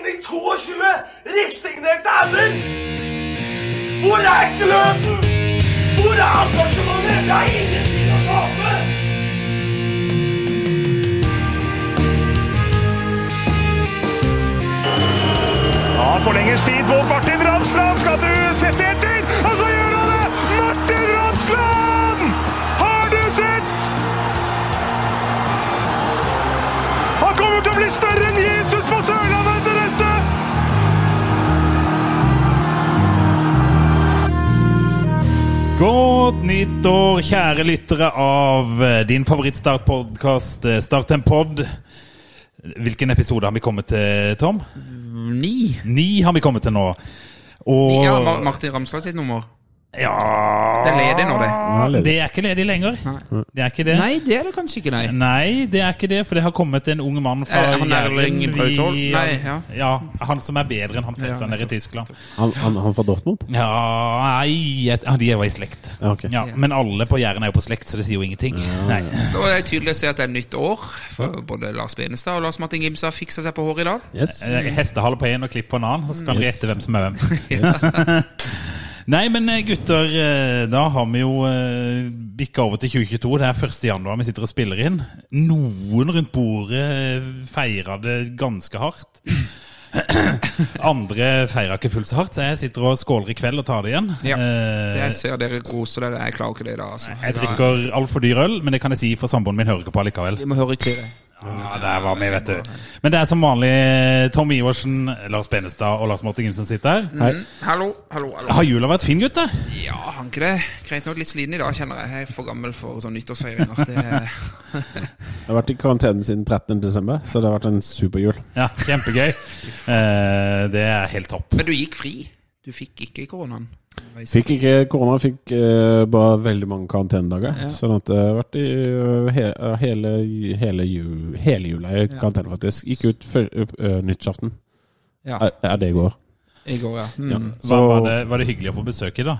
22 resignerte ender! Hvor er gløden? Hvor er engasjementet? Det er ingenting å tape! Ja, forlenges tid på Martin Ramsland. Skal du sette etter? Og så gjør han det! Martin Ramsland! Har du sett? Han kommer til å bli større enn Jesus på Sørlandet etter dette! Godt nyttår, kjære lyttere av eh, din favorittstart-podkast, eh, Start en pod. Hvilken episode har vi kommet til, Tom? Ni. Ni har vi kommet til nå. Og Ja, Mar Martin Ramsland sitt nummer. Ja Det er ledig nå, det. Det er ikke ledig lenger. Det er ikke det. Nei, det er det kanskje ikke, nei. Nei, det er ikke det, for det har kommet en ung mann fra Eh, han er Gjerlen Erling Braut Haaland? Vi- Nei, ja. ja, han som er bedre enn han fødte Ja, han der i Tyskland. Han, han, han fra Dortmund? Ja, nei, jeg, ja, de er jo i slekt. Ja, ok. Ja, men alle på Jæren er jo på slekt, så det sier jo ingenting. Nei. Og det er tydelig å se at det er nytt år. For både Lars Benestad og Lars Martin Gimsa fiksa seg på håret i dag. Yes. Eh, Hestehale på én og klipp på en annen, så skal vi Yes. gjette hvem som er hvem. Nei, men eh, gutter, eh, da har vi jo eh, bikka over til 2022. Det er 1. januar vi sitter og spiller inn. Noen rundt bordet eh, feira det ganske hardt. Andre feira ikke fullt så hardt, så jeg sitter og skåler i kveld og tar det igjen. Ja. Eh, Jeg ser dere koser dere. Jeg klarer ikke det i dag, altså. jeg drikker altfor dyr øl, men det kan jeg si, for samboeren min hører ikke på allikevel. Vi må høre klirret. Ja, der var vi, vet du. Men det er som vanlig eh, Tom Iversen, Lars Benestad og Lars Morten Gimsen sitter her. Hallo, hallo, hallo. Har jula vært fin, gutter? Ja, han ikke det? Greit nok litt sliten i dag, kjenner jeg. Jeg er for gammel for sånn nyttårsfeiringer. Det er- Jeg har vært i karantene siden 13. desember, så det har vært en superjul. Ja, kjempegøy. Eh, det er helt topp. Men du gikk fri. Du fikk ikke koronaen. Fikk ikke korona, fikk eh, bare veldig mange karantenedager. Ja. Sånn at det har vært i eh, he, hele, hele, ju, hele jula i karantene, faktisk. Gikk ut før ø, nyttårsaften. Ja, Er, er det i går. i går, ja. Ja. Mm. Var, Så var, det, var det hyggelig å få besøk i, da?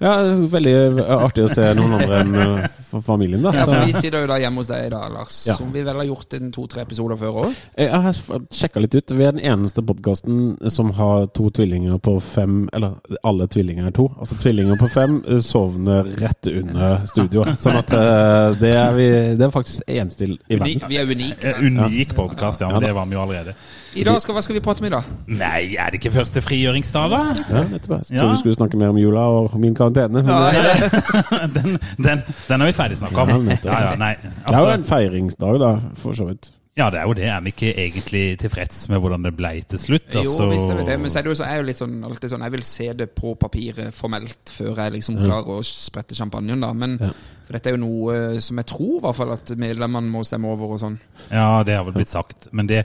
ja, veldig eh, artig å se noen andre enn eh, f- familien, da. Ja, Så, for Vi sitter jo da hjemme hos deg i dag, Lars. Ja. Som vi vel har gjort en to-tre episoder før òg. jeg har sjekka litt ut. Vi er den eneste podkasten som har to tvillinger på fem Eller alle tvillinger er to. Altså tvillinger på fem eh, sovner rett under studio. Sånn at eh, det er vi Det er faktisk eneste i i verden. Vi er unike. Eh, unik podkast, ja. Men det var vi jo allerede. I dag skal, Hva skal vi prate om i dag? Nei, er det ikke første frigjøringsdag, da? Ja, nettopp. Jeg Ja. trodde vi skulle snakke mer om jula og min karantene. Men eh, det, Den, den, den er vi ferdig snakka Ja, om. nettopp. Ja, ja, nei. det er jo Altså, en feiringsdag, da, for så vidt. ja, det er jo det. Er vi ikke egentlig tilfreds med hvordan det blei til slutt? Jo, Altså- visst er vi det. Men så er det jo så, jeg er jo litt sånn, alltid sånn Jeg vil se det på papiret formelt før jeg liksom klarer å sprette champagnen, da. Men for dette er jo noe eh, som jeg tror i hvert fall at medlemmene må stemme over og sånn. Ja, det har vel blitt sagt. Men det,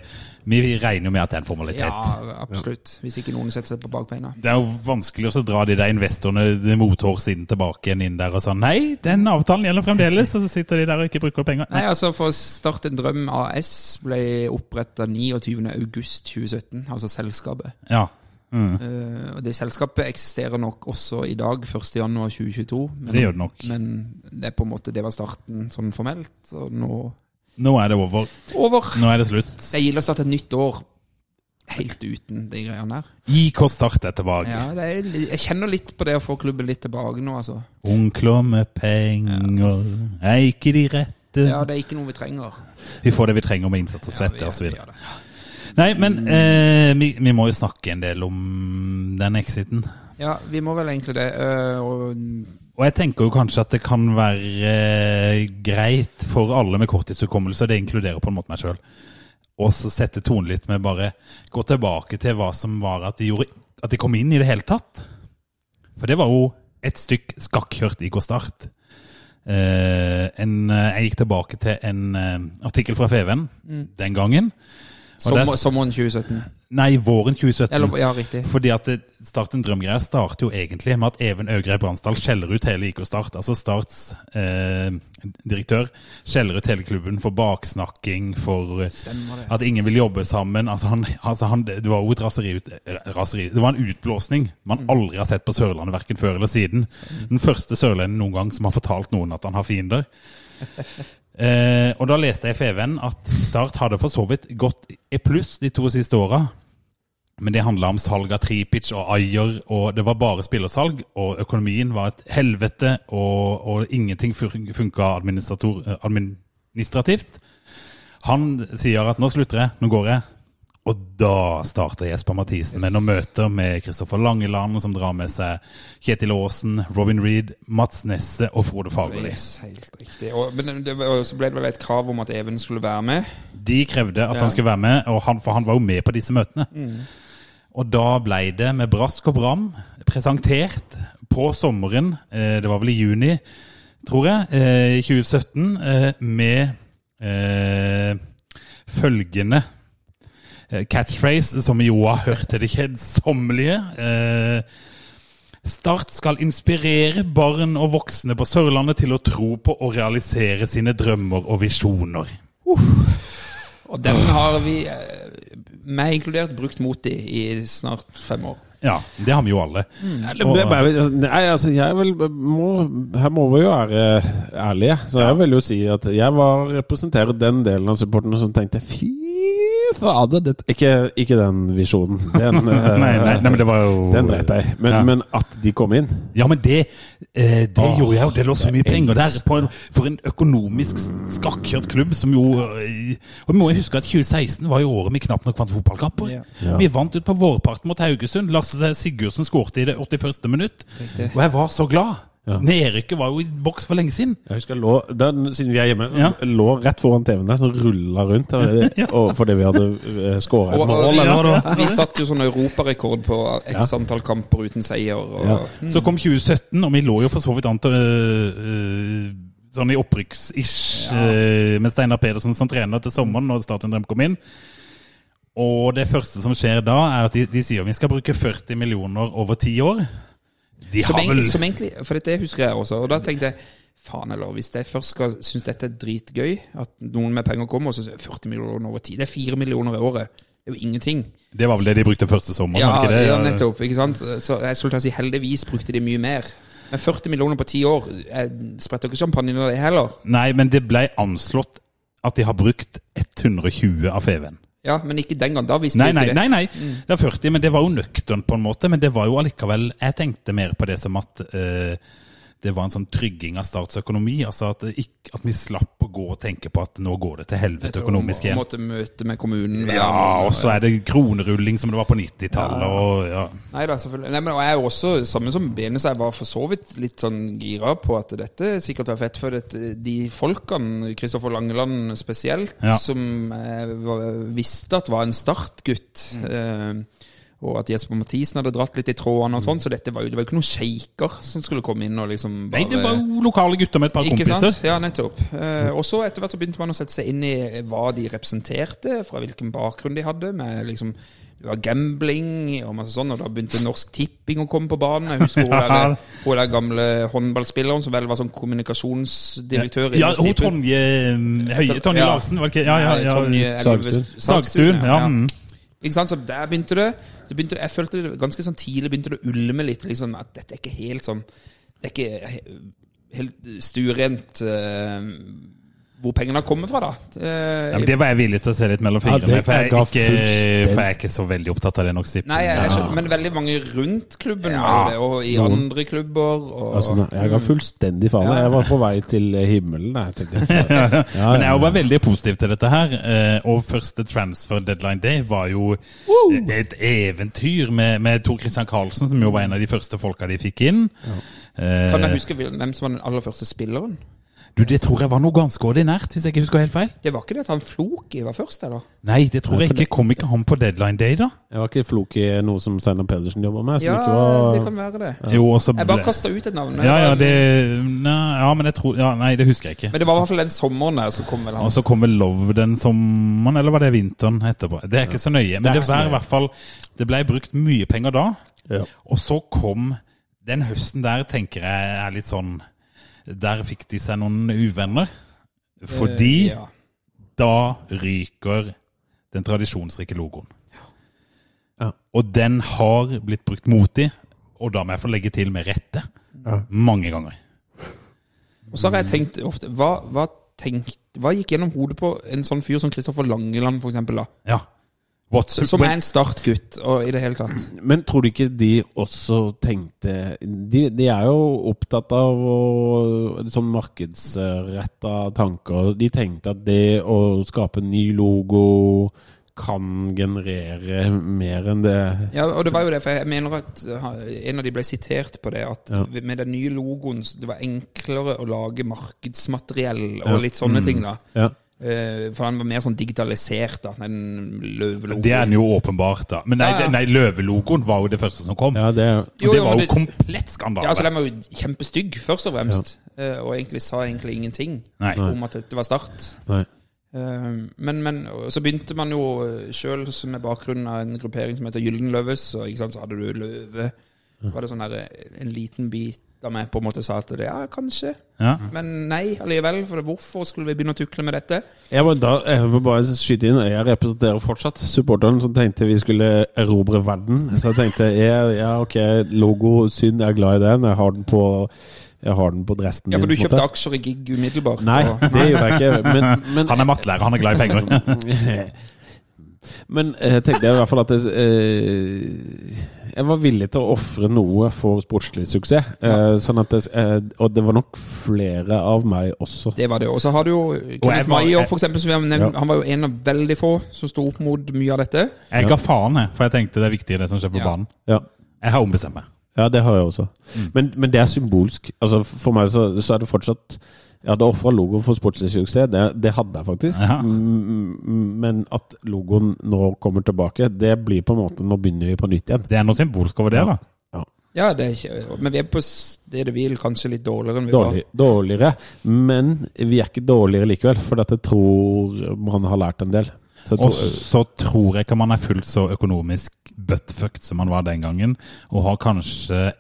vi regner jo med at det er en formalitet. Ja, absolutt. Hvis ikke noen setter seg på bakbeina. Det er jo vanskelig å så dra de der investorene mothårs inn tilbake igjen inn der og sånn Nei, den avtalen gjelder fremdeles, og så sitter de der og ikke bruker penger. Nei, altså for Start en drøm AS ble oppretta 29.8.2017, altså selskapet. Ja. Eh, og Det selskapet eksisterer nok også i dag, 1.1.2022. Men, Det gjør det nok. Men det er på en måte, det var starten sånn formelt, og nå Nå er det over. over. Nå er det slutt. Det er gildt å starte et nytt år helt uten de greiene der. IK Start er tilbake. Ja, det er, jeg kjenner litt på det å få klubben litt tilbake nå, altså. Onkler med penger er ikke de rette. Ja, det er ikke noe vi trenger. Vi får det vi trenger med innsats og svette vi Mm. og så gjør- vi videre. gjør det. Nei, men eh, vi, vi må jo snakke en del om den exiten. Ja, vi må vel egentlig det. eh, og Og jeg tenker jo kanskje at det kan være eh, greit for alle med korttidshukommelse, det inkluderer på en måte meg sjøl, og så sette tonen litt med bare gå tilbake til hva som var at de, gjorde, at de kom inn i det hele tatt. For det var jo et stykk skakkjørt IK Start. Eh, en, eh, jeg gikk tilbake til en eh, artikkel fra Feven den gangen. Og sommer, der- sommeren 2017. nei, våren 2017. Eller, ja, riktig. Fordi at det- Start en drømgreie starter jo egentlig med at Even Øgrei Bransdal skjeller ut hele IK Start. Altså Starts eh, direktør skjeller ut hele klubben for baksnakking, for eh, Stemmer det. at ingen vil jobbe sammen. Altså han, altså han, det var jo et raseri, ut, raseri. Det var en utblåsning Mm. man aldri har sett på Sørlandet, verken før eller siden. Den første sørlendingen noen gang som har fortalt noen at han har fiender. Eh, og da leste jeg i FVN at Start hadde for så vidt gått i pluss de to siste åra. Men det handla om salg av Tripic og Ayer, og det var bare spillersalg. Og økonomien var et helvete, og, og ingenting funka eh, administrativt. Han sier at 'nå slutter jeg, nå går jeg'. Og da starter Jesper Mathisen med noen møter med Kristoffer Langeland, som drar med seg Kjetil Aasen, Robin Reed, Mats Nesse og Frode Fagerli. Yes, helt riktig. Og, men det, var- og så ble det vel et krav om at Even skulle være med. De krevde at han skulle være med, og han, for han var jo med på disse møtene. Og da ble det med brask og bram presentert på sommeren, eh, det var vel i juni, tror jeg, eh, i 2017, eh, med eh, følgende eh, catchphrase, som jo har hørt til det kjedsommelige. Eh, Start skal inspirere barn og voksne på Sørlandet til å tro på og realisere sine drømmer og visjoner. Og den har vi, eh, meg inkludert, brukt mot i i snart fem år. Ja, det har vi jo alle. Eller, det er bare- Nei, altså, jeg vil, må, her må vi jo være ærlige. Så jeg vil jo si at jeg var representerer den delen av supporterne som tenkte fy fader det, ikke, ikke den visjonen. Den, eh, Nei, nei, nei, men det var jo den dreit jeg i. Men, Ja. men at de kom inn Ja, men det, eh, det gjorde jeg jo. Det lå så mye det er penger der elsk. på en, for en økonomisk skakkjørt klubb som jo eh, Og vi må jo huske at 2016 var jo året vi knapt nok vant fotballkamper. Ja. Ja. Vi vant ut på vårparten mot Haugesund. Lasse Sigurdsen skårte i det 81. minutt. Riktig. Og jeg var så glad. Ja. Nedrykket var jo i boks for lenge siden. Jeg husker jeg lå, den, Siden vi er hjemme, så Ja. lå rett foran TV-en der, så rulla rundt og, og, fordi vi hadde skåra et Og, mål. og eller noe da. vi, vi satte jo sånn europarekord på x antall kamper uten seier. Og, Ja. Mm. Så kom 2017, og vi lå jo for så vidt an til øh, øh, Sånn i opprykks-ish, øh, med Steinar Pedersen som trener til sommeren når Stadion Drøm kom inn. Og det første som skjer da, er at de, de sier vi skal bruke 40 millioner over ti år. De Som, har vel eng, som egentlig, for dette husker jeg også. Og da tenkte jeg faen eller hvis jeg først skal synes dette er dritgøy, at noen med penger kommer, og så 40 millioner over tid. Det er 4 millioner i året. Det er jo ingenting. Det var vel det de brukte første sommeren? Ja, var det ikke det? ja, nettopp. ikke sant? Så jeg skulle ta si heldigvis brukte de mye mer. Men 40 millioner på ti år, jeg spretter ikke champagne av det heller. Nei, men det ble anslått at de har brukt 120 av FVN. Ja, Men ikke den gang. Da visste Nei, vi ikke nei, det. nei, nei. Mm. Det er 40, men det var jo nøkternt på en måte. Men det var jo allikevel Jeg tenkte mer på det som at eh, det var en sånn trygging av statsøkonomi. Altså at, det ikk- at vi slapp å gå og tenke på at nå går det til helvete økonomisk igjen. igjen. Måtte eh, møte med kommunen. hver Ja, måned. og så er det kronerulling som det var på 90-tallet, og ja. Nei da, selvfølgelig. Nei, men og jeg er jo også, samme som Benes, jeg var for så vidt litt sånn gira på at dette sikkert var fett. For at de folkene, Kristoffer Langeland spesielt, Ja. som jeg var, visste at var en startgutt Mm. eh, Og at Jesper Mathisen hadde dratt litt i trådene og sånn, så dette var jo, det var jo ikke noen sjeiker som skulle komme inn og liksom Nei, det var jo lokale gutter med et par ikke kompiser. sant? Ja, nettopp. Eh, og så etter hvert så begynte man å sette seg inn i eh, hva de representerte, fra hvilken bakgrunn de hadde. med liksom, Det var gambling og masse sånn, og da begynte Norsk Tipping å komme på banen. Jeg husker hun der, hun der gamle håndballspilleren som vel var sånn kommunikasjonsdirektør i Ja, Norsk hun Tipping. Tonje mm, Høie, Tonje Ja. Larsen, var det ikke? Ja, ja, Nei, Tonje ja. Elves- Sagstuen. Sagstuen, ja. mm. Ikke sant? Så der begynte det. Så begynte, jeg følte det ganske sånn tidlig begynte det å ulme litt. Liksom, at dette er ikke helt sånn Det er ikke he- helt stuerent eh, hvor pengene har kommet fra, da. Eh, Ja, men det var jeg villig til å se litt mellom Ja, fingrene det med, for jeg, ga er ikke, fullstendig- for jeg er ikke så veldig opptatt av det nok. Nei, jeg, jeg skjønner, men veldig mange rundt klubben var jo det, og i noen. andre klubber. Og, Altså, jeg ga fullstendig faen. Jeg var på vei til himmelen. Jeg tenkte, Ja, Men ja, jeg var veldig positiv til dette her. eh, Og første transfer deadline day var jo eh, et eventyr med, med Tor Christian Karlsen, som jo var en av de første folka de fikk inn. Eh, Kan jeg huske hvil- hvem som var den aller første spilleren? Du, det tror jeg var noe ganske ordinært, hvis jeg ikke husker helt feil. Det var ikke det at han Floki var først, eller? Nei, det tror Nei, jeg for ikke. Kom ikke han på deadline day, da? Jeg var ikke flok i noe som Steinar Pedersen jobba med. Som Ja, ikke var... det kan være det. Jo, og så Jeg ble- bare kasta ut et navn. ja, ja, det, nei, ja, men jeg tror ja, Nei, det husker jeg ikke. Men det var i hvert fall den sommeren der som kom vel Og han. så kommer Love den sommeren, eller var det vinteren etterpå? Det er ikke så nøye, men Det er det, ikke var så i nøye. hvert fall Det ble brukt mye penger da, Ja. og så kom Den høsten der tenker jeg er litt sånn Der fikk de seg noen uvenner. Fordi Eh, Ja. da ryker den tradisjonsrike logoen. Ja. Og den har blitt brukt mot i, og da må jeg få legge til med rette. Mange ganger. Og så har jeg tenkt ofte Hva, hva, tenkt, hva gikk gjennom hodet på en sånn fyr som Kristoffer Langeland, for eksempel? Da? Ja. What's Som er en startgutt og i det hele tatt. Men tror du ikke de også tenkte De, de er jo opptatt av å, sånn markedsretta tanker. De tenkte at det å skape ny logo kan generere mer enn det Ja, og det var jo det, for jeg mener at ha, en av de ble sitert på det, at Ja. med den nye logoen så det var enklere å lage markedsmateriell og litt Mm. sånne ting, da. Ja. Eh, For han var mer sånn digitalisert, da. Den løvelogoen. Det er den jo åpenbart, da. Men nei, Ja, ja. nei løvelogoen var jo det første som kom. ja, det er Og Jo, det jo, var men jo det- komplett skandale. Ja, altså Den var jo kjempestygg, først og fremst. Eh, Og egentlig sa egentlig ingenting Nei. om at dette var Start. Nei. Eh, Men, men og så begynte man jo sjøl med bakgrunn av en gruppering som heter Gyldenløves. Og ikke sant, så hadde du løve. Så var det sånn der, eh, en liten bit av meg på en måte sa at det, ja, kanskje. Ja. Men nei allikevel. For det- hvorfor skulle vi begynne å tukle med dette? Jeg må, da, jeg må bare skyte inn, jeg representerer fortsatt supporteren som tenkte vi skulle erobre verden. Så jeg tenkte jeg, ja, ok, logo, synd, jeg er glad i den. Jeg har den på, jeg har den på dressen Ja, for du min, på en måte. kjøpte aksjer i Gig umiddelbart. Nei, og- det gjør jeg ikke. Men, men, Han er mattelærer, han er glad i penger. men eh, jeg tenkte i hvert fall at jeg, eh, jeg var villig til å ofre noe for sportslig suksess. Eh, sånn at det, eh, og det var nok flere av meg også. Det var det. Og så har du jo Kenneth var- Maier, for eksempel, som vi har nevnt. Ja. Han var jo en av veldig få som sto opp mot mye av dette. Jeg ga faen, jeg, for jeg tenkte det er viktig, det som skjer på Ja. banen. Ja. Jeg har ombestemt meg. Ja, det har jeg også. Men, men det er symbolsk. Altså, for meg så, så er det fortsatt Jeg hadde ofra logoen for sportslig suksess, det, det hadde jeg faktisk. Ja. Mm, Men at logoen nå kommer tilbake, det blir på en måte Nå begynner vi på nytt igjen. Det er noe symbolsk over det, da. Ja. Ja, det er ikke, Men vi er på stedet hvil kanskje litt dårligere enn vi Dårlig, dårligere. Men vi er ikke dårligere likevel, for dette tror man har lært en del. Så jeg Og tror, så tror jeg ikke man er fullt så økonomisk buttfucked som man var den gangen, og har kanskje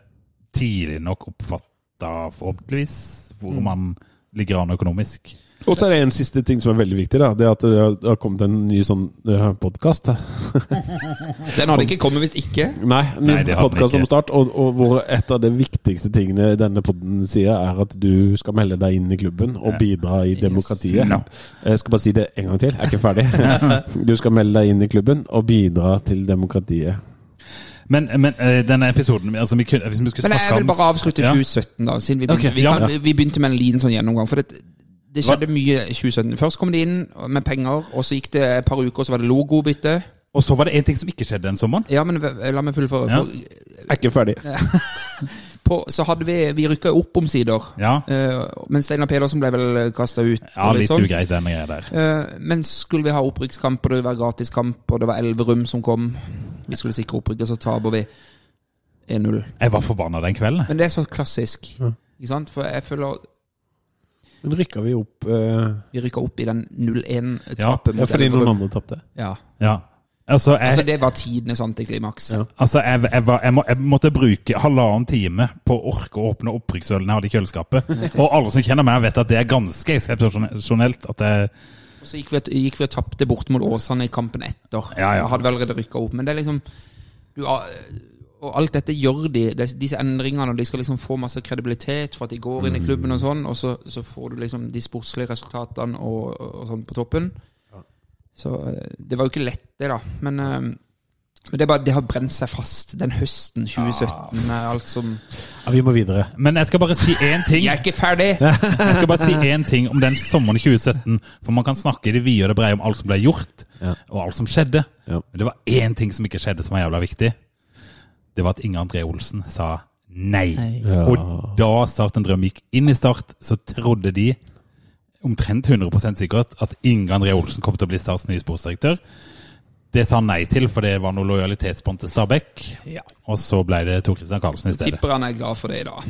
tidlig nok oppfatta, forhåpentligvis, hvor Mm. man ligger an økonomisk. Og så er det en siste ting som er veldig viktig. Da. Det er at det har- det har kommet en ny sånn podkast. var. Den hadde ikke kommet hvis ikke. Nei, ny Nei, det hadde podkast den om ikke. start, og, og hvor et av de viktigste tingene denne podden sier, er at du skal melde deg inn i klubben og bidra i demokratiet. No. Jeg skal bare si det en gang til, jeg er ikke ferdig. Du skal melde deg inn i klubben og bidra til demokratiet. Men, men eh, denne episoden altså, vi kunne, Hvis vi skulle Men jeg snakke vil om bare avslutte Ja. 2017, da. Siden vi begynte, Ok, vi, ja. kan, vi- vi begynte med en liten sånn gjennomgang. For det, det skjedde mye i 2017. Først kom de inn med penger, og så gikk det et par uker, så var det logobytte. Og så var det én ting som ikke skjedde den sommeren. Ja, men v- la meg fullføre. Ja. For Jeg er ikke ferdig. på, så hadde vi Vi rykka opp omsider. Ja, Eh, men Steinar Pedersen ble vel kasta ut. ja og litt litt sånn. ugreit, denne greia der. Eh, men skulle vi ha opprykkskamp, og det var gratiskamp, og det var Elverum som kom Vi skulle sikre opprykk, og så taper vi 1-0. Jeg var forbanna den kvelden. Men det er så klassisk. Ikke sant? For jeg føler Men rykka vi opp eh, vi rykka opp i den 0-1-tapet Ja, ja, mot fordi noen Elverum. andre tapte? Ja. Ja. Altså, jeg, Altså, det var tidenes antiklimaks. Ja. Altså, jeg, jeg, var, jeg, må, jeg måtte bruke halvannen time på å orke å åpne opprykksølen jeg hadde i kjøleskapet. Og alle som kjenner meg, vet at det er ganske eksepsjonelt. At jeg, Og så gikk vi, gikk vi og tapte bort mot Åsane i kampen etter. Ja, ja. Jeg hadde vel allerede rykka opp, men det er liksom du, har- Og alt dette gjør de, des- disse endringene, og de skal liksom få masse kredibilitet for at de går inn i klubben og sånn, og så, så får du liksom de sportslige resultatene og, og sånn på toppen. Så eh, det var jo ikke lett, det, da. Men, eh, men det, er bare, det har brent seg fast den høsten 2017 med alt som Ja, vi må videre. men jeg skal bare si én ting Jeg er ikke ferdig! Jeg skal bare si én ting om den sommeren 2017. For man kan snakke i det vide og det brede om alt som ble gjort, Ja. og alt som skjedde. Ja. Men det var én ting som ikke skjedde, som var jævla viktig. Det var at Inger André Olsen sa nei. Ja. Og da Start en drøm gikk inn i Start, så trodde de omtrent 100 sikkert at Inge André Olsen kom til å bli Starts nye sportsdirektør. Det sa han nei til, for det var noe lojalitetsbånd til Stabæk. Ja. Og så ble det Tor Christian Karlsen i stedet. Tipper han er glad for det i dag.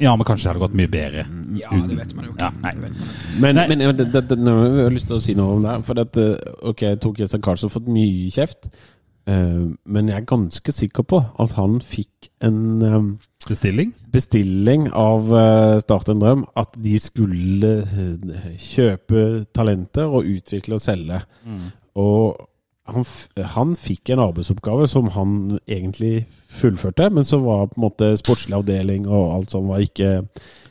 Ja, men kanskje det hadde gått mye bedre. Mm, Ja, det vet man jo ikke. Ja, nei. Men, Nei. men det, det, det, nå har jeg lyst til å si noe om det. her, For at, eh, ok, Tor Christian Karlsen har fått mye kjeft. eh, men jeg er ganske sikker på at han fikk en eh, Bestilling? bestilling av eh, Start en drøm at de skulle eh, kjøpe talenter og utvikle og selge. Og han, f- han fikk en arbeidsoppgave som han egentlig fullførte, men så var på en måte sportslig avdeling og alt sånt var ikke,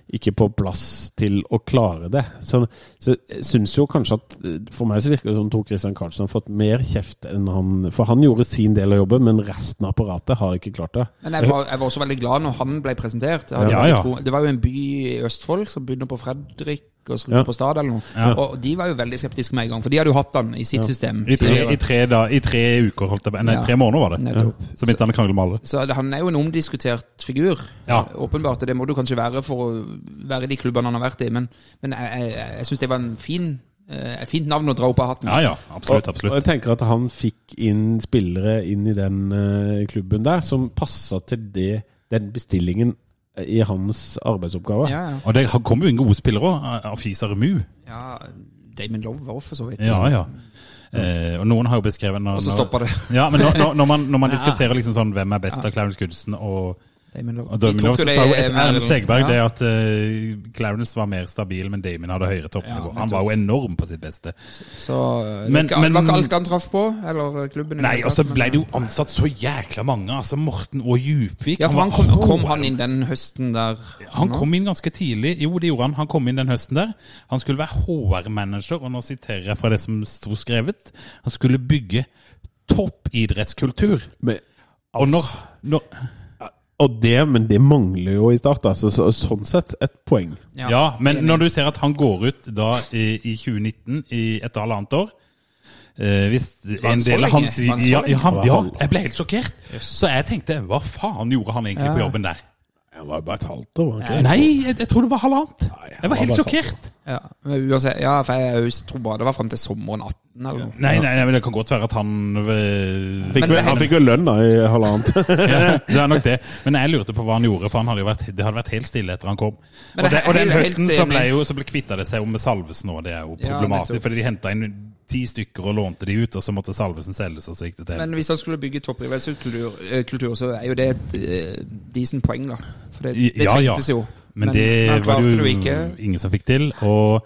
ikke på plass til å klare det. Så, så jeg syns jo kanskje at eh, For meg så virker det som Tor Christian Karlsen har fått mer kjeft enn han For han gjorde sin del av jobben, men resten av apparatet har ikke klart det. Men jeg var, jeg var også veldig glad når han ble presentert. Jeg hadde Ja, veldig ja. tro- Det var jo en by i Østfold som begynner på Fredrik og slutter Ja. på Stad eller noe. Og de var jo veldig skeptiske med en gang, for de hadde jo hatt han i sitt system. I tre, tidligere. i tre, da, i tre uker, holdt jeg på. Nei, Ja. tre måneder var det. Nettopp. Så begynte han å krangle med alle. Så det- han er jo en omdiskutert figur. Ja. Åpenbart, og det må du kanskje være for å være i de klubbene han har vært i. Men, men jeg, jeg, jeg syns det var en fin, eh, et fint navn å dra opp av hatten. Ja, ja. Absolutt. Og absolutt. jeg tenker at han fikk inn spillere inn i den eh, klubben der som passa til det, den bestillingen i hans arbeidsoppgave. Ja, ja. Og det har- kom jo inn gode spillere eh, òg. Afisa Remu. ja, Damon Love var også for så vidt. Ja, ja. Eh, og noen har jo beskrevet når, Og så når- stopper det. Ja, men når, når, når man, når man diskuterer liksom sånn hvem er best av Clarence Goodson og, Damon Love. og Damien, De tok så jo det sa jo i Erlend NRL. Segberg Ja. det at eh, Clarence var mer stabil, men Damien hadde høyere toppnivå. Ja, Han var jo enorm på sitt beste. Så eh, Men- det var ikke- det var men- ikke alt han traff på? Eller eh, klubben? i Nei, det hele og så tatt, men- ble det jo ansatt så jækla mange. Altså Morten og Djupvik. Ja, for han var- kom, kom han inn den høsten der? Han kom inn ganske tidlig. Jo, det gjorde han. Han kom inn den høsten der. Han skulle være HR-manager, og nå siterer jeg fra det som sto skrevet. Han skulle bygge toppidrettskultur. Men, Og når, når og det, men det mangler jo i start, altså, så, sånn sett et poeng. ja. men når du ser at han går ut da i, i 2019, i et halvannet år eh, hvis han en så del av lenge? hans Var han så ja, lenge? ja, han- ja, jeg ble helt sjokkert. Så jeg tenkte hva faen gjorde han egentlig på jobben der? Det var bare et halvt år. Jeg Nei, jeg, jeg tror det var halvannet. Jeg var han helt var bare sjokkert. Ja, men uansett, ja for jeg jeg tror bare det var fram til sommeren 18 eller noe. Nei, nei, nei, men det kan godt være at han eh, Fikk Men vel, det- han fikk jo lønn da i halvannet. Ja, det er nok det. Men jeg lurte på hva han gjorde, for han hadde jo vært, det hadde vært helt stille etter han kom. Men Og, det det, er og den helt- høsten helt så enig. ble jo så ble kvitta det seg jo med Salvesen òg, det er jo Ja, problematisk. nettopp. fordi de henta inn ti stykker og lånte de ut, og så måtte Salvesen selges, og så gikk det til. Men hvis han skulle bygge toppidrettskultur, eh, kultur, så er jo det et eh, decent poeng, da. For det, det Ja, ja. trengtes jo. Men det han var klarte det det jo jo ikke. ingen som fikk til. Og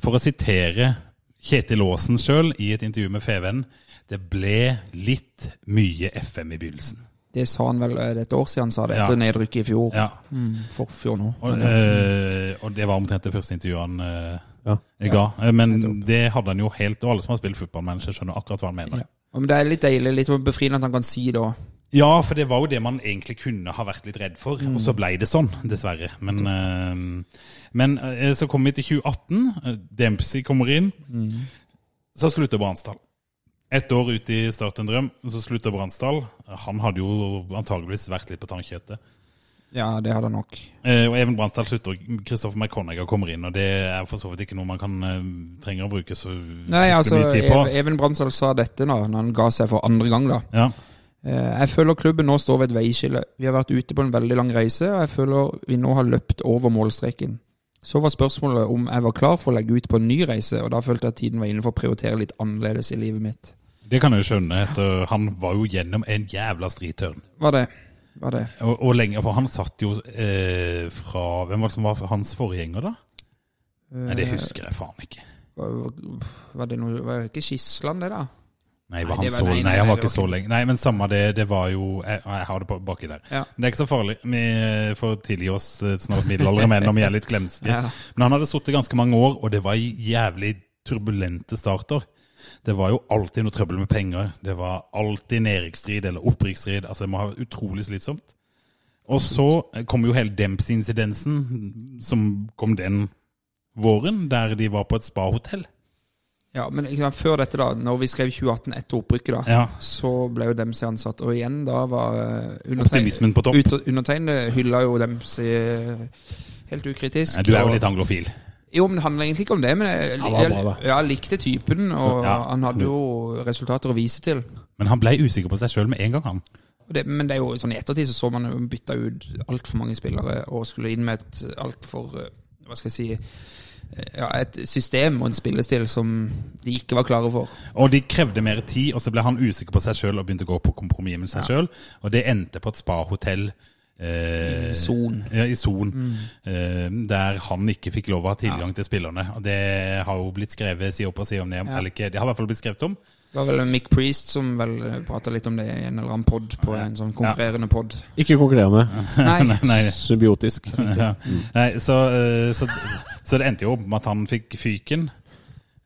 for å sitere Kjetil Aasen sjøl i et intervju med Feven, det ble litt mye FM i begynnelsen. Det sa han vel eh, det er et år siden han sa det, Ja. etter nedrykket i fjor. Ja. Mm, for fjor nå. Og, eh, og det var omtrent det første intervjuet han eh, Ja. jeg ga. Eh, Men det hadde han jo helt, og alle som har spilt fotballmanager, skjønner akkurat hva han mener. Ja. Ja. Men det er litt deilig, litt sånn befriende at han kan si da for det var jo det man egentlig kunne ha vært litt redd for, og så blei det sånn, dessverre. Men, eh, men eh, så kom vi til 2018. eh, Dempsey kommer inn. Så slutter Bransdal. Ett år ut i Start en drøm, så slutter Bransdal. Han hadde jo antageligvis vært litt på tannkjøttet. Ja, det hadde han nok. Eh, Og Even Bransdal slutter, og Kristoffer McConagher kommer inn. Og det er for så vidt ikke noe man kan, eh, trenger å bruke så Nei, fryktelig altså, mye tid på. Ev- Even Brandsdal sa dette da når han ga seg for andre gang, da. Ja. Eh, Jeg føler klubben nå står ved et veiskille. Vi har vært ute på en veldig lang reise, og jeg føler vi nå har løpt over målstreken. Så var spørsmålet om jeg var klar for å legge ut på en ny reise, og da følte jeg at tiden var inne for å prioritere litt annerledes i livet mitt. Det kan jeg jo skjønne. Etter, han var jo gjennom en jævla stritørn. Var det? Var det? Og, og lenge, for han satt jo eh, fra Hvem var det som var hans forgjenger, da? Nei, Eh, Det husker jeg faen ikke. Var, var det noe Var det ikke Skisland, det, da? Nei, var Nei, han det var- så, nei, nei, nei, han nei, var det ikke var så ikke- lenge. Nei, men samme det, det var jo Jeg, jeg har det på- baki der. Ja. Men det er ikke så farlig. Vi får tilgi oss eh, snart middelaldrende menn om vi er litt glemske. Ja. Men han hadde sittet ganske mange år, og det var jævlig turbulente starter. Det var jo alltid noe trøbbel med penger. Det var alltid nedrykksstrid eller opprykksstrid. Altså, det må ha vært utrolig slitsomt. Og så eh, kom jo hele Dempsey-insidensen, som kom den våren, der de var på et spahotell. Ja, men ikke sant, før dette, da, når vi skrev 2018 etter opprykket, da, Ja. så ble jo Dempsey ansatt. Og igjen, da var eh, undertegn- Optimismen på topp. ut- Undertegnede hylla jo Dempsey eh, helt ukritisk. Nei, Eh, Du er og- jo litt anglofil. Jo, men det handler egentlig ikke om det. Men jeg, Han var jeg, bra, da. ja, jeg likte typen, og Ja. han hadde jo resultater å vise til. Men han ble usikker på seg sjøl med en gang, han. Og Det, men det er jo sånn i ettertid så så man jo bytta ut altfor mange spillere og skulle inn med et altfor eh, Hva skal jeg si eh, ja, Et system og en spillestil som de ikke var klare for. Og de krevde mer tid, og så ble han usikker på seg sjøl og begynte å gå på kompromiss med seg selv sjøl. Og det endte på et spahotell eh, Son. Mm. ja, i Son, eh, der han ikke fikk lov å ha tilgang til spillerne. Og det har jo blitt skrevet side opp og side om det, eller ikke, det har i hvert fall blitt skrevet om. Det var vel Mick Priest som vel prata litt om det i en eller annen pod på en sånn konkurrerende pod. Ikke konkurrerende. Nei. Nei, Symbiotisk. ja. Nei så, eh, så, så det endte jo opp med at han fikk fyken.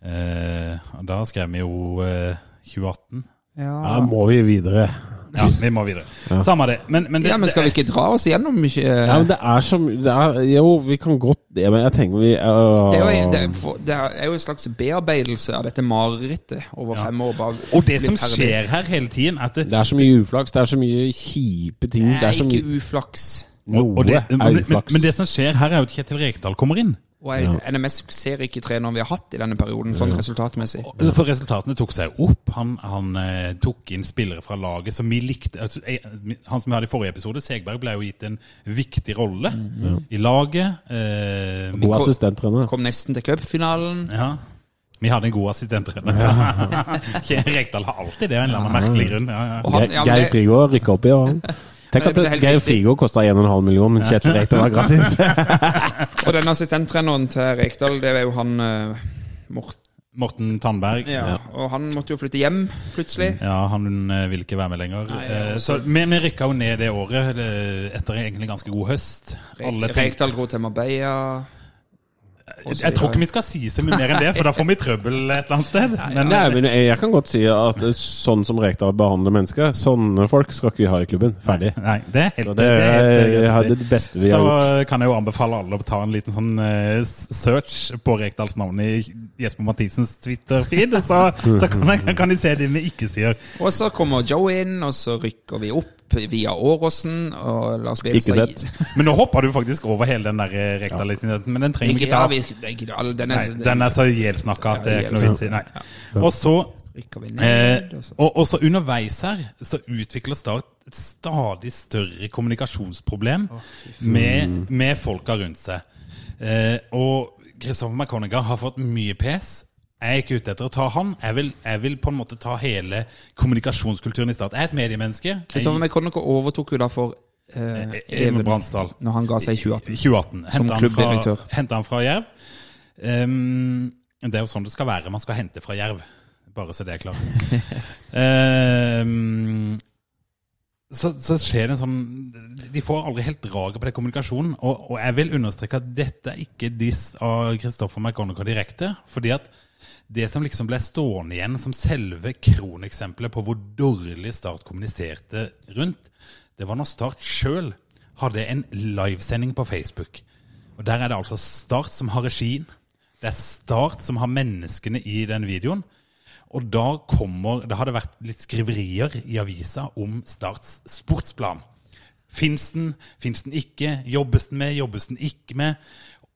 Eh, og da skrev vi jo eh, 2018. Ja, Ja. må vi videre. Ja, vi må videre. Samme det. Men, men det, ja, men skal vi ikke dra oss gjennom mye eh, Ja, men det er som det er, Jo, vi kan godt det, men jeg tenker vi øh, det er, jo, det, er, for- det er jo en slags bearbeidelse av dette marerittet over fem år. Bare og det bli som ferdig. skjer her hele tiden, er at det, det er så mye uflaks, det er så mye kjipe ting. Det Det er er så mye ikke uflaks. Noe og det, er men, men, uflaks. men det som skjer her, er jo at Kjetil Rekdal kommer inn. Og jeg, NMS ser ikke treneren vi har hatt i denne perioden, sånn resultatmessig. Altså, For resultatene tok seg jo opp. Han, han eh, tok inn spillere fra laget som vi likte. Altså, jeg, han som vi hadde i forrige episode, Segberg, ble jo gitt en viktig rolle i laget. Eh, God assistenttrener. Kom nesten til cupfinalen. ja. Vi hadde en god assistenttrener. Rekdal har alltid det, av en eller annen merkelig grunn. Ja, ja. Og han- ja, men Geir det- Frigård rykka opp i år. Tenk Men at det er helt Geir riktig. Frigård kosta 1,5 million, men Kjetil Rekdal var gratis. Og denne assistenttreneren til Rekdal, det er jo han eh, Morten. Morten Tandberg. Ja. Og han måtte jo flytte hjem plutselig. Ja, han eh, vil ikke være med lenger. Nei, Eh, ja, så, men vi rykka jo ned det året, eh, etter egentlig ganske god høst. Alle Rek- tenkte- Rekdal dro til Marbella. og så jeg tror ikke videre. vi skal si så mye mer enn det, for da får vi trøbbel et eller annet sted. Men, Nei, men jeg, jeg kan godt si at eh, sånn som Rekdal behandler mennesker, sånne folk skal ikke vi ha i klubben. Ferdig. eh, Nei, det er helt, Så det det er helt er, greit å si. det beste vi Så har gjort. kan jeg jo anbefale alle å ta en liten sånn eh, s- search på Rekdals navn i Jesper Mathisens Twitter-feed, så, så kan, jeg, kan de se det vi ikke sier. Og så kommer Joe inn, og så rykker vi opp via Åråsen. Og Lars Ikke Bjegstad sett. Men nå hopper du faktisk over hele den der eh, Rekdal-identiteten, men den trenger vi Ikke, ikke ja, ta. vi, det er ikke det, alle- den er, Nei, den er så ihjelsnakka at det er ikke noe vits i. Nei. Og så, rykker vi eh, ned. Og så. og, og så underveis her, så utvikler Start et stadig større kommunikasjonsproblem med, med folka rundt seg. Eh, og Christopher McConagha har fått mye pes. Jeg er ikke ute etter å ta han. Jeg vil, jeg vil på en måte ta hele kommunikasjonskulturen i Start. Jeg er et mediemenneske. Kristoffer McConnock overtok jo da for eh, Even Even Bransdal. når han ga seg i 2018. 2018. Hentet han klubbdirektør. fra- Hentet han fra Jerv. Ehm, det er jo sånn det skal være. Man skal hente fra Jerv. Bare så det er klart. Ehm, så, så skjer det en sånn De får aldri helt draget på den kommunikasjonen. Og, og jeg vil understreke at dette er ikke diss av Christoffer McGonagall direkte. fordi at det som liksom ble stående igjen som selve kroneksempelet på hvor dårlig Start kommuniserte rundt, det var når Start sjøl hadde en livesending på Facebook. Og Der er det altså Start som har regien. Det er Start som har menneskene i den videoen. Og da kommer Da har det vært litt skriverier i avisa om Starts sportsplan. Fins den? Fins den ikke? Jobbes den med? Jobbes den ikke med?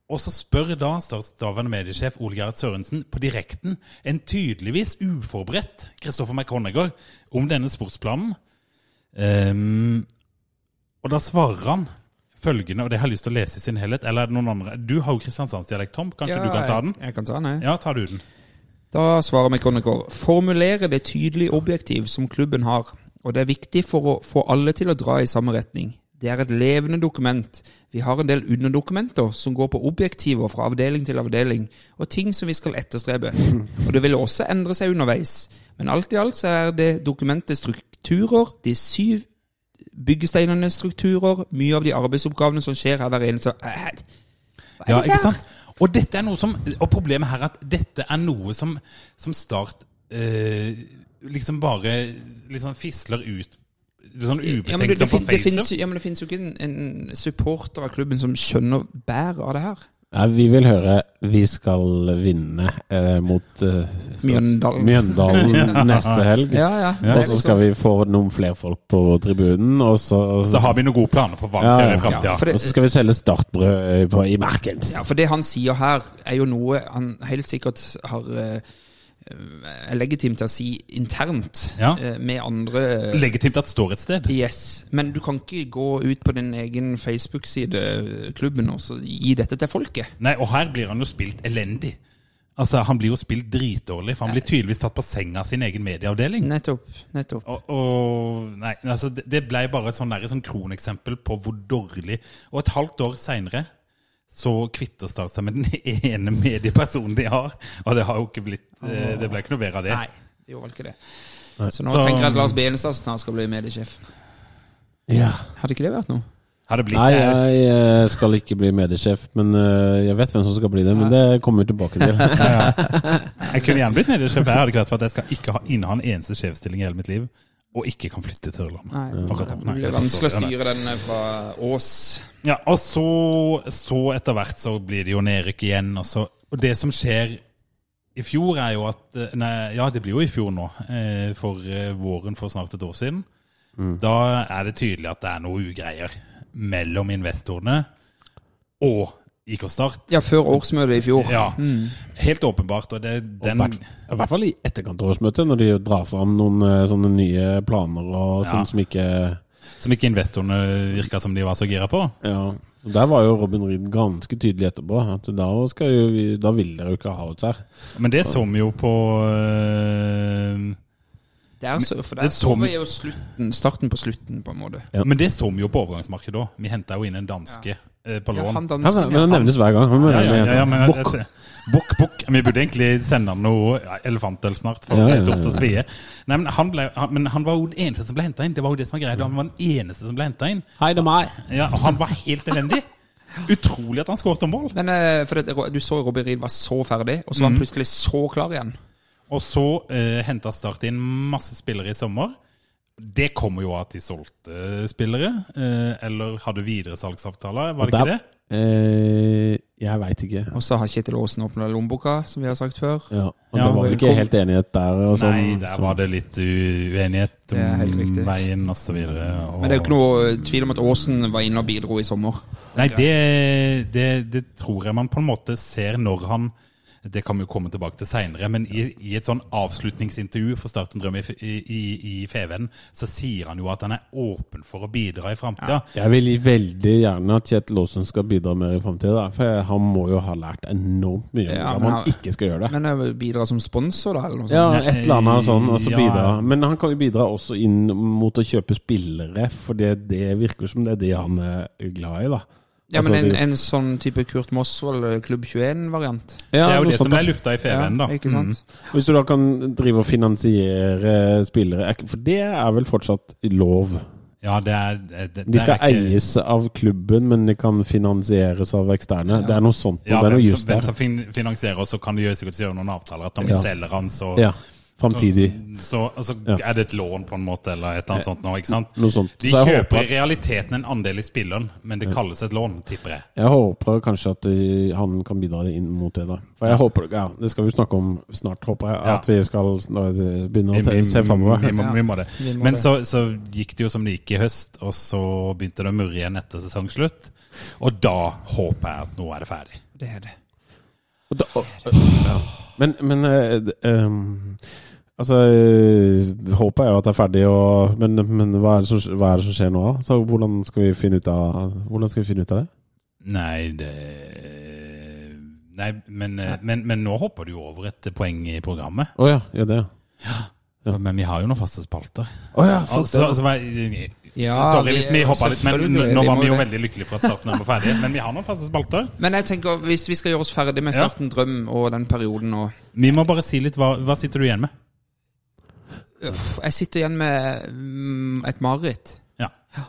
Og så spør da statsdaværende mediesjef Ole Gerhard Sørensen på direkten en tydeligvis uforberedt Kristoffer McConagall om denne sportsplanen. Ehm, og da svarer han følgende, og det har jeg lyst til å lese i sin helhet. Eller er det noen andre? Du har jo kristiansandsdialekt, Tom. Kanskje du kan ta den? Jeg, jeg kan ta den, jeg. Ja, tar du den. Da svarer McConaughey formulere det tydelige objektiv som klubben har, og det er viktig for å få alle til å dra i samme retning. Det er et levende dokument. Vi har en del underdokumenter som går på objektiver fra avdeling til avdeling, og ting som vi skal etterstrebe. Og det vil også endre seg underveis. Men alt i alt så er det dokumentet strukturer, de syv byggesteinene strukturer, mye av de arbeidsoppgavene som skjer her hver eneste Hæ? Hva er Ja, dette ikke her? sant? Og, dette er noe som, og problemet her er at dette er noe som, som Start eh, liksom bare liksom fisler ut sånn Ja, men, det, det, ubetenksomt på fin- det finnes, Facebook. jo- ja, men det finnes jo ikke en, en supporter av klubben som skjønner bæret av det her. Nei, vi vil høre 'Vi skal vinne' eh, mot eh, Mjøndalen. Mjøndalen neste helg. Ja, ja. Og så skal vi få noen flere folk på tribunen, og så, Så har vi noen gode planer på hva vi skal Ja, gjøre i ja, ja. for framtida. og det, så skal vi selge startbrød eh, på, i Merkens. ja, for det han sier her, er jo noe han helt sikkert har eh, er legitim til å si internt Ja. eh, med andre eh, Legitimt at det står et sted. Yes, Men du kan ikke gå ut på din egen Facebook-side, eh, klubben, og så gi dette til folket. Nei, og her blir han jo spilt elendig. Altså, Han blir jo spilt dritdårlig, for han blir tydeligvis tatt på senga av sin egen medieavdeling. Nettopp. nettopp. Og, og nei, altså, det, det ble bare et sånn der- sånn kroneksempel på hvor dårlig Og et halvt år seinere så kvitter Start seg med den ene mediepersonen de har. Og det har jo ikke blitt eh, Det ble ikke noe bedre av det. Nei. Det gjorde vel ikke det. Nei. Så nå Så- tenker jeg at Lars Benestad snart skal bli mediesjef. Ja. Hadde ikke det vært noe? Har det blitt Nei, eh, jeg eh, skal ikke bli mediesjef, men eh, jeg vet hvem som skal bli det. Men det kommer vi tilbake til. Jeg kunne gjerne blitt mediesjef. Jeg hadde ikke vært for at jeg skal ikke ha inneha en eneste sjefsstilling i hele mitt liv, og ikke kan flytte til Ørland. Nei, Akkurat nå. Det blir vanskelig å styre den eh, fra Ås. Ja, og så, så etter hvert så blir det jo nedrykk igjen. Og, så, og det som skjer i fjor, er jo at eh, Nei, ja, det blir jo i fjor nå, eh, for eh, våren for snart et år siden. Da er det tydelig at det er noe ugreier mellom investorene og IK Start. Ja, før årsmøtet i fjor. Ja, helt åpenbart. Og det, den, hvert- I hvert fall i etterkant av årsmøtet, når de jo drar fram noen eh, sånne nye planer og Ja. sånn som ikke som ikke investorene virka som de var så gira på. Ja. Og Der var jo Robin Reed ganske tydelig etterpå. At da, skal jo, vi- da vil dere jo ikke ha oss her. Men det så vi jo på eh, Der, så, for det der så som- vi jo slutten, starten på slutten, på en måte. Ja. Men det så vi jo på overgangsmarkedet òg. Vi henta jo inn en danske eh, på Ja, lån. han Han, dansken, men det nevnes hver gang. Han må Ja, regne ja, igjen. ja, ja, men jeg- Bokk. jeg- Bukk, bukk. Vi burde egentlig sende han noe ja, elefantøl snart, for Ja, ja, ja, det er dumt å ja. svie. Nei, men han, ble, han, men han var jo den eneste som ble henta inn. Det var jo det som var greia. Han var den eneste som ble henta inn. Hei, det er meg. Ja, og han var helt elendig. Utrolig at han skåret mål. Men eh, for det, du så Robbie Reed var så ferdig, og så Mm. var han plutselig så klar igjen. Og så eh, henta Start inn masse spillere i sommer. Det kommer jo av at de solgte spillere, eh, eller hadde videresalgsavtaler, var det ikke det? Eh, jeg veit ikke. Og så har Kjetil Aasen åpna lommeboka, som vi har sagt før. Ja, og Ja, det var vel ikke kom- helt enighet der. Og sånn, Nei, der var det litt u- uenighet Det er helt om riktig. veien og så videre. Og... Men det er jo ikke noe eh, tvil om at Aasen var inne og bidro i sommer. Nei, det, det, det tror jeg man på en måte ser når han Det kan vi jo komme tilbake til seinere, men i, i et sånn avslutningsintervju for Start en drøm i, F- i, i- i Feven, så sier han jo at han er åpen for å bidra i framtida. Jeg vil veldig gjerne at Kjetil Aasen skal bidra mer i framtida. For han må jo ha lært enormt mye om Ja, hvordan men man han- ikke skal gjøre det. Men eh, bidra som sponsor, da, eller noe sånt. Ja, et eller annet sånn. Og så Ja. bidra. Men han kan jo bidra også inn mot å kjøpe spillere, for det, det virker som det er det han er glad i, da. Ja, men Altså, en, det- en sånn type Kurt Mosvold eh, Klubb 21-variant. Ja, det er jo noe det som sånt, da. ble lufta i Feven, da. Mm. ikke sant? Hvis du da kan drive og finansiere spillere er ikke- For det er vel fortsatt lov? Ja, det er, det, det De skal er ikke- eies av klubben, men de kan finansieres av eksterne. Det er noe sånt. Ja, det er hvem, noe som, just hvem der. som fin- finansierer, og så kan de jo sikkert gjøre noen avtaler. At når vi Ja. selger han, så Ja, Framtidig. Så, altså, Ja. er det et lån, på en måte, eller et eller annet sånt nå, ikke sant? Noe sånt. De Så jeg kjøper i håper realiteten en andel i spilleren, men det kalles et lån, tipper jeg. Jeg håper kanskje at eh, han kan bidra inn mot det, da. For jeg håper, ja, Det skal vi snakke om snart, håper jeg. At vi skal snart eh, begynne å Vi- te- se Vi, framover. må- Ja. vi må det. Vi må Men det. så, så gikk det jo som det gikk i høst, og så begynte det å murre igjen etter sesongslutt. Og da håper jeg at nå er det ferdig. Det er det. Og da- og- ja. Men, men eh, d- ehm, Altså, eh, håpet er jo at det er ferdig, og, men, men hva, er det som, hva er det som skjer nå? da? Så hvordan skal vi finne ut av, hvordan skal vi finne ut av det? Nei, det Nei, men, eh, men, men nå hopper du jo over et poeng i programmet. Å ja, gjør det, ja. Men vi har jo noen faste spalter. Å ja, fuck Altså, Sånn, det, altså, vei- Ja, Sorry vi- hvis vi hoppa litt, men selvfølgelig, nå vi var må vi jo det. veldig lykkelige for at starten var ferdig. Men vi har noen faste spalter. Men jeg tenker, hvis vi skal gjøre oss ferdig med Ja. Starten drøm og den perioden nå Vi må bare si litt hva, hva sitter du igjen med. Uff, Jeg sitter igjen med mm, et mareritt. Ja.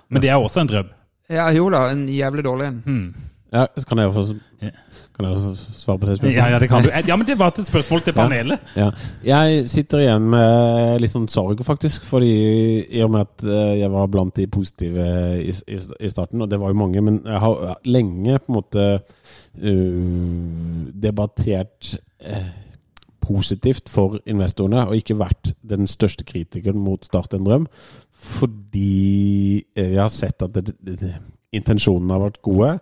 Men det er også en drøm. Ja, jo da, en jævlig dårlig en. Hmm. Ja, kan jeg få Ja. Kan jeg få svare på det spørsmålet? Ja, ja, det kan du. ja men det var et spørsmål til panelet. Ja. Jeg sitter igjen med litt sånn sorg, faktisk. Fordi I og med at eh, jeg var blant de positive i, i, i starten, og det var jo mange, men jeg har ja, lenge på en måte eh, debattert eh, positivt for investorene, og ikke vært den største kritikeren mot Start en drøm. Fordi eh, jeg har sett at det, det, det, intensjonene har vært gode.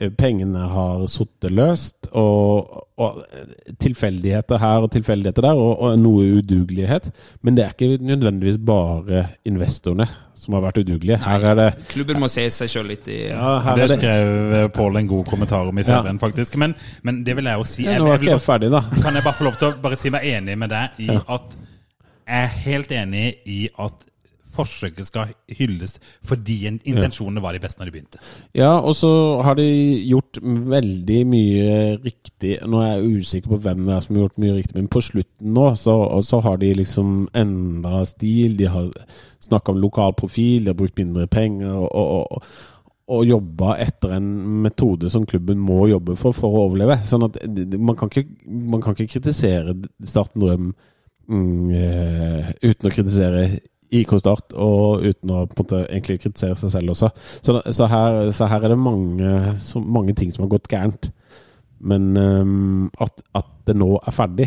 eh, Pengene har sittet løst, og, og eh, tilfeldigheter her og tilfeldigheter der, og, og noe udugelighet. Men det er ikke nødvendigvis bare investorene som har vært udugelige. Her er det, Klubben må se seg sjøl litt i eh, ja, her Det er det. skrev eh, Pål en god kommentar om i Ja. ferien, faktisk. Men, men det vil jeg jo si. Jeg, Nå jeg var vil ikke jeg ferdig, da. Kan jeg bare få lov til å bare si meg enig med deg i at jeg er helt enig i at forsøket skal hylles fordi en- intensjonene var de beste når de begynte. Ja, og så har de gjort veldig mye riktig. Nå er jeg usikker på hvem det er som har gjort mye riktig, men på slutten nå så, og så har de liksom endra stil. De har snakka om lokal profil, de har brukt mindre penger og, og, og, og jobba etter en metode som klubben må jobbe for for å overleve. Sånn at det- det- man kan ikke, man kan ikke kritisere Starten Drøm mm, eh, uten å kritisere IK Start, og uten å på en måte egentlig kritisere seg selv også. Så, så, her, så her er det mange, så mange ting som har gått gærent. Men ehm, at, at det nå er ferdig,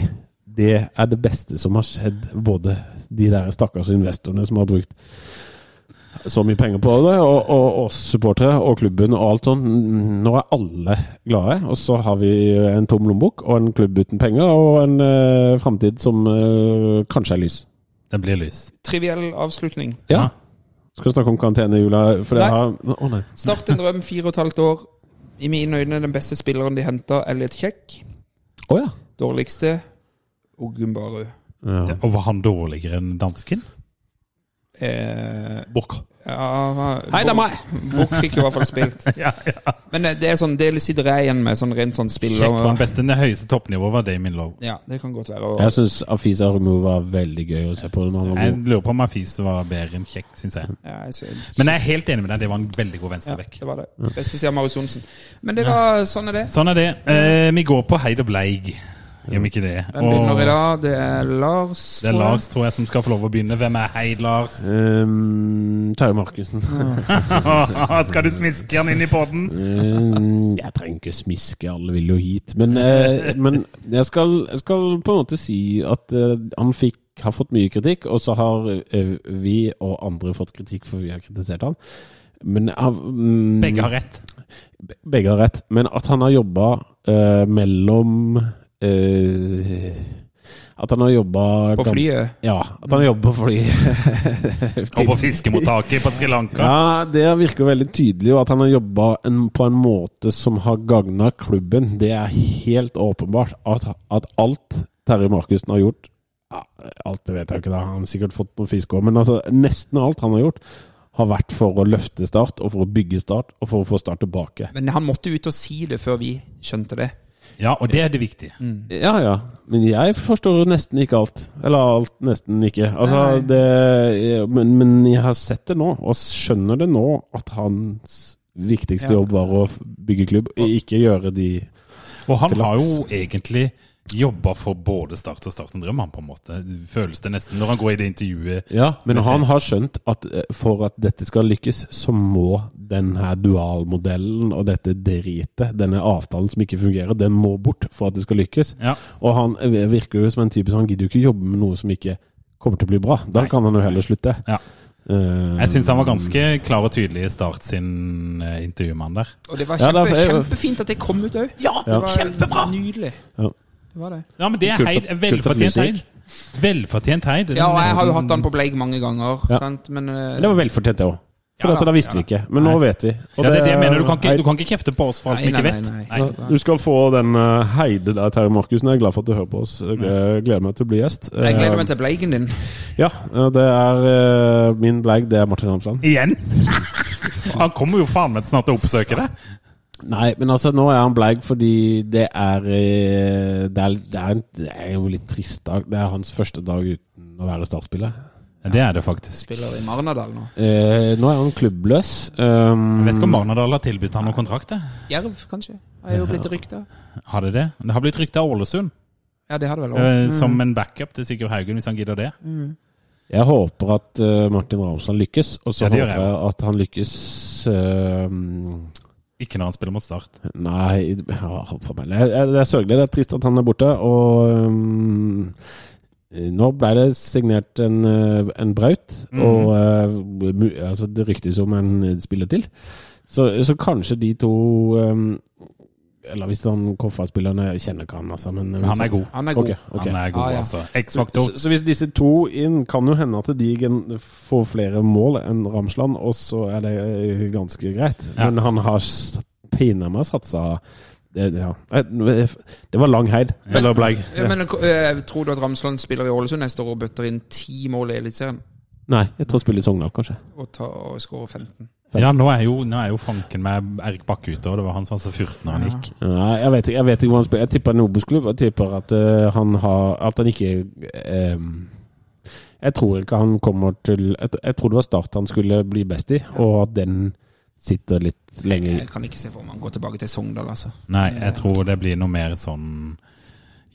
det er det beste som har skjedd. Både de der stakkars investorene som har brukt så mye penger på det, og, og oss supportere og klubben og alt sånt. Nå er alle glade, og så har vi en tom lommebok og en klubb uten penger og en uh, framtid som eh, kanskje er lys. Den blir lys. Triviell avslutning. Ja. Skal vi snakke om karantene i jula? For det Nei. har Å nei. Start en drøm, fire og et halvt år. I mine øyne den beste spilleren de henta, Elliot Kjekk. Å ja. Dårligste Ogunbaru. ja. Og var han dårligere enn dansken? Eh, Bokk. ja, Hei, det er meg. Bukk fikk jo i hvert fall spilt. Ja, ja. Men eh, det er sånn, det sitter jeg igjen med, sånn rent sånn Sjekk på den spiller... beste. Det høyeste toppnivået var Damien Lowe. Ja, det kan godt være. Og, Jeg syns Afisa Rumu var veldig gøy å se på. Når han var Jeg god. lurer på om Afis var bedre enn Kjekk, syns jeg. ja, jeg synes- Men jeg er helt enig med deg, det var en veldig god Ja, venstrebekk. det var det. Beste siden av Marius Johnsen. Men det var sånn er det. Sånn er det. Eh, vi går på Heid og Bleig, gjør vi ikke det? Den begynner i dag. Det er Lars. det er tror jeg. Lars tror jeg som skal få lov å begynne. Hvem er Heid, Lars? Ehm, Terje Markussen. skal du smiske han inn i poden? Ehm, jeg trenger ikke smiske, alle vil jo hit. Men, eh, men jeg, skal, jeg skal på en måte si at eh, han fikk, har fått mye kritikk, og så har eh, vi og andre fått kritikk for vi har kritisert han. Men jeg har- mm, Begge har rett. Be- Begge har rett, men at han har jobba eh, mellom eh, At han har jobba På gans- flyet? Ja, at han har jobba på flyet. Og på fiskemottaket på Sri Lanka. Ja, Det virker veldig tydelig, og at han har jobba en, på en måte som har gagna klubben. Det er helt åpenbart. At, at alt Terje Markussen har gjort ja, Alt det vet jeg jo ikke, da. Han har sikkert fått noe fisk òg, men altså, nesten alt han har gjort, har vært for å løfte Start, og for å bygge Start, og for å få Start tilbake. Men han måtte ut og si det før vi skjønte det. Ja, og det er det viktige. Ja, ja. Men jeg forstår jo nesten ikke alt. Eller alt, nesten ikke. Altså, Nei. det, men, men jeg har sett det nå, og skjønner det nå, at hans viktigste Ja. jobb var å f- bygge klubb, ikke gjøre de Og han Til har laks. jo egentlig jobba for både Start og Start en drøm, han på en måte. Føles det nesten når han går i det intervjuet. Men han har skjønt at eh, for at dette skal lykkes, så må denne dualmodellen og dette dritet, denne avtalen som ikke fungerer, den må bort for at det skal lykkes. Ja. Og han virker jo som en type som han gidder jo ikke jobbe med noe som ikke kommer til å bli bra. Da Nei. kan han jo heller slutte. Ja. Eh, Jeg syns han var ganske klar og tydelig i Start sin eh, intervjumann der. Og det var Ja, kjempe, da- jeg- kjempefint at det kom ut òg. Ja, kjempebra! Nydelig. Ja. Det var det. Ja, men det er Kult at- heid. kult at Velfortjent musikk. heid. Velfortjent heid. Ja, og jeg har jo Nesten- hatt han på Bleik mange ganger, Ja. sant? men eh, Men Det var velfortjent, det òg. For Ja at da, da visste ja vi ikke. Men nå vet vi. Og Ja, det er det jeg mener. Du kan Hei. ikke, du kan ikke kjefte på oss for alt vi Nei, ikke nei, vet. nei, nei. Nei. Du skal få den eh, heide der, Terje Markussen. Jeg er glad for at du hører på oss. Jeg eh, gleder meg til å bli gjest. Eh, jeg gleder meg til Bleiken din. Ja, eh, det er eh, min bleik. Det er Martin Ramsland. Igjen! Han kommer jo faen meg snart til å oppsøke deg. Nei, men altså, nå er han bleik fordi det er eh, Det er, det er, en, det er jo litt trist dag. Det er hans første dag uten å være startspiller. Det er det faktisk. Spiller i Marnardal nå. Eh, nå er han klubbløs. Um, Jeg vet ikke om Marnardal har tilbudt han noen kontrakt. jeg. Jerv, kanskje? Har jo blitt rykta. Har det det? Det har blitt rykta Ålesund Ja, det har det vel også. eh, som en backup til Sigurd Haugen, hvis han gidder det. Jeg håper at eh, Martin Ramsland lykkes, og så Ja, det gjør håper jeg jeg at han lykkes eh, Ikke når han spiller mot Start. Nei, ja, for meg. Jeg- jeg- Det er sørgelig. Det er trist at han er borte. Og um, nå ble det signert en, eh, en Braut, Mm. og eh, mu- altså, det ryktes om en spiller til. Så, så kanskje de to um, Eller hvis han Koffa-spillerne jeg kjenner ikke han, altså. Men, Men han er god. Han er god. Ok, ok. Han er god, Ah, ja. altså. Så, X-faktor. så hvis disse to inn, kan jo hende at de gen- får flere mål enn Ramsland, og så er det eh, ganske greit. Ja. Men han har s- pinadø satsa det, ja. Eh, det var lang heid. Eller bleig. Ja, men eh, Tror du at Ramsland spiller i Ålesund neste år og bøtter inn ti mål i Eliteserien? Nei, jeg tror han spiller i Sogndal, kanskje. og, ta- og skåre 15. Ja, nå er jo, nå er jo fanken med Erik Bakke ute, og det var han som var så 14 når han gikk. Nei, jeg vet ikke, jeg vet ikke hvor han spiller. Jeg tipper en Obos-klubb. Jeg tipper at eh, han har At han ikke eh, Jeg tror ikke han kommer til jeg, jeg tror det var Start han skulle bli best i, og at den sitter litt lenger i. Jeg kan ikke se for meg han går tilbake til Sogndal, altså. Nei, jeg tror det blir noe mer sånn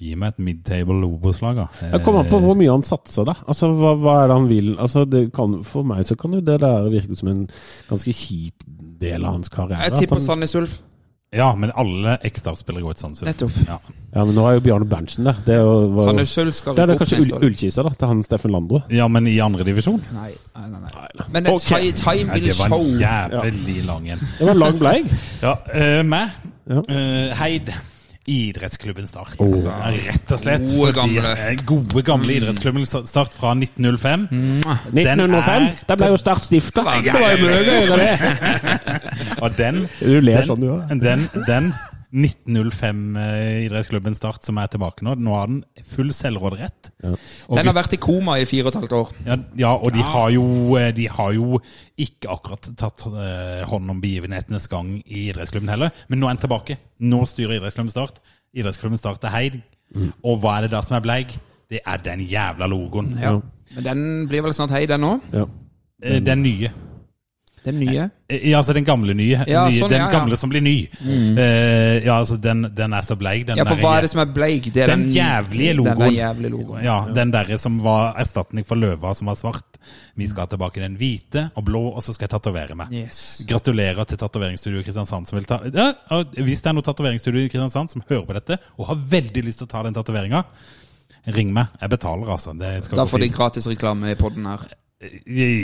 Gi meg et midtable Obos-lag, da. Eh, Jeg kommer an på hvor mye han satser, da. Altså, hva, hva er det han vil? Altså, det kan, for meg så kan jo det der virke som en ganske kjip del av hans karriere. Jeg at tipper han- Sandnes Ulf. Ja, men alle X-Start-spillere går til Sandnes Ulf. Nettopp. Ja. Ja, men nå er jo Bjarne Berntsen der. Det er jo, var, jo- Sandnes Ulf skal det er rykke det opp kanskje neste ull, år. Ullkisa, da, til han Steffen Landro. ja, men i andredivisjon? Nei, nei, nei, nei. Men et ti- time Nei, will det var show. en jævlig lang en. Det var lang bleig. Ja, eh, meg. Ja. Eh, Heid. Idrettsklubben Start. Oh. Rett og slett. Gode fordi- gamle. Mm. eh, Gode gamle idrettsklubben Start fra 1905. 1905. er- Da ble jo Start stifta. Ja, Det var jo mye gøyere, det. Og den Du ler den, sånn, du også. Den, den 1905 eh, idrettsklubben Start som er tilbake nå, nå har den full selvråderett. Og Den har vært i koma i fire og et halvt år. Ja, ja og de har, jo, eh, de har jo ikke akkurat tatt eh, hånd om begivenhetenes gang i idrettsklubben heller. Men nå er han tilbake. Nå styrer idrettsklubben Start. Idrettsklubben Start er heid. Mm. Og hva er det da som er bleig? Det er den jævla logoen. Men den blir vel snart hei, den òg? Ja. Eh, Den nye. Den nye? Eh, Ja, altså den gamle nye. Ja, nye sånn, den ja, ja. gamle som blir ny. Mm. Eh, ja, altså den, den er så bleig. Den Ja, for der hva jæ- er det som er bleik? Det er Den jævlige logoen. Den der jævlige logoen. Ja, den derre som var erstatning for løva som var svart. Vi skal tilbake den hvite og blå, og så skal jeg tatovere meg. Yes. Gratulerer til tatoveringsstudioet Kristiansand. som vil ta... Ja, og hvis det er noe tatoveringsstudio i Kristiansand som hører på dette, og har veldig lyst til å ta den tatoveringa, ring meg. Jeg betaler, altså. Det skal Da gå får de fint. gratis reklame i podden her.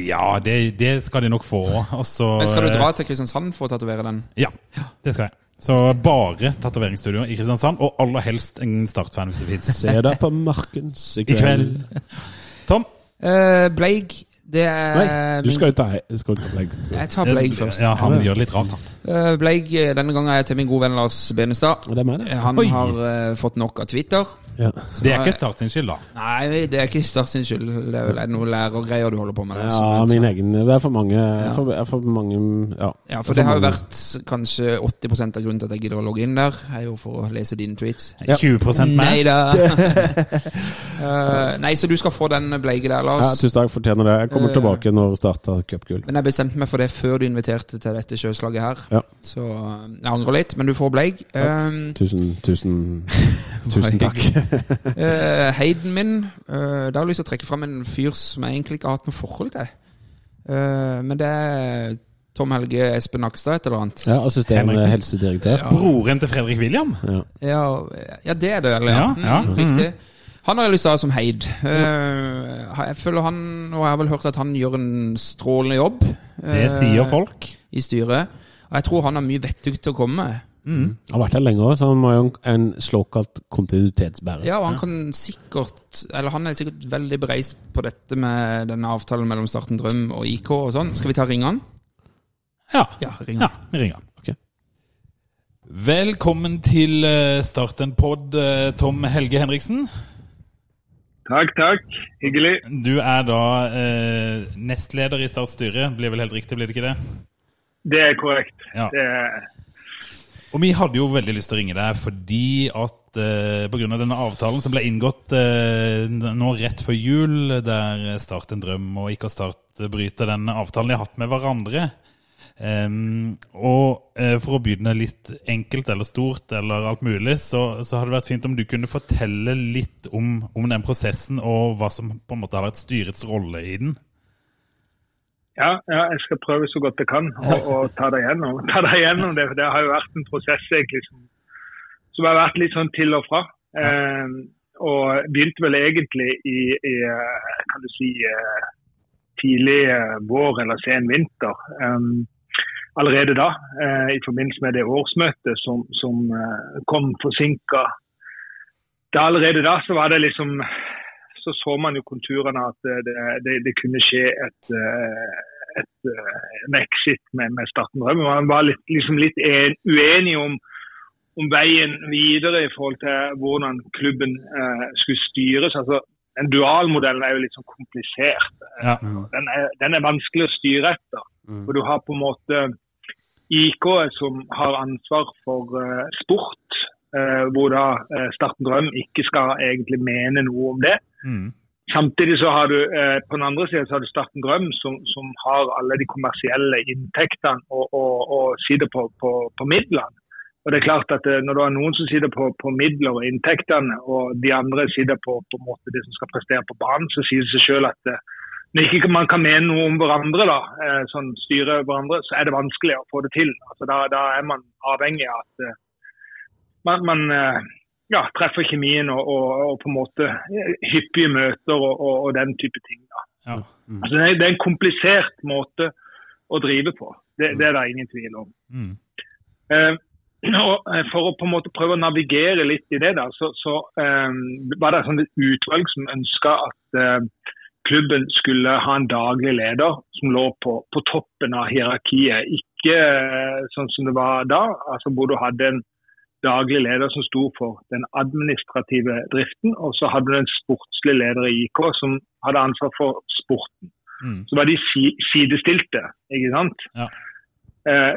Ja, det, det skal de nok få. Og så Men skal du dra til Kristiansand for å tatovere den? Ja, det skal jeg. Så bare tatoveringsstudio i Kristiansand, og aller helst en Start-fan hvis det fins. Se deg på Markens i I kveld. kveld. Tom? Eh, bleik, det er Nei, du Eh, min- skal jo ta du skal jo ta bleig. Jeg tar Bleik først. Eh, Ja, han gjør litt rart, han. Eh, Bleik, eh, denne gangen er jeg til min gode venn Lars Benestad. Og det er meg, det. Eh, Han Oi. har eh, fått nok av Twitter. Ja. Det er ikke Start sin skyld, da. Nei, det er ikke Start sin skyld. Det er vel noen lærergreier du holder på med. der, Ja, som- min egen Det er for mange for, er for mange Ja. ja, for det har jo vært kanskje 80 av grunnen til at jeg gidder å logge inn der, er jo for å lese dine tweets. 20 Nei mer. da. Eh, nei, så du skal få den bleike der, ja, Lars. Tusen takk, fortjener det. Jeg kommer Eh. tilbake når Start har cupgull. Men jeg bestemte meg for det før du inviterte til dette sjøslaget her. Ja. Så eh, jeg angrer litt, men du får bleik. Eh, Tusen, tusen, tusen takk. Eh, Heiden min eh, Da har jeg lyst til å trekke fram en fyr som jeg egentlig ikke har hatt noe forhold til. Eh, men det er Tom Helge Espen Nakstad, et eller annet. Ja, assisterende Henriksen. eh, helsedirektør. Broren til Fredrik William? Ja. Ja, ja det er det vel, ja. Ja, ja. Mhm. Mm, riktig. Han har jeg lyst til å ha som heid. Eh, ha- jeg føler han, og jeg har vel hørt at han gjør en strålende jobb Det eh, sier folk. i styret. Og jeg tror han har mye vettug til å komme med. Han har vært her lenge òg, så han må jo en såkalt kontinuitetsbærer. Ja, og han kan sikkert Eller han er sikkert veldig bereist på dette med denne avtalen mellom Starten Drøm og IK og sånn. Skal vi ta ringe han? Ja. Ja, ring ja han. vi ringer han. Ok. Velkommen til eh, Start en pod, eh, Tom Helge Henriksen. Takk, takk. Hyggelig. Du er da eh, nestleder i Starts styre, blir vel helt riktig, blir det ikke det? Det er korrekt. Ja. Det er, Og vi hadde jo veldig lyst til å ringe deg fordi at eh, pga. denne avtalen som ble inngått eh, nå rett før jul, der Start en drøm og ikke å starte bryter den avtalen de har hatt med hverandre. Em, og eh, for å begynne litt enkelt eller stort eller alt mulig, så, så hadde det vært fint om du kunne fortelle litt om, om den prosessen og hva som på en måte har vært styrets rolle i den. ja, ja, jeg skal prøve så godt jeg kan å, å ta deg gjennom, ta deg gjennom det. For det har jo vært en prosess egentlig som, som har vært litt sånn til og fra. Eh, og begynte vel egentlig i, i eh, kan du si, eh, tidlig eh, vår eller sen vinter. Eh, allerede da, eh, i forbindelse med det årsmøtet som, som eh, kom forsinka. Da Allerede da så var det liksom så så man jo konturene at eh, det, det, det kunne skje et, eh, et, eh, en exit med, med Starten Drøm. Og Man var litt, liksom litt en, uenig om, om veien videre i forhold til hvordan klubben eh, skulle styres. Altså, Den dualmodellen er jo litt sånn komplisert. Ja. Den er, den er vanskelig å styre etter. For du har på en måte IK som har ansvar for eh, sport, eh, hvor da eh, Starten Drøm ikke skal egentlig mene noe om det. Mm. Samtidig så har du eh, på den andre siden så har du Starten Drøm, som, som har alle de kommersielle inntektene og, og, og sitter på, på, på midlene. Og det er klart at eh, Når du har noen som sitter på, på midler og inntektene, og de andre sitter på, på en måte det som skal prestere på banen, så sier det seg selv at eh, når ikke man kan mene noe om hverandre, da, eh, sånn styre hverandre, så er det vanskelig å få det til. Altså, da, da er man avhengig av at eh, man, man eh, ja, treffer kjemien og, og, og på en måte eh, hyppige møter og, og, og den type ting. Da. Ja. Altså, det, er, det er en komplisert måte å drive på. Det, det er det ingen tvil om. Mm. Eh, og eh, For å på en måte prøve å navigere litt i det, da, så, så eh, var det sånn et utvalg som ønska at eh, klubben skulle ha en daglig leder som lå på, på toppen av hierarkiet. Ikke eh, sånn som det var da, altså hvor du hadde en daglig leder som sto for den administrative driften, og så hadde du en sportslig leder i IK som hadde ansvar for sporten. Mm. Så var de si sidestilte, ikke sant. Ja. Eh,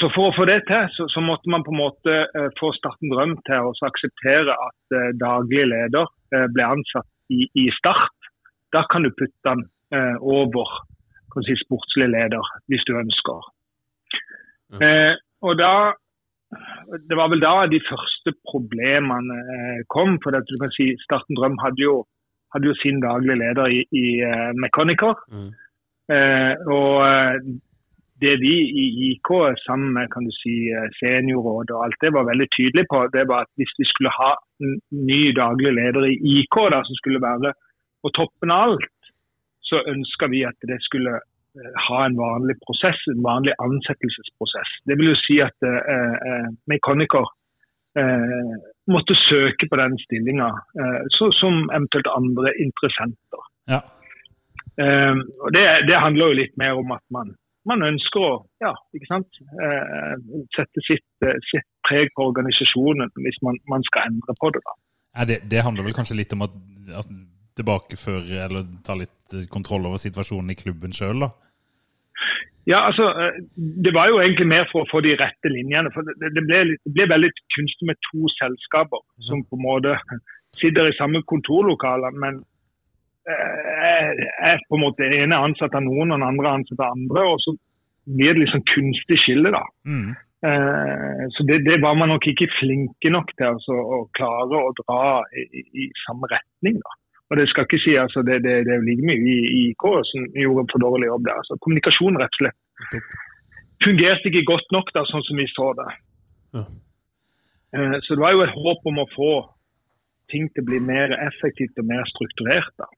så for å få det til, så, så måtte man på en måte eh, få Starten Drøm til å så akseptere at eh, daglig leder eh, ble ansatt i, i Start. Da kan du putte den eh, over kan du si, sportslig leder, hvis du ønsker. Eh, og da Det var vel da de første problemene eh, kom. For at du kan si Starten Drøm hadde jo, hadde jo sin daglige leder i, i eh, Mechaniker. Mm. Eh, og eh, det de i IK sammen med kan du si, eh, seniorråd og alt det var veldig tydelige på, det var at hvis vi skulle ha en ny daglig leder i IK, da, som skulle være på toppen av alt, så ønska vi at det skulle eh, ha en vanlig prosess, en vanlig ansettelsesprosess. Det vil jo si at eh, eh, mekaniker eh, måtte søke på den stillinga, eh, så, som eventuelt andre interessenter. Ja. Eh, og det, det handler jo litt mer om at man, man ønsker å ja, ikke sant? Eh, sette sitt, eh, sitt preg på organisasjonen hvis man, man skal endre på det. da. Nei, det, det handler vel kanskje litt om at, at tilbakeføre eller ta litt eh, kontroll over situasjonen i klubben sjøl, da. Ja, altså, eh, Det var jo egentlig mer for å få de rette linjene. for Det, det, ble, litt- det ble veldig kunstig med to selskaper som på en måte sitter i samme kontorlokaler, men eh, er på en måte den ene er ansatt av noen, og den andre er ansatt av andre. og Så blir det liksom kunstig skille. da. Mm. Eh, Så det, det var man nok ikke flinke nok til altså, å klare å dra i, i- i samme retning. da. Og det skal ikke si, altså, det, det, det er jo like mye i i IK som gjorde en for dårlig jobb der. Altså, kommunikasjon rett og slett fungerte ikke godt nok da, sånn som vi så det. Ja. Eh, Så det var jo et håp om å få ting til å bli mer effektivt og mer strukturert. da.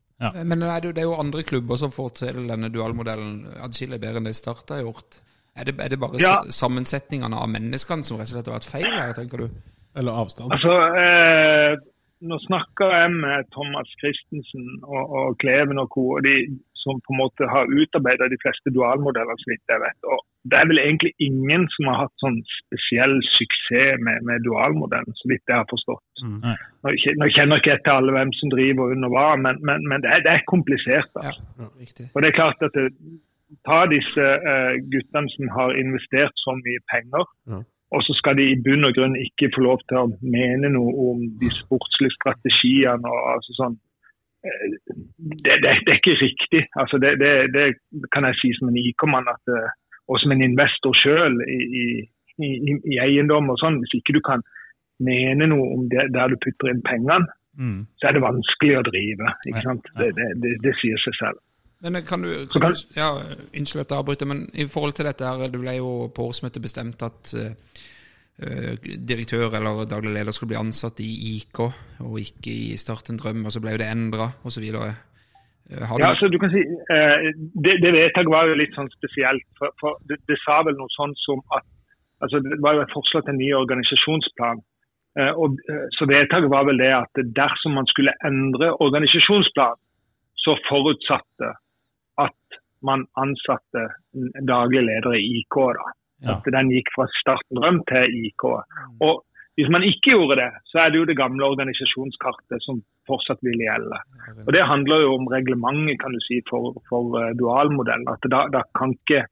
Men er det, jo- det er jo andre klubber som får til denne dualmodellen adskillig bedre enn det Start har gjort. Er det, er det bare Ja. sa- sammensetningene av menneskene som rett og slett har vært feil her, tenker du? Eller avstand. Altså, eh, nå snakker jeg med Thomas Christensen og, og Kleven og co., og de som på en måte har utarbeidet de fleste dualmodeller, så vidt jeg vet. Og det er vel egentlig ingen som har hatt sånn spesiell suksess med, med dualmodellen, så vidt jeg har forstått. Mm. Nei. Nå, kje- nå kjenner ikke jeg til alle hvem som driver under hva, men, men, men det, er, det er komplisert. altså. da. Ja, riktig. Og det er klart at det, ta disse eh, guttene som har investert så mye penger, Ja. og så skal de i bunn og grunn ikke få lov til å mene noe om de sportslige strategiene og altså sånn. Eh, Det, det, det er ikke riktig. Altså det, det, det kan jeg si som en IK-mann at, eh, og som en investor sjøl i, i, i, i eiendom og sånn. Hvis ikke du kan mene noe om det, der du putter inn pengene, Mm. så er det vanskelig å drive. Ja, ikke sant? ja. Det, det, det, det sier seg selv. Men eh, kan du, kan Så kan- du ja, Unnskyld at jeg avbryter, men i forhold til dette her, det ble jo på årsmøtet bestemt at eh, eh, direktør eller daglig leder skulle bli ansatt i IK, og ikke i Start en drøm, og så ble jo det endra, osv. Ja, altså du kan si, eh, det, det vedtaket var jo litt sånn spesielt. for, for det, det sa vel noe sånn som at altså Det var jo et forslag til en ny organisasjonsplan. Eh, og, eh, så vedtaket var vel det at dersom man skulle endre organisasjonsplan, så forutsatte at man ansatte en daglig leder i IK. da. Ja. At den gikk fra starten drøm til IK. Og hvis man ikke gjorde det, så er det jo det gamle organisasjonskartet som fortsatt vil gjelde. Og Det handler jo om reglementet kan du si, for, for eh, dualmodellen. At da, da, kan ikke,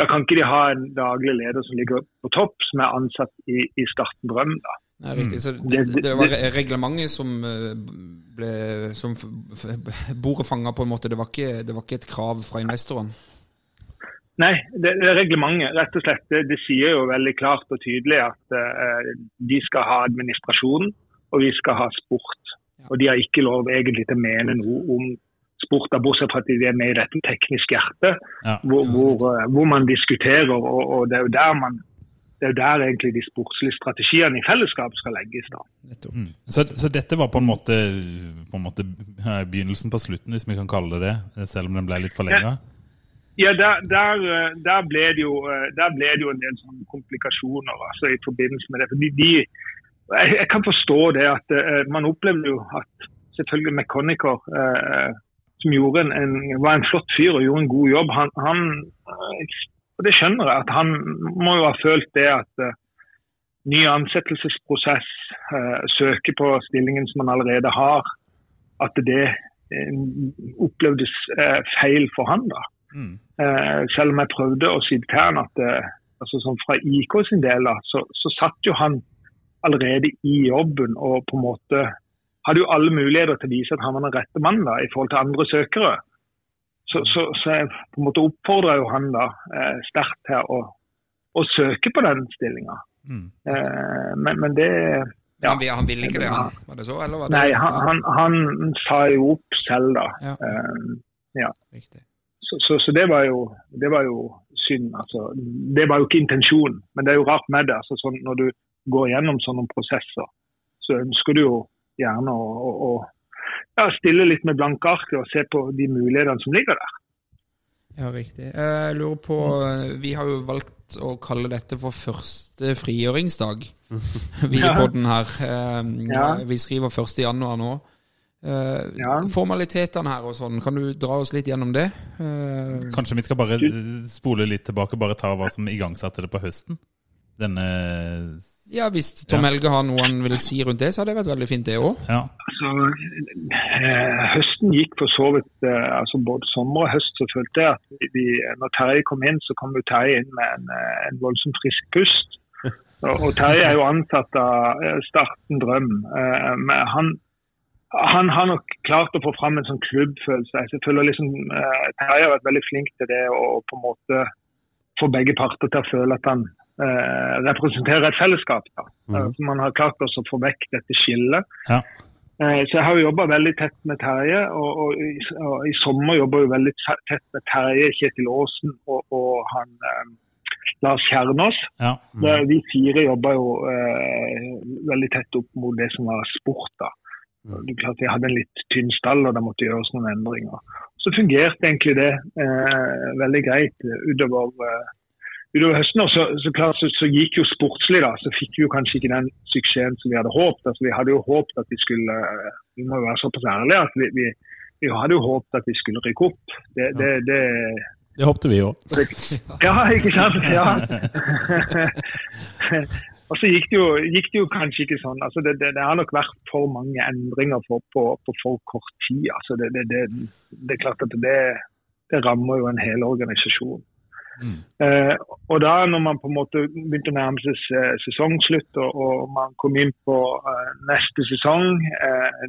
da kan ikke de ha en daglig leder som ligger på topp, som er ansatt i, i Starten Drøm. da. Nei, riktig. Så det, Det- det var det- re- reglementet som eh, ble Som f- f- bordet fanga, på en måte. Det var, ikke, det var ikke et krav fra investoren. Nei, det, det er reglementet. rett og slett. Det, det sier jo veldig klart og tydelig at eh, de skal ha administrasjon, og vi skal ha sport. Og de har ikke lov egentlig til å mene noe om sport, da, bortsett fra at de er med i dette tekniske hjertet, Ja. hvor, hvor, eh, hvor man diskuterer. Og, og det er jo der man det er jo der egentlig de sportslige strategiene i fellesskap skal legges. da. Nettopp. Mm. Så, så dette var på en måte, på en måte eh, begynnelsen på slutten, hvis vi kan kalle det det, selv om den ble litt forlenga? Ja, der, der, eh, der, ble det jo, eh, der ble det jo en del sånne komplikasjoner altså, i forbindelse med det. Fordi de, jeg, jeg kan forstå det at eh, man opplevde jo at selvfølgelig Mekoniker, eh, som gjorde en, en, var en flott fyr og gjorde en god jobb, han, han eh, og det skjønner jeg, at han må jo ha følt det at eh, ny ansettelsesprosess, eh, søke på stillingen som man allerede har, at det eh, opplevdes eh, feil for han da. Mm. Eh, selv om jeg prøvde å si til han at eh, altså sånn fra IK sin del, da, så, så satt jo han allerede i jobben og på en måte hadde jo alle muligheter til å vise at han var den rette mannen da, i forhold til andre søkere. Så, så, så jeg på en måte oppfordra jo han da eh, sterkt til å, å søke på den stillinga. Mm. Eh, men, men det Men Han, vil- han ville ikke det, han? Var det så, eller var det Nei, han, han, han sa jo opp selv da. Ja, Eh, riktig. Så, så, så det, var jo, det var jo synd. Altså. Det var jo ikke intensjonen, men det er jo rart med det. Altså, sånn, når du går gjennom sånne prosesser, så ønsker du jo gjerne å, å, å ja, stille litt med blanke ark og se på de mulighetene som ligger der. Ja, riktig. Jeg lurer på eh, Vi har jo valgt å kalle dette for første frigjøringsdag. Vi i Ja. podden her. Eh, Ja. Vi skriver 1. januar nå. Eh, Ja. Formalitetene her og sånn, kan du dra oss litt gjennom det? Eh, Kanskje vi skal bare eh, spole litt tilbake, bare ta hva som igangsatte det på høsten? Denne Ja, hvis Tom Ja. Helge har noe han vil si rundt det, så hadde det vært veldig fint, det òg. Ja. Altså, eh, høsten gikk for så vidt eh, altså Både sommer og høst så følte jeg at vi- vi, når Terje kom inn, så kom jo Terje inn med en, eh, en voldsom frisk pust. Og, og Terje er jo ansatt av eh, Starten Drøm. eh, Men han, han har nok klart å få fram en sånn klubbfølelse. Jeg føler liksom eh, Terje har vært veldig flink til det å på en måte få begge parter til å føle at han eh, representerer et fellesskap. Da. Eh, så Man har klart også å få vekk dette skillet. Ja. Eh, Så jeg har jo jobba veldig tett med Terje, og, og, i, og i sommer jobber jeg jo veldig te- tett med Terje, Kjetil Aasen og, og han eh, Lars Kjernås. ja. Det- De fire jobba jo eh, veldig tett opp mot det som var sport. da. Det er klart Vi hadde en litt tynn stall, og det måtte gjøres noen endringer. Så fungerte egentlig det eh, veldig greit eh, utover, eh, utover høsten. Og så, så klart så, så gikk jo sportslig, da. Så fikk vi jo kanskje ikke den suksessen som vi hadde håpet. Altså, vi hadde jo håpet at vi skulle Vi må jo være såpass ærlige at vi, vi, vi hadde jo håpet at vi skulle rykke opp. Det, det, det, Det håpte vi òg. ja, ikke sant? Ja. og så gikk det, jo, gikk det jo kanskje ikke sånn. Altså det, det, det har nok vært for mange endringer på, på, på for kort tid. Altså det, det, det, det er klart at det, det rammer jo en hel organisasjon. Eh, og da når man på en måte begynte å nærme seg se- sesongslutt, og, og man kom inn på eh, neste sesong eh,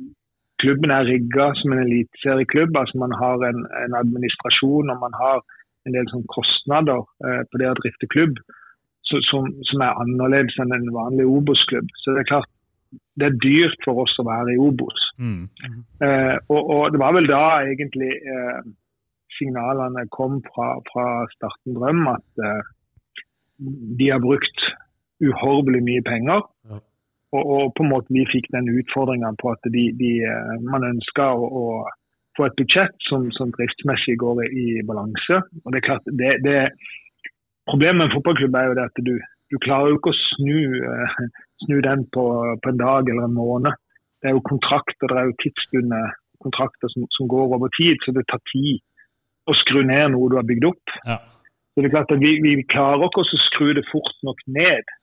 Klubben er rigga som en eliteserieklubb. altså Man har en, en administrasjon og man har en del sånn kostnader eh, på det å drifte klubb så, som, som er annerledes enn en vanlig Obos-klubb. Så det er klart, det er dyrt for oss å være i Obos. Mm. Eh, og, og det var vel da egentlig eh, signalene kom fra, fra Starten Drøm at eh, de har brukt uhorvelig mye penger. Ja. Og, og på en måte vi fikk den utfordringa på at de, de, eh, man ønska å, å få et budsjett som, som driftsmessig går i balanse. Og det er klart, det, det Problemet med en fotballklubb er jo det at du, du klarer jo ikke å snu, eh, snu den på, på en dag eller en måned det er jo kontrakter, det er jo tidsbundne kontrakter som, som går over tid, så det tar tid å skru ned noe du har bygd opp. Ja. Så det er klart at vi, vi klarer ikke også å skru det fort nok ned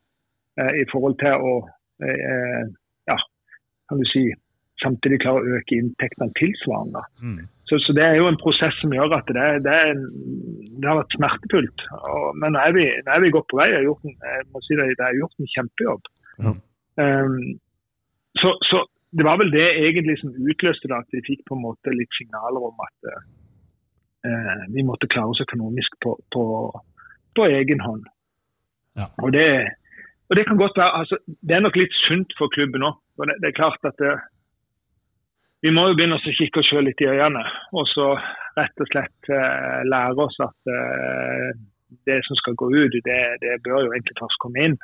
eh, i forhold til å eh, eh, ja, kan du si, samtidig klarer å øke inntektene tilsvarende. Mm. Så, så det er jo en prosess som gjør at det, det, er en, det har vært smertefullt. Og, men nå er, vi, nå er vi godt på vei. Jeg har gjort en, jeg må si det, det er gjort en kjempejobb. Ja. Ehm, så, så det var vel det egentlig som utløste det, at vi fikk på en måte litt signaler om at eh, vi måtte klare oss økonomisk på, på, på egen hånd. Ja. Og, det, og det kan godt være altså, Det er nok litt sunt for klubben òg. Det, det er klart at eh, vi må jo begynne oss å kikke oss sjøl litt i øynene. Og så rett og slett eh, lære oss at eh, det som skal gå ut, det, det bør jo egentlig først komme inn.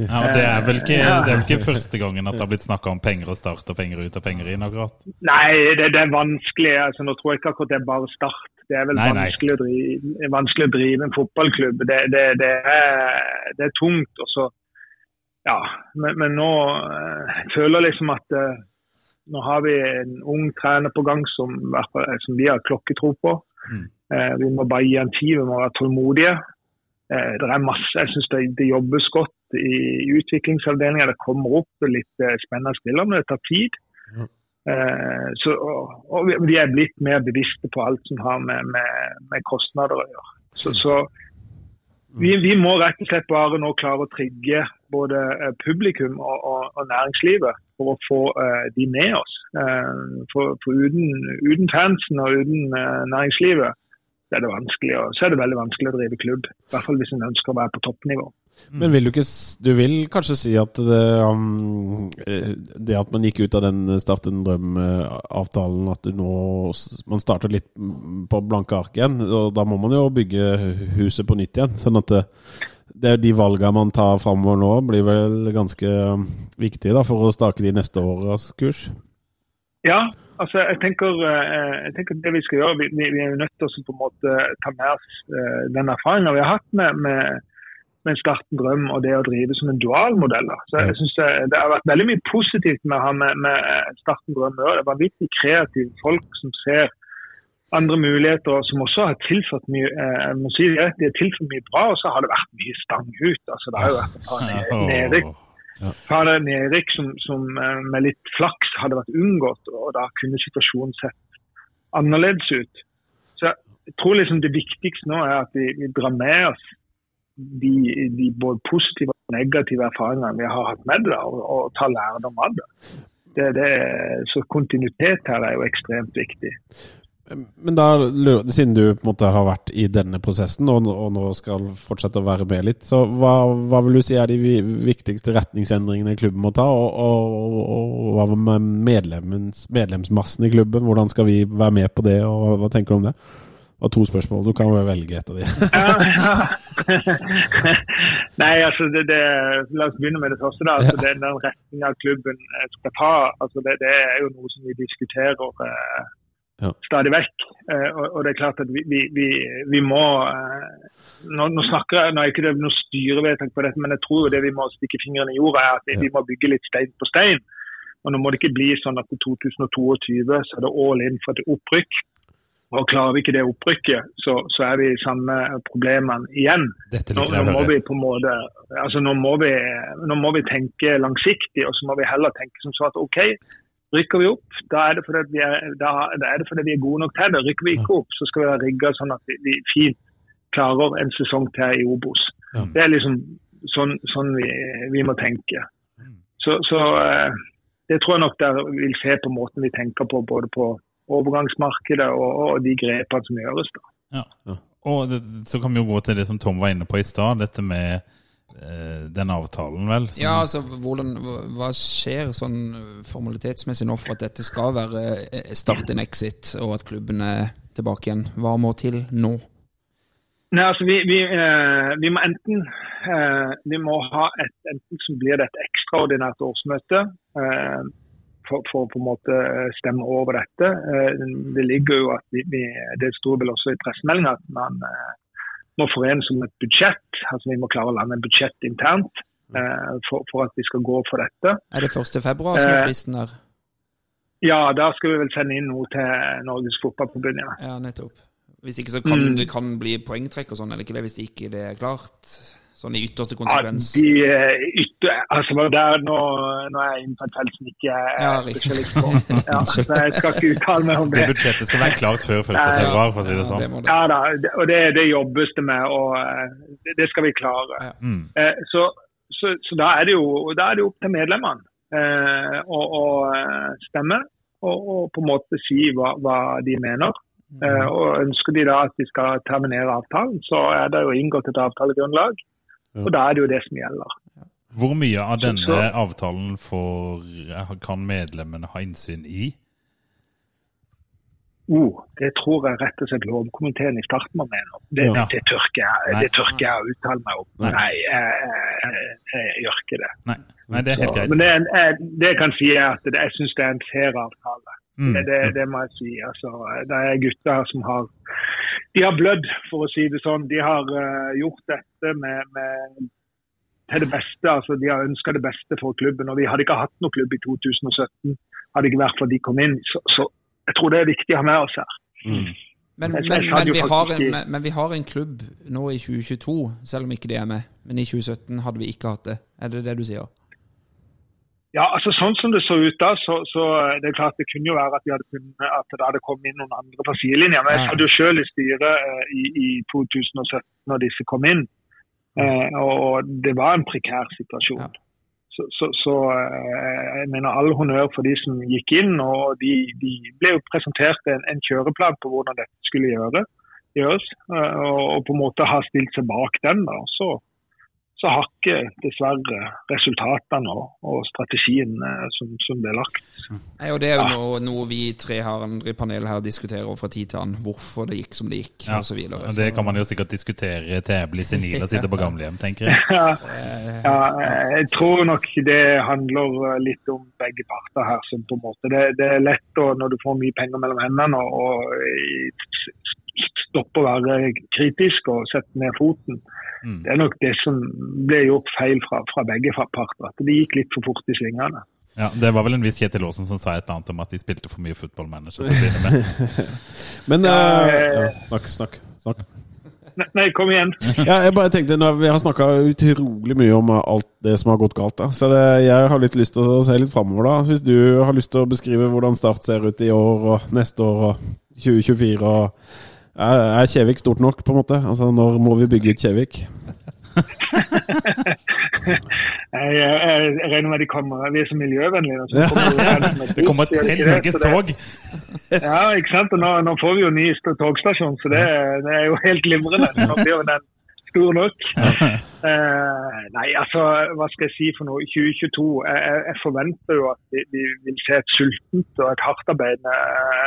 Ja, og det er vel ikke, det er vel ikke første gangen at det har blitt snakka om penger og start og penger ut og penger inn, akkurat. Nei, det, det er vanskelig. Altså, nå tror jeg ikke akkurat det er bare Start. Det er vel Nei, nei. vanskelig, Å drive, vanskelig å drive en fotballklubb. Det, det, det, er, det er tungt. Og så, ja, men, men nå eh, jeg føler jeg liksom at eh, nå har vi en ung trener på gang som, i hvert fall, eh, som vi har klokketro på. Mm. Eh, vi må bare gi han tid, vi må være tålmodige. Eh, det er masse, Jeg syns det, det jobbes godt i, i utviklingsavdelinga. Det kommer opp litt eh, spennende spillere, men det tar tid. Eh, så, og, og vi- vi er blitt mer bevisste på alt som har med, med, med kostnader å gjøre. Så, så vi, vi må rett og slett bare nå klare å trigge både eh, publikum og, og, og næringslivet for å få eh, de med oss. Eh, for for uten, uten fansen og uten eh, næringslivet så er, det vanskelig, å- så er det veldig vanskelig å drive klubb. I hvert fall hvis en ønsker å være på toppnivå. Mm. Men vil du ikke s- Du vil kanskje si at det, um, eh, det at man gikk ut av den Start en drøm-avtalen, at du nå s- Man starter litt mm, på blanke ark igjen, og da må man jo bygge huset på nytt igjen. Sånn at det, det er de valga man tar framover nå, blir vel ganske um, viktige da, for å stake de neste åras kurs. Ja, altså jeg tenker, eh, jeg tenker det vi skal gjøre, vi, vi vi er jo nødt til å på en måte ta med oss eh, den erfaringen vi har hatt med, med, med Starten drøm og det å drive som en dualmodell. da. Så jeg synes det, det har vært veldig mye positivt med å ha med, med Starten drøm å gjøre. Det er vanvittig kreative folk som ser andre muligheter, og som også har tilført mye eh, jeg må si det, de har tilført mye bra, og så har det vært mye stang ut. altså Det har jo vært et par ned- nedrykk Her er Erik som, som eh, med litt flaks hadde vært unngått, og da kunne situasjonen sett annerledes ut. Så jeg tror liksom det viktigste nå er at vi, vi drar med oss de, de både positive og negative erfaringene vi har hatt med det, og, og tar lærdom av det. Det, det. Så kontinuitet her er jo ekstremt viktig. Men da, lu- siden du på en måte har vært i denne prosessen, og, og nå skal fortsette å være med litt, så hva, hva vil du si er de vi- viktigste retningsendringene klubben må ta? Og, og, og, og hva med medlemmens, medlemsmassen i klubben? Hvordan skal vi være med på det, og hva tenker du om det? Det var to spørsmål, du kan vel velge et av de. Ja, ja. Nei, altså det, det, La oss begynne med det første. da. Altså, det, den retninga klubben eh, skal ta, altså, det, det er jo noe som vi diskuterer eh, Ja. stadig vekk. Eh, og, og det er klart at vi, vi, vi, vi må eh, nå, nå snakker jeg, nå er ikke det noe styrevedtak på dette, men jeg tror jo det vi må stikke fingrene i jorda, er at vi, vi må bygge litt stein på stein. Og nå må det ikke bli sånn at i 2022 så er det all in for et opprykk. Og klarer vi ikke det opprykket, så, så er vi i samme problemene igjen. Dette Nå, liker nå jeg å må høre. vi på en måte, altså nå må vi, nå må vi tenke langsiktig, og så må vi heller tenke som så at OK, rykker vi opp, da er det fordi, at vi er, da, da er, det fordi vi er gode nok til det. Rykker vi ikke opp, så skal vi være rigga sånn at vi, vi fint klarer en sesong til i Obos. Ja. Det er liksom sånn, sånn vi, vi må tenke. Mm. Så, så eh, det tror jeg nok dere vil se på måten vi tenker på, både på overgangsmarkedet og, og de grepene som gjøres. da. Ja. Og det, så kan vi jo gå til det som Tom var inne på i stad, dette med eh, den avtalen, vel. som- Ja, altså, hvordan, hva- Hva skjer sånn formalitetsmessig nå for at dette skal være eh, start en exit, og at klubben er tilbake igjen? Hva må til nå? Nei, altså vi, vi, eh, vi må enten eh, vi må ha et, enten så blir det et ekstraordinært årsmøte eh, for, for å på en måte eh, stemme over dette. Eh, det ligger jo at vi, vi det står vel også i pressemeldinga at man eh, må forenes om et budsjett. altså Vi må klare å lande et budsjett internt eh, for, for at vi skal gå for dette. Er det 1. februar som er Eh. fristen der? Ja, da skal vi vel sende inn noe til Norges Fotballforbund. ja. Ja, nettopp. Hvis ikke så kan Mm. det kan bli poengtrekk og sånn, eller ikke det, hvis det ikke det er klart? Sånn i ytterste Ja, konsekvens. de eh, ytter, altså var der nå, nå er jeg inne på et felt som ikke jeg Ja, er riktig. spesialist på. Ja, så jeg skal ikke uttale meg om Det det. budsjettet skal være klart før 1. Ja, ja. februar, for å si det Ja, det sånn. må det. Ja da, det- og det, det jobbes det med, og eh, det- det skal vi klare. Mm. Eh, Så, så, så da, er det jo, da er det jo opp til medlemmene eh, å, å eh, stemme og, og på en måte si hva, hva de mener. Mm. Eh, og Ønsker de da at de skal terminere avtalen, så er det jo inngått et avtalegrunnlag. Og da er det jo det som gjelder. Hvor mye av denne Så- avtalen får, eh, kan medlemmene ha innsyn i? Oh, det tror jeg rett og slett lovkomiteen i starten var med nå. Det, Ja. det, tør ikke jeg- Nei. det tør ikke jeg å uttale meg om. Nei. Nei, jeg, jeg, jeg gjør ikke det. Nei, Nei det er helt greit. Men det, er en- jeg, det jeg kan si er at det, jeg syns det er en fair avtale. Mm. Det, det, det må jeg si. Altså, det er gutter som har De har blødd, for å si det sånn. De har eh, gjort dette med, med til det beste. Altså, de har ønska det beste for klubben. og Vi hadde ikke hatt noen klubb i 2017 hadde det ikke vært for at de kom inn. Så, så jeg tror det er viktig å ha med oss her. Men, Jeg- men, jeg hadde men, jo vi har faktisk en, i- men, men vi har en klubb nå i 2022, selv om ikke det er med. Men i 2017 hadde vi ikke hatt det. Er det det du sier? Ja, altså Sånn som det så ut da, så, så eh, det er klart det kunne jo være at, de hadde kunnet, at det hadde kommet inn noen andre fra sidelinja. Men jeg satt jo selv i styret eh, i, i 2017 når disse kom inn. Eh, og- og det var en prekær situasjon. Ja. Så, så, så eh, jeg mener all honnør for de som gikk inn. Og de, de ble jo presentert en, en kjøreplan på hvordan dette skulle gjøre, gjøres. eh, Og, og på en måte har stilt seg bak den. da, så så har ikke dessverre resultatene og, og strategien eh, som, som ble lagt. Nei, og Det er jo noe, noe vi tre her i panelet her diskuterer fra tid til annen. Hvorfor det gikk som det gikk, Ja, og så videre. og det kan man jo sikkert diskutere til jeg blir senil og sitter på gamlehjem, tenker jeg. Ja, ja, eh, jeg tror nok det handler eh, litt om begge parter her. Som på en måte. Det, det er lett å, når du får mye penger mellom hendene og, og eh, s- s- stoppe å være kritisk og sette ned foten. Mm. Det er nok det som ble gjort feil fra, fra begge fra- parter. At det gikk litt for fort i svingene. Ja, det var vel en viss Kjetil Aasen som sa et eller annet om at de spilte for mye fotballmanager. til å begynne med. Men Ja, eh, eh, ja, Snakk, snakk. snakk. Nei, Nei, kom igjen. Ja, jeg bare tenkte, nå, Vi har snakka utrolig mye om alt det som har gått galt. da Så det, jeg har litt lyst til å se litt framover. da. Så Hvis du har lyst til å beskrive hvordan Start ser ut i år og neste år og 2024 og Er er Kjevik stort nok, på en måte? Altså, Når må vi bygge ut Kjevik? Jeg, jeg, jeg regner med de kommer. Vi er så miljøvennlige. nå, så Ja. kommer det jo gjerne som et Det kommer bot, gjør et det ikke det? helvetes Så det- tog! Ja, ikke sant? Og nå, nå får vi jo ny st- togstasjon, så det, det er jo helt glimrende. Nå blir jo den stor nok. Eh, nei, altså, hva skal jeg si for noe? 2022, jeg, jeg- jeg forventer jo at vi, vi vil se et sultent og et hardtarbeidende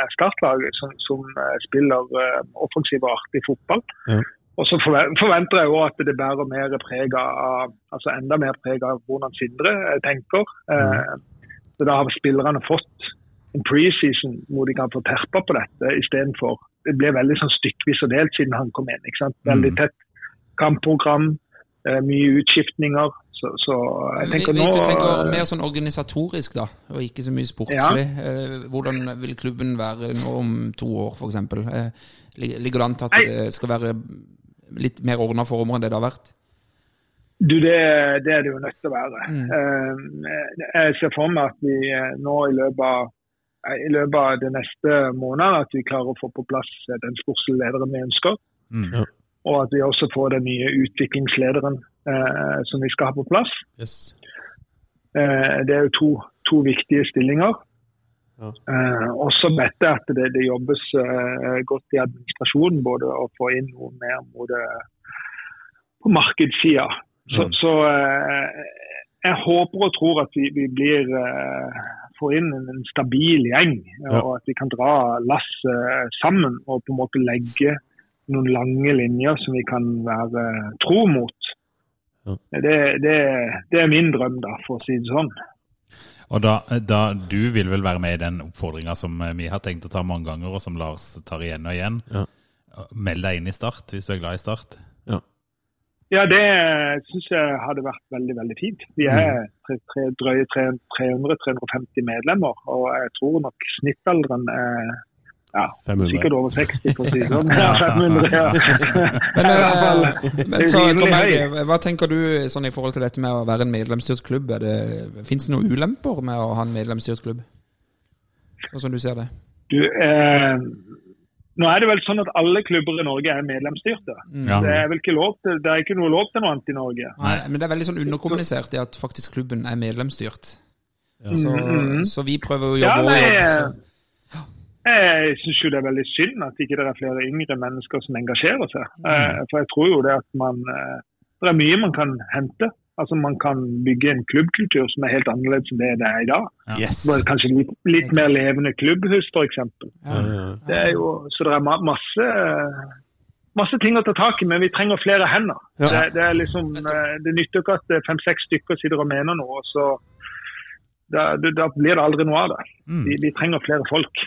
eh, startlag som, som eh, spiller eh, offensiv og artig fotball. Ja. Og så forve- forventer jeg jo at det bærer mer preg av, altså enda mer preg av hvordan Sindre eh, tenker. Eh, så da har spillerne fått en preseason hvor de kan få terpa på dette istedenfor. Det ble veldig sånn stykkevis og delt siden han kom inn. ikke sant? Mm. Veldig tett kampprogram, eh, mye utskiftninger. Så, så jeg Men tenker Hvis du tenker nå eh, mer sånn organisatorisk, da, og ikke så mye sportslig, eh, hvordan vil klubben være nå om to år, f.eks.? Eh, lig- ligger det an til at Nei. det skal være litt mer ordna former enn det det har vært? Du, det, det er det jo nødt til å være. Eh, Jeg ser for meg at vi eh, nå i løpet av eh, i løpet av det neste måneden at vi klarer å få på plass eh, den sportslige lederen vi ønsker. Mm. Og at vi også får den nye utviklingslederen eh, som vi skal ha på plass. Eh, Det er jo to, to viktige stillinger. Ja. Eh, og så vet jeg at det, det jobbes eh, godt i administrasjonen, både å få inn noe mer mot det- på markedssida. Så, Mm. så eh, jeg håper og tror at vi, vi blir eh, får inn en, en stabil gjeng, Ja. og at vi kan dra lasset eh, sammen og på en måte legge noen lange linjer som vi kan være eh, tro mot. Ja. Det, det, det er min drøm, da, for å si det sånn. Og da, da, du vil vel være med i den oppfordringa som eh, vi har tenkt å ta mange ganger, og som Lars tar igjen og igjen. Ja. Meld deg inn i Start hvis du er glad i Start. Ja, det syns jeg hadde vært veldig veldig fint. Vi er Mm. tre, tre, drøye 300-350 medlemmer, og jeg tror nok snittalderen er ja, 500. sikkert over 60, for å si det sånn. Ja, 500, ja. Men, eh, det men er ta, rimelig Tom Helge, høy. hva tenker du sånn i forhold til dette med å være en medlemsstyrt klubb? Er det- Fins det noen ulemper med å ha en medlemsstyrt klubb, sånn som du ser det? Du, eh, nå er det vel sånn at alle klubber i Norge er medlemsstyrte. Ja. Det er vel ikke lov til, det er ikke noe lov til noe annet i Norge. Nei, men det er veldig sånn underkommunisert i at faktisk klubben er medlemsstyrt. Så, så vi prøver å gjøre vår Mm-hmm. Ja, nei, eh, jobb. liksom. så- Jeg syns jo det er veldig synd at ikke det er flere yngre mennesker som engasjerer seg. Mm. Eh, For jeg tror jo det at man eh, Det er mye man kan hente. Altså Man kan bygge en klubbkultur som er helt annerledes enn det det er i dag. Yes. Bare Kanskje litt, litt mer levende klubbhus, f.eks. Ja. Så det er ma- masse masse ting å ta tak i, men vi trenger flere hender. Det, det, er liksom, eh, det nytter ikke at eh, fem-seks stykker sitter og mener noe, og så da, da blir det aldri noe av det. Mm. Vi, vi trenger flere folk.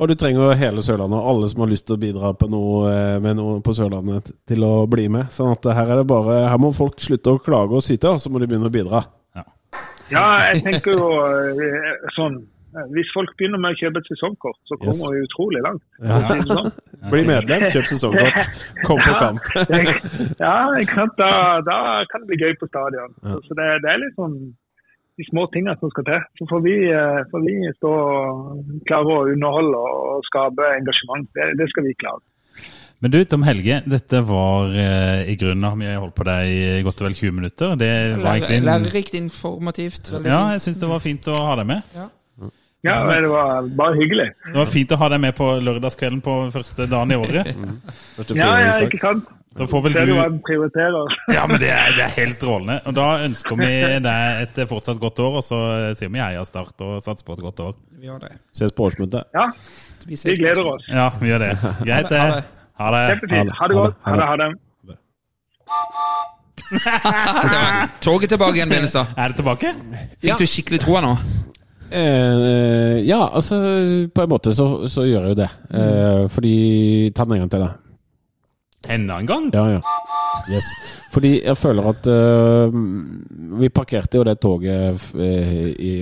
Og du trenger jo hele Sørlandet og alle som har lyst til å bidra på noe, eh, med noe på Sørlandet t- til å bli med. Sånn at her er det bare Her må folk slutte å klage og syte, og så må de begynne å bidra. Ja, jeg tenker jo eh, sånn eh, Hvis folk begynner med å kjøpe et sesongkort, så kommer Yes. vi utrolig langt. Ja. Sånn. Bli medlem, kjøp sesongkort, kom på kamp. Ja, ikke sant? Da, da kan det bli gøy på stadion. Så det, det er litt sånn de små tingene som skal til. Så får vi, eh, får vi stå og klare å underholde og skape engasjement. Det, det skal vi klare. Men du, Tom Helge, dette var eh, i grunnen Har vi holdt på deg i godt og vel 20 minutter? Det var Lære- egentlig en- Lærerikt, informativt. Veldig Ja, fint. jeg syns det var fint å ha deg med. Ja, men det var bare hyggelig. Det var fint å ha deg med på lørdagskvelden på første dagen i året. Første Ja, ja, frigjøringsdag. ikke sant? Så får vel Ser du du hva de prioriterer? Ja, men det er, det er helt strålende. Og da ønsker vi deg et fortsatt godt år, og så sier vi heia Start og satser på et godt år. Vi gjør det. Ses på årsmøtet. Ja, Vi ses vi gleder på- oss. Ja, vi gjør det. Greit, Ha det. det. Ha det. Kjempefint. Ha det godt. Ha det, ha det. Toget tilbake igjen, Benestad. Er det tilbake? Fikk du skikkelig troa nå? Eh, ja, altså På en måte så, så gjør jeg jo det. Eh, fordi Ta den en gang til, da. Enda en gang? Ja, ja. Yes. Fordi jeg føler at øh, Vi parkerte jo det toget f- eh, i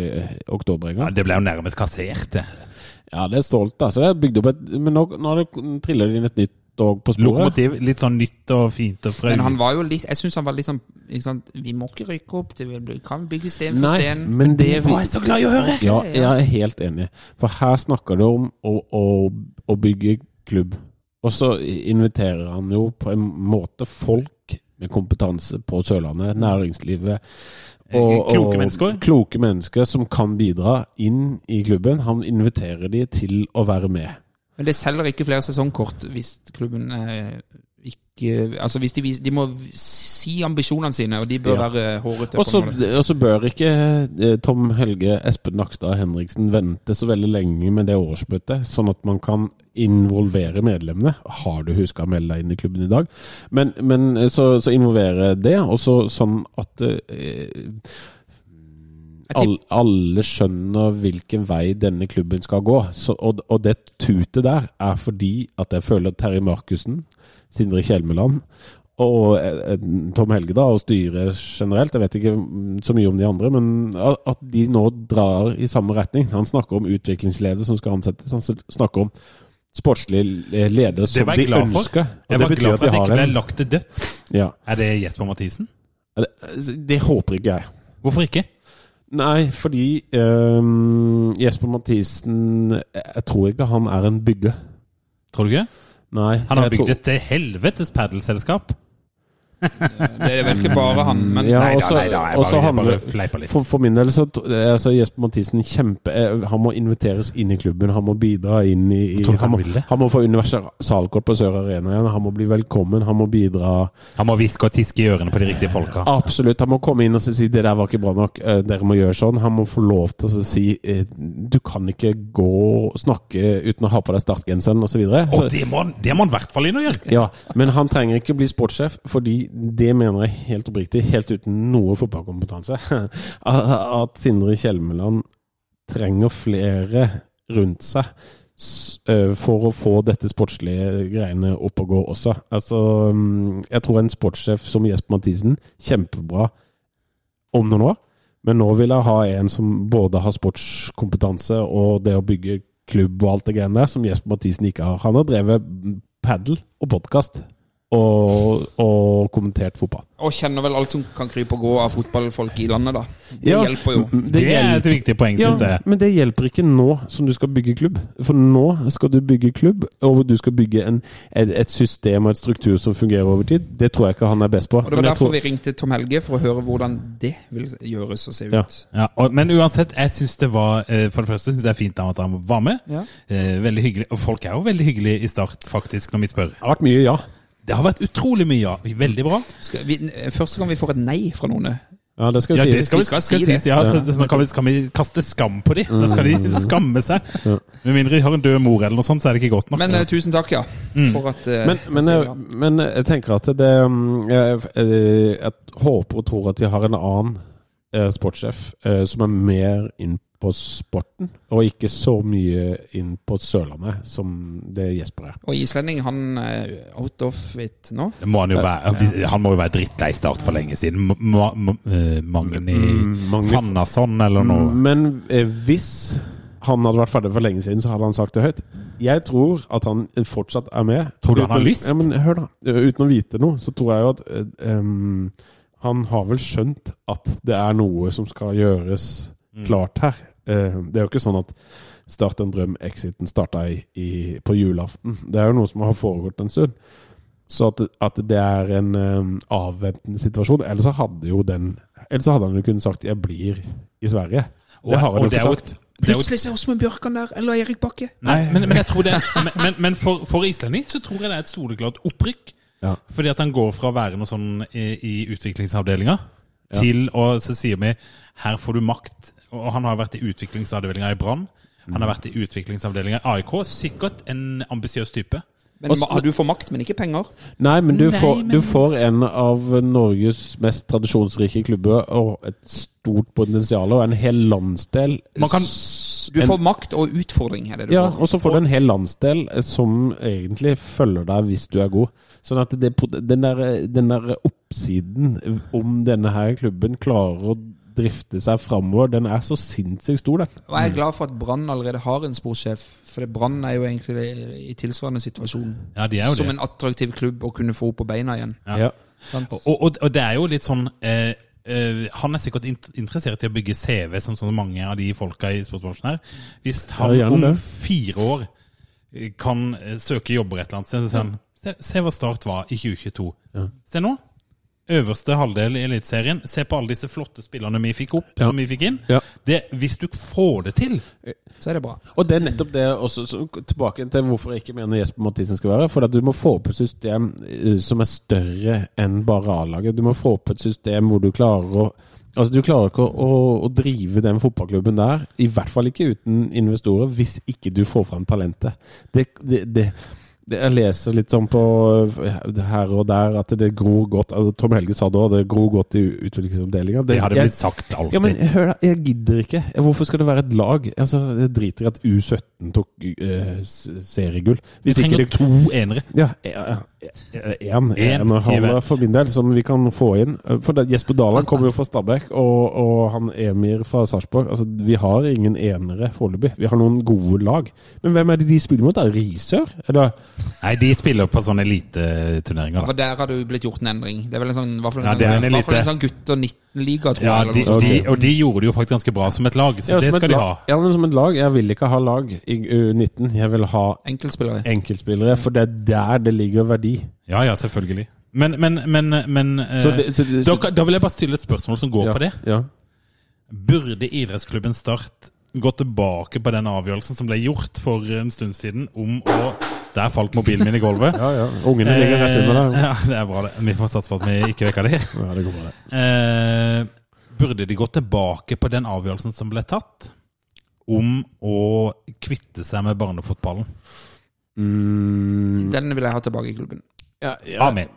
oktober en Ja, gang. det ble jo nærmest kassert, det. Ja, det er stolt, da. Så det er bygd opp et Men nå, nå har det triller det inn et nytt tog på sporet. Lokomotiv, litt sånn nytt og fint og fra Men han var jo litt Jeg syns han var litt sånn ikke sant? Vi må ikke rykke opp. Det vil bli- kan bygge sten for Nei, sten. men det vi- Å, jeg er så glad i å høre! Ja, jeg er helt enig. For her snakker du om å, å, å bygge klubb. Og så inviterer han jo på en måte folk med kompetanse på Sørlandet, næringslivet Eh, kloke mennesker. kloke mennesker som kan bidra inn i klubben. Han inviterer de til å være med. Men det selger ikke flere sesongkort hvis klubben eh, ikke Altså hvis de, vis- de må si ambisjonene sine, og de bør Ja. være eh, hårete. Og så på en måte. og så bør ikke eh, Tom Helge, Espen Nakstad og Henriksen vente så veldig lenge med det årsmøtet, sånn at man kan involvere medlemmene. Har du huska å melde deg inn i klubben i dag? Men, men eh, så, så involvere det, og så sånn at eh, all, alle skjønner hvilken vei denne klubben skal gå. Så, og, og det tutet der er fordi at jeg føler at Terje Markussen, Sindre Kjelmeland og eh, eh, Tom Helge da, og styret generelt, jeg vet ikke mm, så mye om de andre, men a- at de nå drar i samme retning. Han snakker om utviklingsleder som skal ansettes, han s- snakker om sportslig le- leder Det som var de jeg glad for. ønsker. Og Jeg det var betyr glad at for de at det har ikke ble en lagt til dødt. ja. Er det Jesper Mathisen? det, det håper ikke jeg. Hvorfor ikke? Nei, fordi øhm, Jesper Mathisen Jeg jeg tror ikke han er en bygge. Tror du ikke? Nei. Han har jeg bygd tror- et til helvetes padelselskap. Det er vel ikke bare han, men ja, Nei da, også- nei da, jeg og så bare- jeg handler- bare fleiper litt. For, for min del så tr- altså Jesper Mathisen kjempe eh, Han må inviteres inn i klubben. Han må bidra inn i, i Tror du han, han må, vil det? han må få universalkort på Sør Arena igjen. Han må bli velkommen. Han må bidra. Han må hviske og tiske i ørene på de riktige folka. Absolutt. Han må komme inn og si det der var ikke bra nok, eh, dere må gjøre sånn. Han må få lov til å si eh, du kan ikke gå og snakke uten å ha på deg startgenseren osv. Og det må han det må han i hvert fall inn og gjøre! Ja, men han trenger ikke bli sportssjef, fordi det mener jeg helt oppriktig, helt uten noe fotballkompetanse, at Sindre Kjelmeland trenger flere rundt seg s- eh, for å få dette sportslige greiene opp og gå også. Altså, mm, jeg tror en sportssjef som Jesper Mathisen, kjempebra om noen år, men nå vil jeg ha en som både har sportskompetanse og det å bygge klubb og alt det greiene der, som Jesper Mathisen ikke har. Han har drevet padel og podkast og, og kommentert fotball. Og kjenner vel alt som kan krype og gå av fotballfolk i landet, da. Det Ja. hjelper jo. Mm, Det, Det er hjelper. et viktig poeng, Ja, syns jeg. men det hjelper ikke nå som du skal bygge klubb. For nå skal du bygge klubb, og du skal bygge en, et, et system og et struktur som fungerer over tid. Det tror jeg ikke han er best på. Og Det var Men jeg derfor tror- vi ringte Tom Helge, for å høre hvordan det vil gjøres og se ut. Ja. Ja, og, men uansett, jeg synes det var eh, For det første synes jeg er fint at han var med. Ja. Eh, Veldig hyggelig. Og folk er jo veldig hyggelige i start, faktisk, når vi spør. det har vært mye ja. Det har vært utrolig mye ja. Veldig bra. Skal vi, første gang vi får et nei fra noen. Ja, det skal vi Ja, si. det skal vi skal Skal si sies, det. ja. Så, så kan, vi, kan vi kaste skam på de. Da skal de skamme seg. Med mindre de har en død mor eller noe sånt, så er det ikke godt nok. Men eh, tusen takk, ja. For at eh, Mm. Men, men, så- jeg, men jeg tenker at det mm, jeg, eh, jeg håper og tror at de har en annen eh, sportssjef eh, som er mer inn på sporten, og ikke så mye inn på Sørlandet som det Jesper er. Og islending, han er out of it nå. Det må han, jo være, han må jo være drittlei Start for lenge siden. Ma- Ma- Ma- eh, Magni Magni- Fannasson eller noe. Men eh, hvis han hadde vært ferdig for lenge siden, så hadde han sagt det høyt. Jeg tror at han fortsatt er med. Tror du han har Uten- lyst? Ja, men hør da. Eh, Uten å vite noe, så tror jeg jo at eh, em, han har vel skjønt at det er noe som skal gjøres Mm. klart her. Eh, det er jo ikke sånn at Start en drøm, exiten starta i, i, på julaften. Det er jo noe som har foregått en stund. Så at, at det er en em, avventende situasjon. Ellers så hadde jo den Ellers så hadde han jo kunnet sagt 'jeg blir i Sverige'. Og- det har han og jo ikke er jo- sagt. det er jo- Plutselig ser Åsmund Bjørkan der, eller Erik Bakke. Nei, men, men jeg tror det Men, men, men for, for islending så tror jeg det er et soleklart opprykk. Ja. Fordi at han går fra å være noe sånn i, i utviklingsavdelinga til å Så sier vi her får du makt. Og han har vært i utviklingsavdelinga i Brann. Han Mm. har vært i utviklingsavdelinga i AIK. Sikkert en ambisiøs type. Men ma- du får makt, men ikke penger. Nei, men du, Nei, får, men- du får en av Norges mest tradisjonsrike klubber og et stort potensial og en hel landsdel. Man kan- S- Du en, får makt og utfordring, er det du ja, får. og så får du en hel landsdel eh, som egentlig følger deg hvis du er god. Sånn at det, pot- den, der, den der oppsiden om denne her klubben klarer å drifte seg framover, den er så sinnssykt stor, den. Og jeg er glad for at Brann allerede har en sportssjef, for det Brann er jo egentlig i tilsvarende situasjon. Ja, de er jo Som det. en attraktiv klubb å kunne få opp på beina igjen. Ja. Sant? Og, og, og det er jo litt sånn eh, eh, Han er sikkert int- interessert i å bygge CV, som så mange av de folka i sportsbransjen her. Hvis han Ja, gjerne om det. fire år eh, kan eh, søke jobber et eller annet sted, så sier han se, se hva Start var i 2022. Se nå. Øverste halvdel i Eliteserien. Se på alle disse flotte spillerne vi fikk opp, som vi fikk inn. Ja. Det, hvis du får det til Så er det bra. Og det er nettopp det også, så tilbake til hvorfor jeg ikke mener Jesper Mathisen skal være. For at du må få opp et system eh, som er større enn bare A-laget. Du må få opp et system hvor du klarer å Altså, du klarer ikke å, å, å drive den fotballklubben der, i hvert fall ikke uten investorer, hvis ikke du får fram talentet. Det, det, det, det Jeg leser litt sånn på eh, her og der at det gror godt altså, Tom Helge sa det òg, det gror godt i utviklingsavdelinga. Det hadde jeg- blitt sagt alltid. ja, men hør da, jeg gidder ikke. Hvorfor skal det være et lag? Altså, Jeg driter i at U17 tok eh, s- seriegull. vi Hvis ikke trenger det to enere. ja, én En halv for min del, som vi kan få inn. For det, Jesper Daland kommer jo fra Stabæk, og, og han Emir fra Sarpsborg. Altså, vi har ingen enere foreløpig. Vi har noen gode lag. Men hvem er det de spiller mot? Er det Risør? Eller Nei, de spiller på sånn sånne eliteturneringer. da. For der har det jo blitt gjort en endring. Det er vel en sånn, i hvert fall en, Ja, det er en i hvert fall en elite. sånn gutter 19-liga, tror Ja, jeg. de, Eller noe sånt. de, og de gjorde det jo faktisk ganske bra som et lag, så Ja, det som et skal de lag- ha. Ja, men som et lag. Jeg vil ikke ha lag i U19. Jeg vil ha Enkeltspillere. enkeltspillere, for det er der det ligger verdi. Ja, ja, selvfølgelig. Men, men, men, men eh, Så det- så det- da, så- kan- da vil jeg bare stille et spørsmål som går ja, på det. Ja. Burde idrettsklubben Start gå tilbake på den avgjørelsen som ble gjort for en stund siden om å Der falt mobilen min i gulvet. Ja, ja. Ungene ligger rett under Eh, deg. Ja, det er bra, det. Vi får satse på at vi ikke vekker dem. Ja, det går bra, det. Eh, burde de gå tilbake på den avgjørelsen som ble tatt om å kvitte seg med barnefotballen? Mm. Den vil jeg ha tilbake i klubben. Ja, Amen.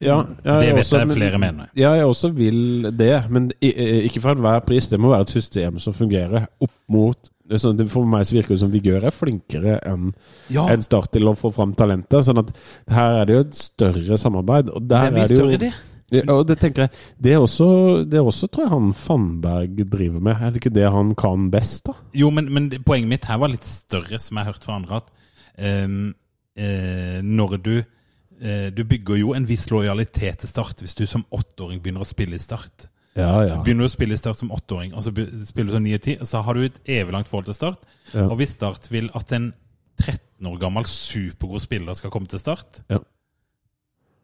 Det vet jeg flere mener. Ja, jeg også vil det, men i- eh, ikke for enhver pris. Det må være et system som fungerer opp mot det er sånn, at det- For meg så virker det som Vigør er flinkere Ah. enn Ja. enn Start til å få fram talentet. Sånn at her er det jo et større samarbeid. Og Det der er blir det jo større, det. Ja, og det tenker jeg, det er også, det er også tror jeg han Fannberg driver med. Er det ikke det han kan best, da? Jo, men, men det- poenget mitt her var litt større, som jeg har hørt fra andre, at ehm, eh, når du eh, Du bygger jo en viss lojalitet til Start hvis du som åtteåring begynner å spille i Start. Ja, ja. Begynner du å spille i Start som åtteåring, og så be- spiller du som 9-10, så har du et evig langt forhold til Start. Ja. Og hvis Start vil at en 13 år gammel supergod spiller skal komme til Start Ja.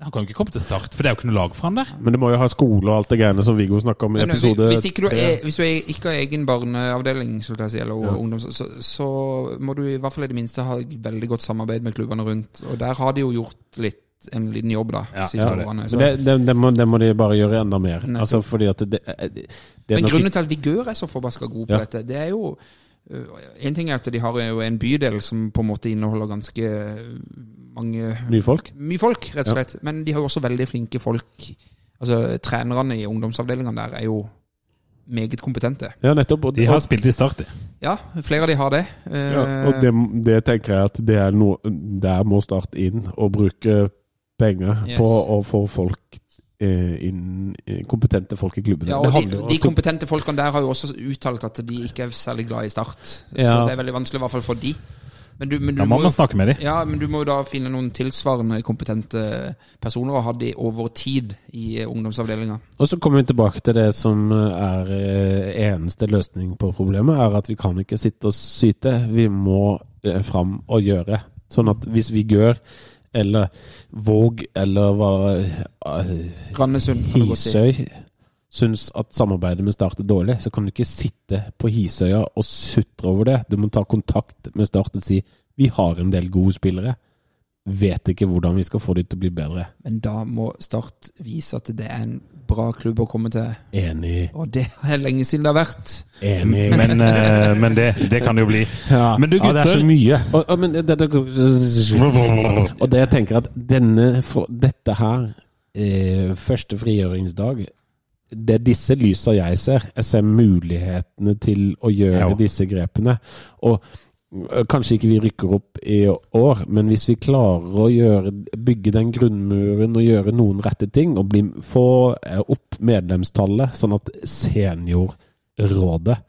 Han kan jo ikke komme til Start, for det er jo ikke noe lag for han der. Men det må jo ha skole og alt det greiene som Viggo snakka om i Men hvis- episode hvis, ikke du tre. er, hvis du er- ikke har egen barneavdeling skulle jeg si, eller ungdoms, så, så må du i hvert fall i det minste ha veldig godt samarbeid med klubbene rundt. Og der har de jo gjort litt, en liten jobb da, de siste Ja, årene. men Så. det, det, det, må, det må de bare gjøre enda mer. Nettopp. Altså, fordi at det, det, det er Men nok grunnen til at Vigør er så forbaska god på Ja. dette, det er jo øh, En ting er at de har jo en bydel som på en måte inneholder ganske øh, mange nye folk. mye folk, rett Ja. og slett. Men de har jo også veldig flinke folk. Altså, Trenerne i ungdomsavdelingene der er jo meget kompetente. Ja, nettopp. Og, De har og, spilt i Start, de. Ja, flere av de har det. Eh, ja, og det, det tenker jeg at det er noe Der må Start inn og bruke penger Yes. på å få folk eh, inn eh, Kompetente folk i klubben. ja, det og de, handler jo de om- kompetente folkene der har jo også uttalt at de ikke er særlig glad i Start. Så Ja. det er veldig vanskelig, i hvert fall for de. Men du, men du Da må må, man jo- snakke med dem. ja, men du må jo da finne noen tilsvarende kompetente personer og ha de over tid i eh, ungdomsavdelinga. Og så kommer vi tilbake til det som er eh, eneste løsning på problemet, er at vi kan ikke sitte og syte. Vi må eh, fram og gjøre. Sånn at hvis vi gjør, eller Våg, eller hva eh, Randesund, kan du godt si. Hisøy syns at samarbeidet med Start er dårlig, så kan du ikke sitte på Hisøya og sutre over det. Du må ta kontakt med Start og si vi har en del gode spillere. Vet ikke hvordan vi skal få de til å bli bedre. Men da må Start vise at det er en bra klubb å komme til. Enig. Og det er lenge siden det har vært. Enig. Men, eh, men det, det kan det jo bli. Ja. Men du, Ja, det er gutter- så mye. Og, og, men, det, det, og det jeg tenker at denne, for- dette her, eh, første frigjøringsdag, det er disse lysa jeg ser. Jeg ser mulighetene til å gjøre Ja. disse grepene. Og eh, Kanskje ikke vi rykker opp i år, men hvis vi klarer å gjøre, bygge den grunnmuren og gjøre noen rette ting, og bli, få eh, opp medlemstallet, sånn at seniorrådet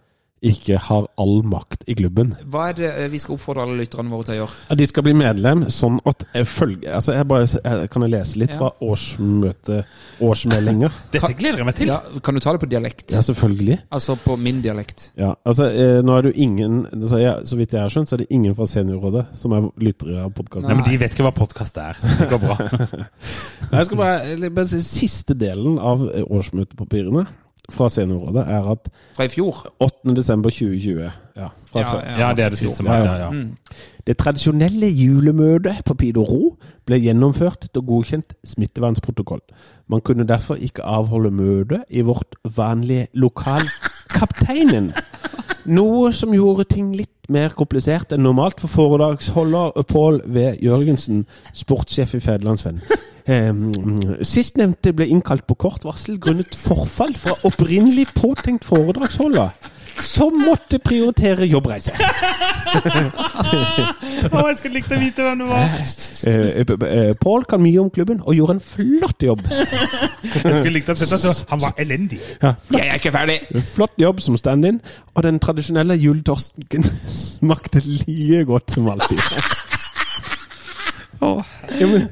ikke har all makt i klubben. Hva er det eh, vi skal oppfordre alle lytterne våre til å gjøre? Ja, De skal bli medlem, sånn at jeg følger altså jeg bare, jeg, Kan jeg lese litt Ja. fra årsmøte, årsmeldinger? Dette gleder jeg meg til. Ja, kan du ta det på dialekt? ja, selvfølgelig. Altså på min dialekt. Ja, altså eh, nå er det jo ingen altså, jeg, Så vidt jeg har skjønt, så er det ingen fra seniorrådet som er lyttere av podkasten. Nei, men De vet ikke hva podkast er, så det går bra. Nei, Jeg skal bare, eller bare si, Siste delen av eh, årsmøtepapirene fra seniorrådet er at Fra i fjor. 8.12.2020 ja, fra før. Ja, det er det siste som er. Ja, Mm. ja. Det tradisjonelle julemøtet på Pidoro ble gjennomført etter godkjent smittevernprotokoll. Man kunne derfor ikke avholde møte i vårt vanlige lokal Kapteinen. Noe som gjorde ting litt mer komplisert enn normalt for foredragsholder Pål V. Jørgensen, sportssjef i Federlandsvennen. Um, Sistnevnte ble innkalt på kort varsel grunnet forfall fra opprinnelig påtenkt foredragsholder, som måtte prioritere jobbreise. jeg skulle likt å vite hvem det var. Eh, eh, eh, Paul kan mye om klubben og gjorde en flott jobb. Jeg skulle likt å sett det, så Han var elendig. Jeg er ikke ferdig! En flott jobb som stand-in, og den tradisjonelle juletorsken smakte like godt som alltid. Åh, ja, men,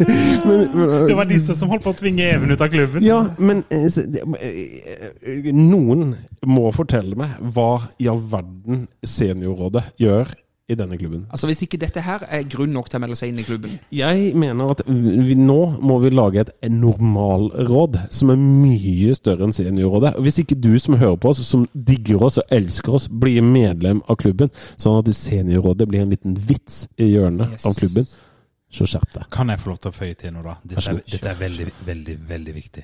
men, men, Det var disse som holdt på å tvinge Even ut av klubben. ja, men eh, så- det- eh, eh, Noen må fortelle meg hva i all verden seniorrådet gjør i denne klubben. Altså Hvis ikke dette her er grunn nok til å melde seg inn i klubben Jeg mener at vi, nå må vi lage et normalråd som er mye større enn seniorrådet. Og Hvis ikke du som hører på oss, som digger oss og elsker oss, blir medlem av klubben, sånn at seniorrådet blir en liten vits i hjørnet Yes. av klubben, så skjerp deg. Kan jeg få lov til å føye til noe, da? Dette Vær så er, god. dette er veldig, veldig veldig viktig.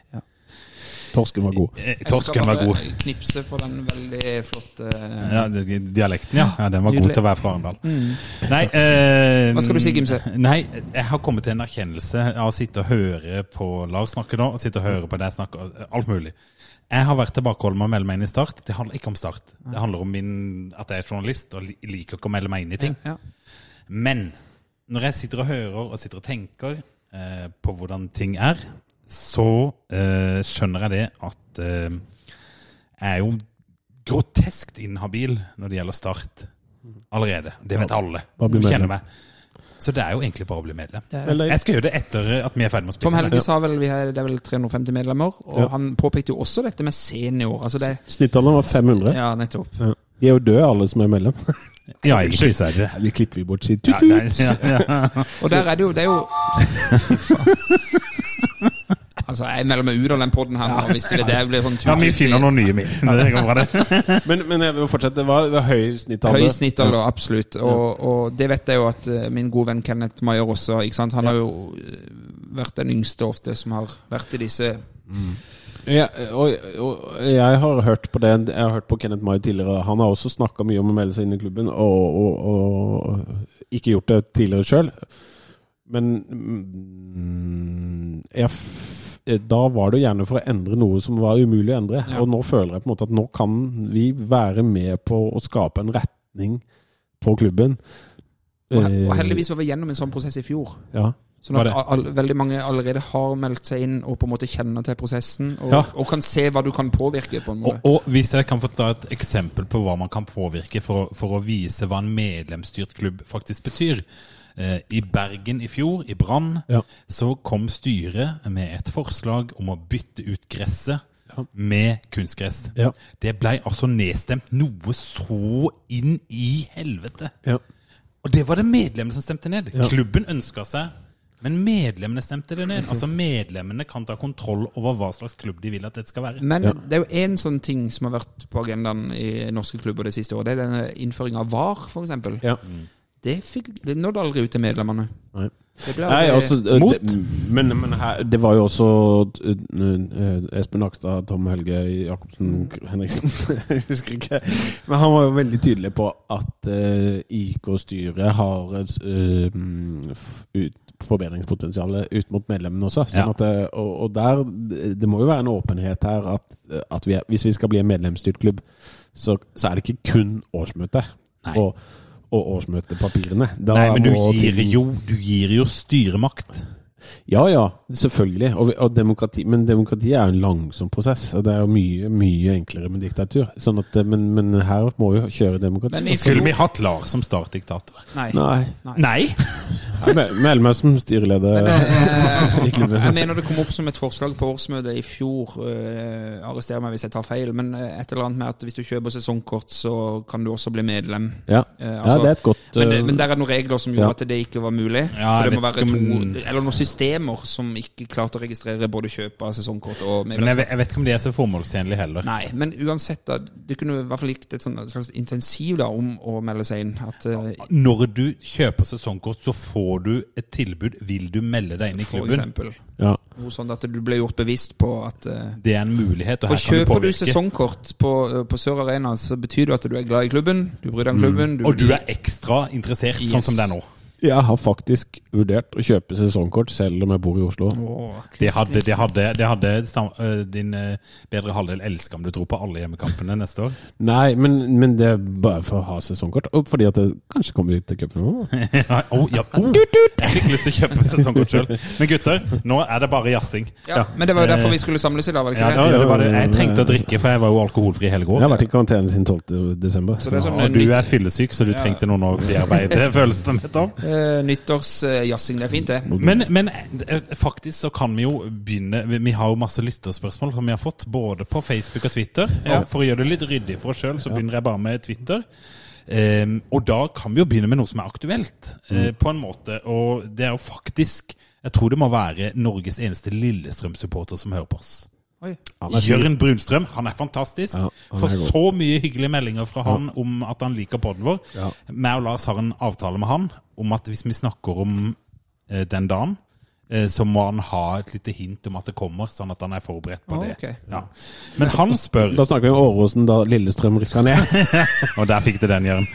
Torsken var god. Eh, Jeg skal Torsken var bare god. knipse for den veldig flotte Ja, det- dialekten, ja. ja. Den var god Nydelig. Mm. til å være fra Arendal. Nei eh, Hva skal du si, Gimse? Nei, jeg har kommet til en erkjennelse av å sitte og høre på Lars snakke nå, og sitte og høre på deg snakke, og alt mulig. Jeg har vært tilbakeholden med å melde meg inn i Start. Det handler ikke om Start. Det handler om min, at jeg er journalist og li- liker ikke å melde meg inn i ting. Ja. Men når jeg sitter og hører og sitter og tenker eh, på hvordan ting er, så eh, skjønner jeg det at eh, jeg er jo groteskt inhabil når det gjelder start allerede. Det vet alle. Bare bli Du kjenner medlem. meg. Så det er jo egentlig bare å bli medlem. Det er det. Eller, Jeg skal gjøre det etter at vi er ferdig med å Tom spille. Helge sa vel vi har, det er vel 350 medlemmer, og Ja. han påpekte jo også dette med senior. Altså det, snittalderen var 500. ja, nettopp. De er jo døde, alle som er medlem. Ja, egentlig så er det det. De klipper vi bort, sier Ja, tut-tut. det er- ja, ja. Og der er det jo, det er jo Altså, jeg melder meg ut av den poden her, nå, hvis det det blir sånn ja, vi finner noen nye, vi. Det går bra, det. Men, men jeg vil fortsette. Det var, det var høy snittalder. Høy snittalder, absolutt. Og, og det vet jeg jo at eh, min gode venn Kenneth Maier også ikke sant? Han har jo eh, vært den yngste ofte som har vært i disse Ja, og, og jeg har hørt på det Jeg har hørt på Kenneth Mai tidligere. Han har også snakka mye om å melde seg inn i klubben, og, og, og ikke gjort det tidligere sjøl. Men mm, jeg, f- da var det jo gjerne for å endre noe som var umulig å endre. Og nå føler jeg på en måte at nå kan vi være med på å skape en retning på klubben. Og he- Eh. og heldigvis var vi gjennom en sånn prosess i fjor. Ja. Sånn at Var det? all, veldig mange allerede har meldt seg inn og på en måte kjenner til prosessen. Og, Ja. og kan se hva du kan påvirke, på Og, en måte. og hvis jeg kan få ta et eksempel på hva man kan påvirke for, å- for å vise hva en medlemsstyrt klubb faktisk betyr. Eh, I Bergen i fjor, i Brann, Ja. så kom styret med et forslag om å bytte ut gresset med kunstgress. Ja. Det blei altså nedstemt noe så inn i helvete. Ja. Og det var det medlemmene som stemte ned. Klubben ønska seg, men medlemmene stemte det ned. Altså Medlemmene kan ta kontroll over hva slags klubb de vil at dette skal være. Men det er jo én sånn ting som har vært på agendaen i norske klubber det siste året. Det er denne innføringa av VAR, f.eks. Ja. Det, fikk, det nådde aldri ut til medlemmene. Nei. Det ble Nei, aldri- altså, eh, Mot? Det, men men her, det var jo også eh, eh, Espen Nakstad, Tom Helge Jacobsen Henriksen Jeg husker ikke. Men han var jo veldig tydelig på at eh, IK-styret har et eh, mm, f- ut, forbedringspotensial ut mot medlemmene også. Sånn Ja. at, det- og, og der det- Det må jo være en åpenhet her at, at vi er, hvis vi skal bli en medlemsstyrt klubb, så, så er det ikke kun årsmøtet. Nei. Og, og årsmøtepapirene. Da Nei, men du må gir, ting- jo, du gir jo styremakt. Ja, ja, selvfølgelig. Og, og demokrati, men demokrati er jo en langsom prosess. Og det er jo mye mye enklere med diktatur. Sånn at, eh, men, men her må vi jo kjøre demokrati. Men i Skulle fjor- vi hatt Lars som startdiktator? Nei. Nei. Nei! Jeg mel- melder meg som styreleder eh, i klubben. Jeg mener det kom opp som et forslag på årsmøtet i fjor. eh, arrester meg hvis jeg tar feil, men eh, et eller annet med at hvis du kjøper sesongkort, så kan du også bli medlem. Ja. Eh, ja, altså, det er et godt Men, det, eh, men der er noen regler som gjorde Ja. at det ikke var mulig. Ja, for jeg det må vet være ikke to, om- eller noen systemer som ikke klarte å registrere både kjøp av sesongkort og Men jeg, medlemskap. ve- jeg vet ikke om det er så formålstjenlig heller. Nei, men uansett, da, det kunne i hvert fall likt et sånt- et slags intensiv da, om å melde seg inn. At, eh, Når du kjøper sesongkort, så får du et tilbud. Vil du melde deg inn i for klubben? eksempel. ja. Noe sånt at du ble gjort bevisst på at eh, Det er en mulighet, og For her kan du kjøper du påvirke. sesongkort på, eh, på Sør Arena, så betyr det at du er glad i klubben, du bryr deg om klubben Mm. og du er ekstra interessert, sånn Yes. som det er nå. Jeg har faktisk vurdert å kjøpe sesongkort, selv om jeg bor i Oslo. Åh, Det hadde, det hadde, det hadde sam, øh, din øh, bedre halvdel elska om du dro på alle hjemmekampene neste år. Nei, men, men det er bare for å ha sesongkort. Og fordi at det kanskje kommer ut til cupen nå. Ja, oh, ja, oh. Jeg fikk lyst til å kjøpe sesongkort sjøl. Men gutter, nå er det bare jazzing. Ja, men det var jo derfor vi skulle samles i dag, var det Ja, ikke det var, det? det var det. Jeg trengte å drikke, for jeg var jo alkoholfri hele Jeg går. har vært i karantene siden 12. desember. Så det er sånn Og eh, du nytt, er fyllesyk, så du trengte noen å bearbeide følelsene med, Tom. eh, nyttårsjazzing. Det er fint, det. Men, men eh, faktisk så kan vi jo begynne Vi vi har jo masse lytterspørsmål som vi har fått, både på Facebook og Twitter. Og for å gjøre det litt ryddig for oss sjøl, så begynner jeg bare med Twitter. Ehm, og da kan vi jo begynne med noe som er aktuelt, eh, på en måte. Og det er jo faktisk Jeg tror det må være Norges eneste Lillestrøm-supporter som hører på oss. Oi. Han er fin. Jørn Brunstrøm. Han er fantastisk. Ja, han er Får god. så mye hyggelige meldinger fra han om at han liker podden vår. Ja. Meg og Lars har en avtale med han om at hvis vi snakker om eh, den dagen, eh, så må han ha et lite hint om at det kommer, sånn at han er forberedt på Ah, det. ok. Ja. Men han spør Da snakker vi om Åråsen da Lillestrøm rykka ned. Og der fikk du den, Jørn.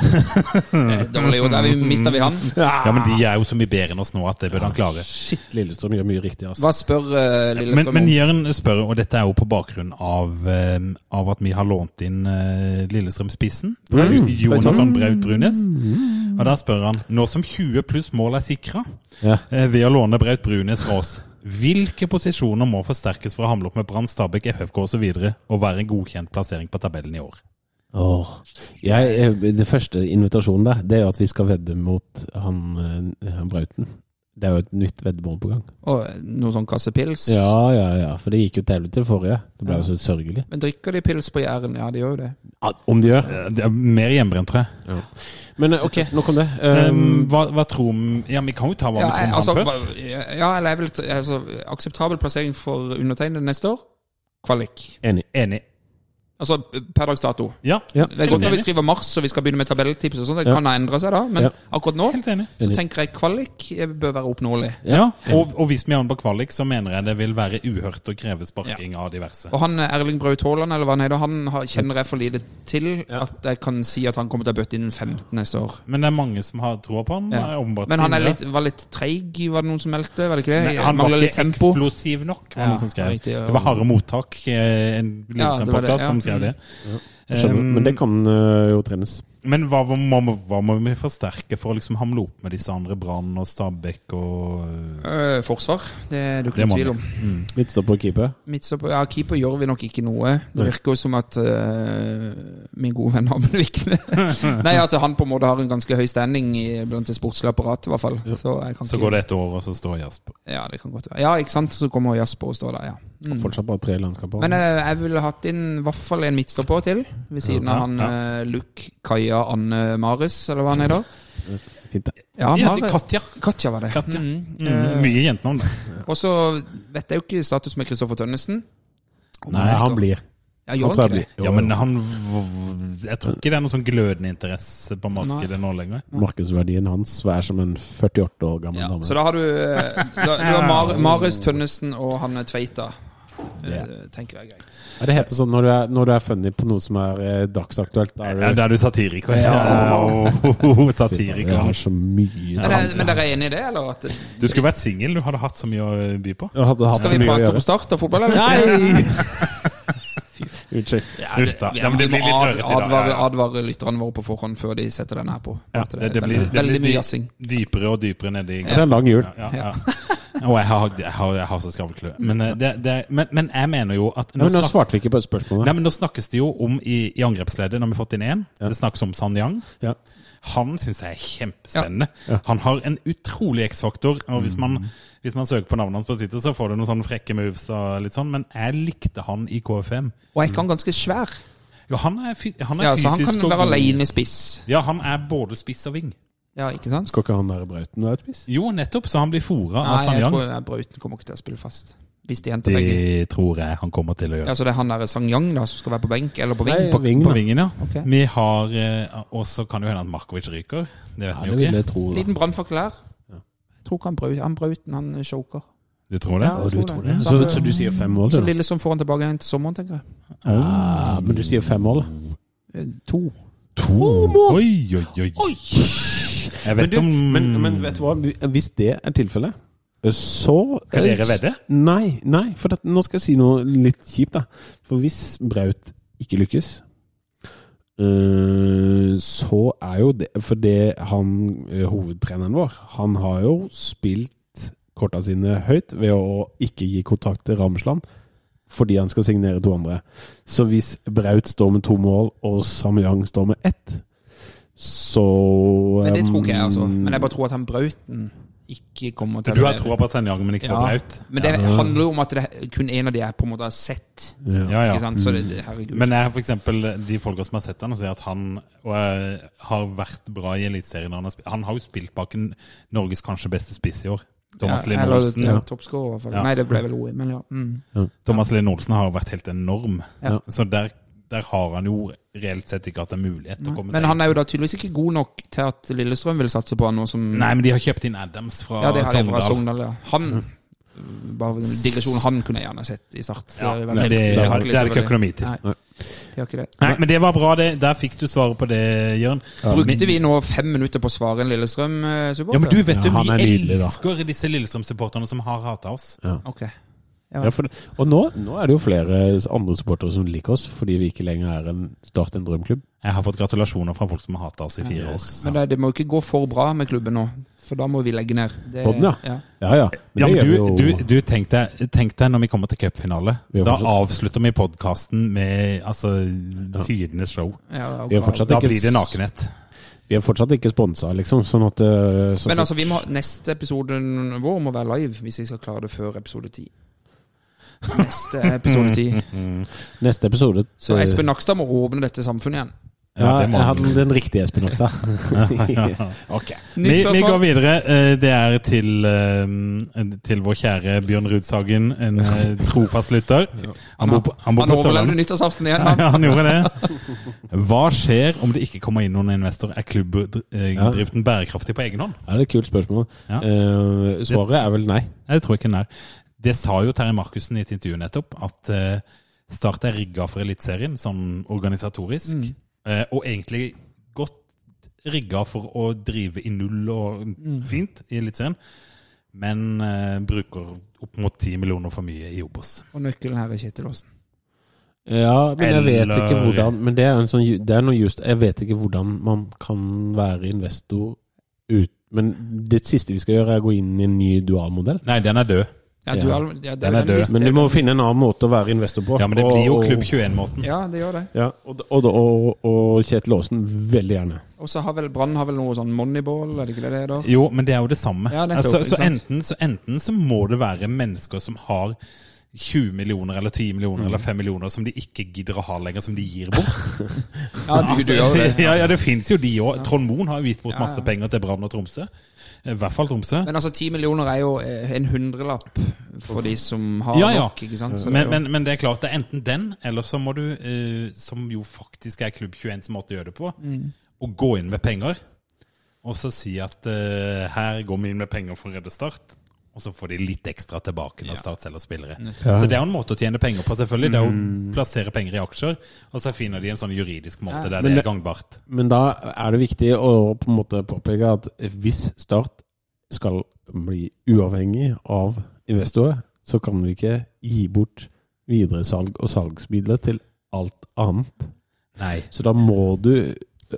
Eh, Dårlig, og der mista vi han. Ah. Ja, men de er jo så mye bedre enn oss nå at det burde han klare. Shit, Lillestrøm gjør mye riktig, altså. Hva spør eh, Men, Lillestrøm men om? Jørn spør, og dette er jo på bakgrunn av, eh, av at vi har lånt inn eh, Lillestrøm-spissen. Mm. Jonathan Braut Brunes. Og der spør han Nå som 20 pluss mål er sikra Ja. eh, ved å låne Braut Brunes fra oss, Hvilke posisjoner må forsterkes for å hamle opp med Brann, Stabæk, FFK osv. videre og være en godkjent plassering på tabellen i år? Åh. Jeg, eh, det første invitasjonen der, det er jo at vi skal vedde mot han, eh, han Brauten. Det er jo et nytt veddemål på gang. Og noe sånn kasse pils. Ja, ja, ja. For det gikk jo til helvete forrige. Det ble jo så sørgelig. Men drikker de pils på Jæren? Ja, de gjør jo det. Ja, Om de gjør. Eh, Det er mer hjemmebrent, tror jeg. Men eh, ok, nok om det. Um, Um, hva, hva tror vi Ja, vi kan jo ta hva vi Ehm. Ja, tror om altså, han først. bare- ja, eller jeg vil t- altså, Akseptabel plassering for undertegnede neste år? Kvalik. enig. Enig. Altså per dags dato. Ja, Ja. Det er godt når vi enig. skriver mars og vi skal begynne med tabelltips og sånn, det Ja. kan ha endra seg da, men Ja. akkurat nå Helt enig. så tenker jeg kvalik eh, bør være oppnåelig. Ja, og, og hvis vi er på kvalik, så mener jeg det vil være uhørt å kreve sparking av diverse. Og han eh, Erling Braut Haaland, eller hva han heter, han har, kjenner jeg for lite til at jeg kan si at han kommer til å bøtte inn 15 neste år. Men det er mange som har troa på han. Ja. er åpenbart Men han er sinne. litt, var litt treig, var det noen som meldte? Var det ikke Nei, det? han var Mangler litt ikke tempo. eksplosiv nok, var Ja, det noen som skrev. riktig, ja. Det var Harde Mottak, eh, en Ja, det var det, Lillesand-podkast, ja. som skrev det. Jeg skjønner. Um, Men det kan eh, jo trenes. Men hva må, må, hva må vi forsterke for å liksom hamle opp med disse andre? Brann og Stabæk og Eh, forsvar, det er du ikke Det i må tvil han. om. Midtstopper og keeper. Midtstopper, ja, keeper gjør vi nok ikke noe. Det virker jo som at eh, min gode venn Amund Vikne Nei, at han på en måte har en ganske høy standing i, blant det sportslige apparatet, i hvert fall. Så, jeg kan Så ikke, går det et år, og så står Jasper. Ja, det kan godt være. Ja, ikke sant? Så kommer Jasper og står der, ja. Og Fortsatt bare tre landskamper. Men eh, jeg ville hatt inn i hvert fall en midtstopper til, ved siden Ja, av han ja. eh, Luke Kaja Anne Marius, eller hva han heter. Fint, det. Ja, Ja, til Mare- Katja. Katja var det. Katja. Mhm. Mm, mye jentenavn, det. Og så vet jeg jo ikke status med Kristoffer Tønnesen. Om Nei, han blir. Ja, Han gjør tror han jeg ikke det? blir. Jo, Ja, men jo. han v- Jeg tror ikke det er noe sånn glødende interesse på markedet nå lenger. Markedsverdien hans er som en 48 år gammel dame. Så da har du, eh, da, du har Mar Marius Tønnesen og Hanne Tveita. eh, Tenker jeg greit. Ja, det heter sånn når du, er, når du er funny på noe som er eh, dagsaktuelt. Da Ja, er du da er du satiriker. Ja, satiriker. Jeg har så mye Men, tanker. eh, men dere er enig i det, eller? At, Du skulle vært singel, du hadde hatt så mye å eh, by på. Jeg hadde hatt skal så vi mye å prate om gjøre. start og fotball, eller? Unnskyld. Uff da. Ja, men det Vi blir må litt ad- rørete i dag. Advare, Ja, ja. advare lytterne våre på forhånd før de setter denne her på. Ja, At det, det blir, det veldig, blir veldig mye dy- jassing. dypere og dypere nedi Det er en lang jul. Ja, ja, ja. Og jeg har, jeg har, jeg har så skravlekløe. Men, eh, det, det, men, men jeg mener jo at Nei, men nå snak- svarte vi ikke på Nei, spørsmålet. men Nå snakkes det jo om i, i angrepsleddet, når vi har fått inn én. Det snakkes om San Yang. Ja. Han syns jeg er kjempespennende. Han har en utrolig X-faktor. Og hvis man, hvis man søker på navnet hans på Twitter, så får du noen sånne frekke moves og litt sånn. Men jeg likte han i KFM. Og jeg kan ganske svær. Jo, han er, fy, han er Ja, så han fysisk kan og være god. alene i spiss. Ja, han er både spiss og ving. Ja, ikke sant? Skal ikke han der Brauten være et vis? Jo, nettopp. Så han blir fora av Nei, San jeg Yang. tror eh, Brauten kommer ikke til å spille fast. Hvis de henter begge. Det tror jeg han kommer til å gjøre. Ja, så det er han der Sang Yang da, som skal være på benk, eller på ving? Nei, På- Vingen, På da. vingen, ja. Ok. Vi har eh, Og så kan det jo hende at Markovic ryker. Det vet Ja, vi det jo vil ikke. jeg tro. da. Liten brannfakkel her. Jeg tror ikke han Braut- han Brauten, han choker. Du tror det? Ja. Å, du Jeg tror tror det. det? Så, så du sier fem mål, Så du? da? lille som får han tilbake igjen til sommeren, tenker jeg. Ah, men du sier fem mål, da? Eh, To. To Oi, oi, oi. Jeg Men, vet du, om men, men vet du hva, hvis det er tilfellet, eh, så eh, Skal dere vedde? Nei, nei for at, nå skal jeg si noe litt kjipt. da For hvis Braut ikke lykkes, øh, så er jo det For det han øh, hovedtreneren vår, han har jo spilt korta sine høyt ved å ikke gi kontakt til Ramsland. Fordi han skal signere to andre. Så hvis Braut står med to mål, og Samyang står med ett, så Men det tror ikke jeg, altså. øhm, Men jeg bare tror at han Brauten ikke kommer til Du har troa på Senjag, men ikke på ja. Braut? Men det handler jo om at det er kun en av de jeg på en måte har sett. Ja, ja. Ikke sant? Så det, det, herregud. Men jeg, for eksempel, de folka som har sett han og sier at han og, eh, har vært bra i Eliteserien. Han, har sp- han har jo spilt bak en Norges kanskje beste spiss i år. Thomas ja, Linn eller, Olsen. ja, toppscorer, i hvert fall. Ja. Nei, det ble vel OI, men ja. Mm. Thomas Linn Olsen har jo vært helt enorm. Ja. Så der, der har han jo reelt sett ikke hatt en mulighet til å komme seg Men han er jo da tydeligvis ikke god nok til at Lillestrøm vil satse på han nå som Nei, men de har kjøpt inn Adams fra Ja, det har jeg fra Sogndal. Sogndal, ja. Han bare en digresjon, han kunne jeg gjerne sett i start. Ja, hadde vært men helt det- utenkelig, det har- det er det ikke selvfølgelig. økonomi til. Nei, det har ikke det. Nei, men det var bra, det. Der fikk du svaret på det, Jørn. Brukte vi nå fem minutter på å svare en eh, Ja, Lillestrøm-supporter? men du vet jo, Ja, han er vi nydelig, da. elsker disse Lillestrøm-supporterne som har hata oss. Ok. Ja, for, og nå, nå er det jo flere andre supportere som liker oss, fordi vi ikke lenger er en Start en drømklubb. Jeg har fått gratulasjoner fra folk som har hata oss i fire år. Men det, det må ikke gå for bra med klubben nå, for da må vi legge ned. Det, Podden, ja. Eh, ja. Ja, ja. Men Ja, det men gjør vi du, jo. du, du tenk, deg, tenk deg når vi kommer til cupfinale. Vi har Da fortsatt- avslutter vi podkasten med altså, tidenes show. Ja, Vi har bra. fortsatt- Da ikke blir det s- nakenhet. vi er fortsatt ikke sponsa, liksom. Sånn at eh, så Men fort- altså, vi må, ha- neste episoden vår må være live, hvis vi skal klare det før episode 10. Neste episode Mm. 10. Neste episode Så eh, Espen Nakstad må åpne dette samfunnet igjen. Ja, det må jeg han. hadde den riktige Espen Nakstad. ok. Nytt Vi, vi spørsmål. går videre. Eh, Det er til, eh, til vår kjære Bjørn Rudshagen, en eh, trofast lytter. Han bor på, han bor Han på overlevde Sørlandet. nyttårsaften igjen, han. Ja, han gjorde det. Hva skjer om det ikke kommer inn noen investor? Er klubbdriften bærekraftig på egen hånd? Ja, det er et kult spørsmål. Ja. Eh, svaret er vel nei. Nei, det tror jeg ikke den er. Det sa jo Terje Markussen i et intervju nettopp, at eh, Start er rigga for Eliteserien, sånn organisatorisk. Mm. Eh, og egentlig godt rigga for å drive i null og Mm. fint i Eliteserien, men eh, bruker opp mot ti millioner for mye i Obos. Og nøkkelen her er Kjetil Aasen. Ja, men jeg vet Eller- ikke hvordan Men det er, en sånn, ju- det er noe just Jeg vet ikke hvordan man kan være investor ut Men det siste vi skal gjøre, er å gå inn i en ny dualmodell. Nei, den er død. Ja, Ja. du, er- ja, det Den er død. visst- Men du må finne en annen måte å være investor på. Ja, men det Og- blir jo og- Klubb 21-måten. Ja, det gjør det. Ja, og, og, og, og Kjetil Aasen, veldig gjerne. Og så har vel Brann har vel noe sånn moneyball, er det ikke det det er da? Jo, men det er jo det samme. Ja, nettopp, altså, så, ikke sant? enten, så enten så må det være mennesker som har 20 millioner eller 10 Mm. millioner eller 5 millioner som de ikke gidder å ha lenger, som de gir bort. Ja, du, du gjør det. Altså, ja, ja, det finnes jo de òg. Trond Moen har jo gitt bort Ja, ja. masse penger til Brann og Tromsø. Eh, I hvert fall Tromsø. Men altså, ti millioner er jo eh, en hundrelapp for de som har Ja, ja. nok, ikke sant? Så det er Men, jo- men, men det er klart, det er enten den, eller så må du, eh, som jo faktisk er Klubb 21 som måte å gjøre det på, Mm. å gå inn med penger. Og så si at eh, her går vi inn med penger for å redde Start. Og så får de litt ekstra tilbake når Start selger spillere. Så det er jo en måte å tjene penger på, selvfølgelig. Det er Mm. å plassere penger i aksjer, og så finner de en sånn juridisk måte der det Men det- er gangbart. Men da er det viktig å på en måte påpeke at hvis Start skal bli uavhengig av investorer, så kan vi ikke gi bort videresalg og salgsmidler til alt annet. Nei. Så da må du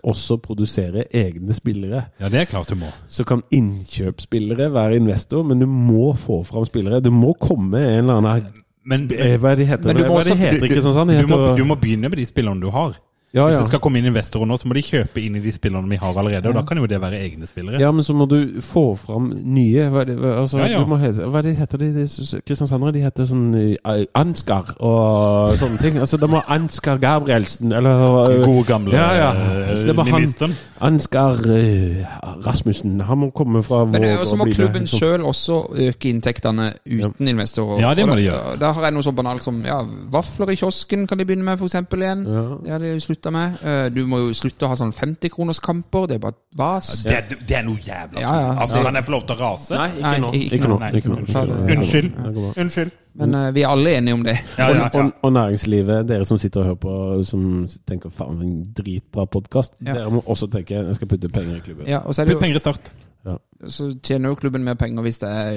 også produsere egne spillere. Ja, det er klart du må. Så kan innkjøpsspillere være investor, men du må få fram spillere. Du må komme en eller annen Men, eh, Hva er det de heter? Men du må Hva er det også- de heter du- ikke sånn? sånn? De Du må, heter- du må begynne med de spillerne du har. ja, Hvis ja. det skal komme inn investorer nå, så må de kjøpe inn i de spillerne vi har allerede. Og da kan jo det være egne spillere. Ja, men så må du få fram nye Hva, er det, hva- altså, Ja, ja. Du må hete, hva er det heter de? de s- Kristiansandere de heter sånn eh, Ansgar og sånne ting. Altså, da må Ansgar Gabrielsen eller eh, Gode gamle ja, ja. eh, Så det var ministeren. han, Ansgar eh, Rasmussen. Han må komme fra Men det er Våg jo så og må bli med, klubben liksom. sjøl også øke inntektene uten investorer. Ja, det må Og de da- gjøre. Da har jeg noe så banalt som ja, vafler i kiosken kan de begynne med, f.eks. igjen. Ja. Ja. Det har de slutta med. Eh, Du må jo slutte å ha sånn 50-kronerskamper. Det er bare vas. Det, er- det er noe jævla Ja, ja. Altså, Ja. kan jeg få lov til å rase? Nei, ikke Ikke nå. Nei, Ikke nå. unnskyld. Ikke nå. Unnskyld. Det går bra. Unnskyld. Men eh, vi er alle enige om det. Ja, ja, ja. Og, og næringslivet, dere som sitter og hører på, som tenker 'faen, en dritbra podkast', Ja. dere må også tenke 'jeg skal putte penger i klubben'. Ja, og så, er Putt det penger i Start. jo, så tjener jo klubben mer penger hvis det er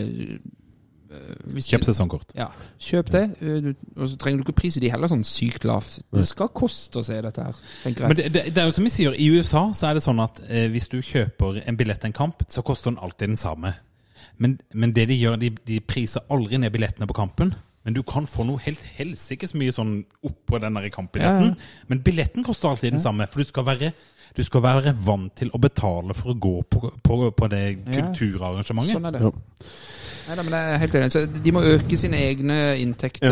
eh, hvis Kjøp sesongkort. Ja, kjøp det. eh, du- Og så trenger du ikke prise de heller sånn sykt lavt. Det skal koste å se dette her, tenker Men jeg. det, det, det er jo som vi sier, i USA så er det sånn at eh, hvis du kjøper en billett til en kamp, så koster den alltid den samme. Men, men det de gjør, de, de priser aldri ned billettene på kampen. Men du kan få noe helt helsikes mye sånn oppå den der kampbilletten. Men billetten koster alltid den samme, for du skal være du skal være vant til å betale for å gå på, på, på det Ja. kulturarrangementet. Sånn er det. Ja. Nei, da, men jeg er helt enig. Så de må øke sine egne inntekter.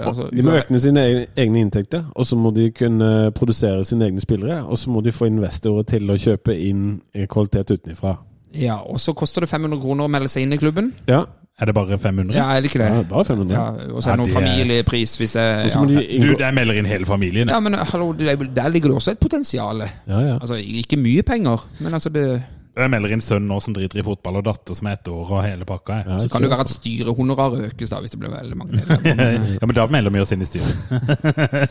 eh, Altså, De må øke sine egne- egne inntekter, og så må de kunne produsere sine egne spillere. Og så må de få investorer til å kjøpe inn eh, kvalitet utenfra. Ja, Og så koster det 500 kroner å melde seg inn i klubben. Ja, Er det bare 500? Ja, er det ikke det? ja bare 500. Eh, Ja, og så er det noen Ja, det er- familiepris hvis det Og så ja. må de Du, inngå jeg melder inn hele familien. ja, men hallo, det er vel- der ligger det også et potensial. ja, ja. Altså, ikke mye penger, men altså det Jeg melder inn sønn nå som driter i fotball, og datter som er ett år, og hele pakka. jeg. Ja, Så kan det jo være at styrehonoraret økes, da, hvis det blir veldig mange. medlemmer. Ja, men da melder vi oss inn i styret.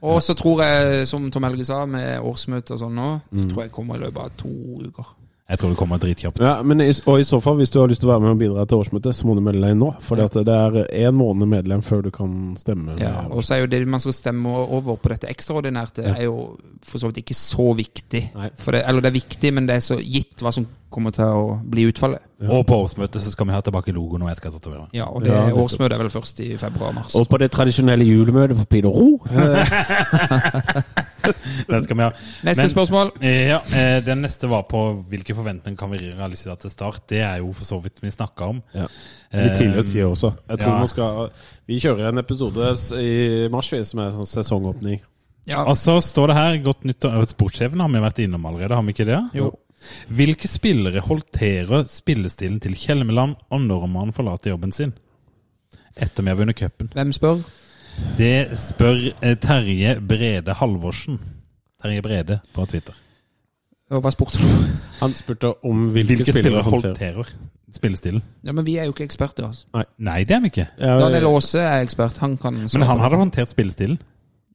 Og Mm. så tror jeg, som Tom Helge sa, med årsmøte og sånn nå, så tror jeg kommer i løpet av to uker. Jeg tror det kommer dritkjapt. Ja, men i, og i så fall, hvis du har lyst til å være med og bidra til årsmøtet, så må du melde deg inn nå. For det er én måned medlem før du kan stemme. med Ja, og så er jo det man skal stemme over på dette ekstraordinært, det er jo for så vidt ikke så viktig. Nei. For det, eller det er viktig, men det er så gitt hva som kommer til å bli utfallet. Og på årsmøtet så skal vi ha tilbake logoen, og jeg skal tatovere meg. Ja, og det Ja, nettopp. årsmøtet er vel først i februar-mars. Og på det tradisjonelle julemøtet på Pidoro Den skal vi ha. Neste Men- spørsmål. Eh, Ja, eh, Den neste var på hvilke forventninger kan vi realisere til start. Det er jo for så vidt vi snakka om. Eh, Ja. Litt tidlig å si også. Jeg tror Ja. man skal Vi kjører en episode s- i mars vi, som er sånn sesongåpning. Ja, Og så står det her godt nytt og Sportssjefen har vi vært innom allerede, har vi ikke det? Jo. Hvilke spillere håndterer spillestilen til Kjelmeland og når man forlater jobben sin? Etter vi har vunnet cupen. hvem spør? Det spør eh, Terje Brede Halvorsen. Terje Brede på Twitter. Og hva spurte du? Han spurte om hvilke, Hvilke spillere håndterer spillestilen? Ja, men vi er jo ikke eksperter. Altså. Nei, det er vi ikke. Daniel Ja, Aase er ekspert. Han kan svare Men han på det. hadde håndtert spillestilen.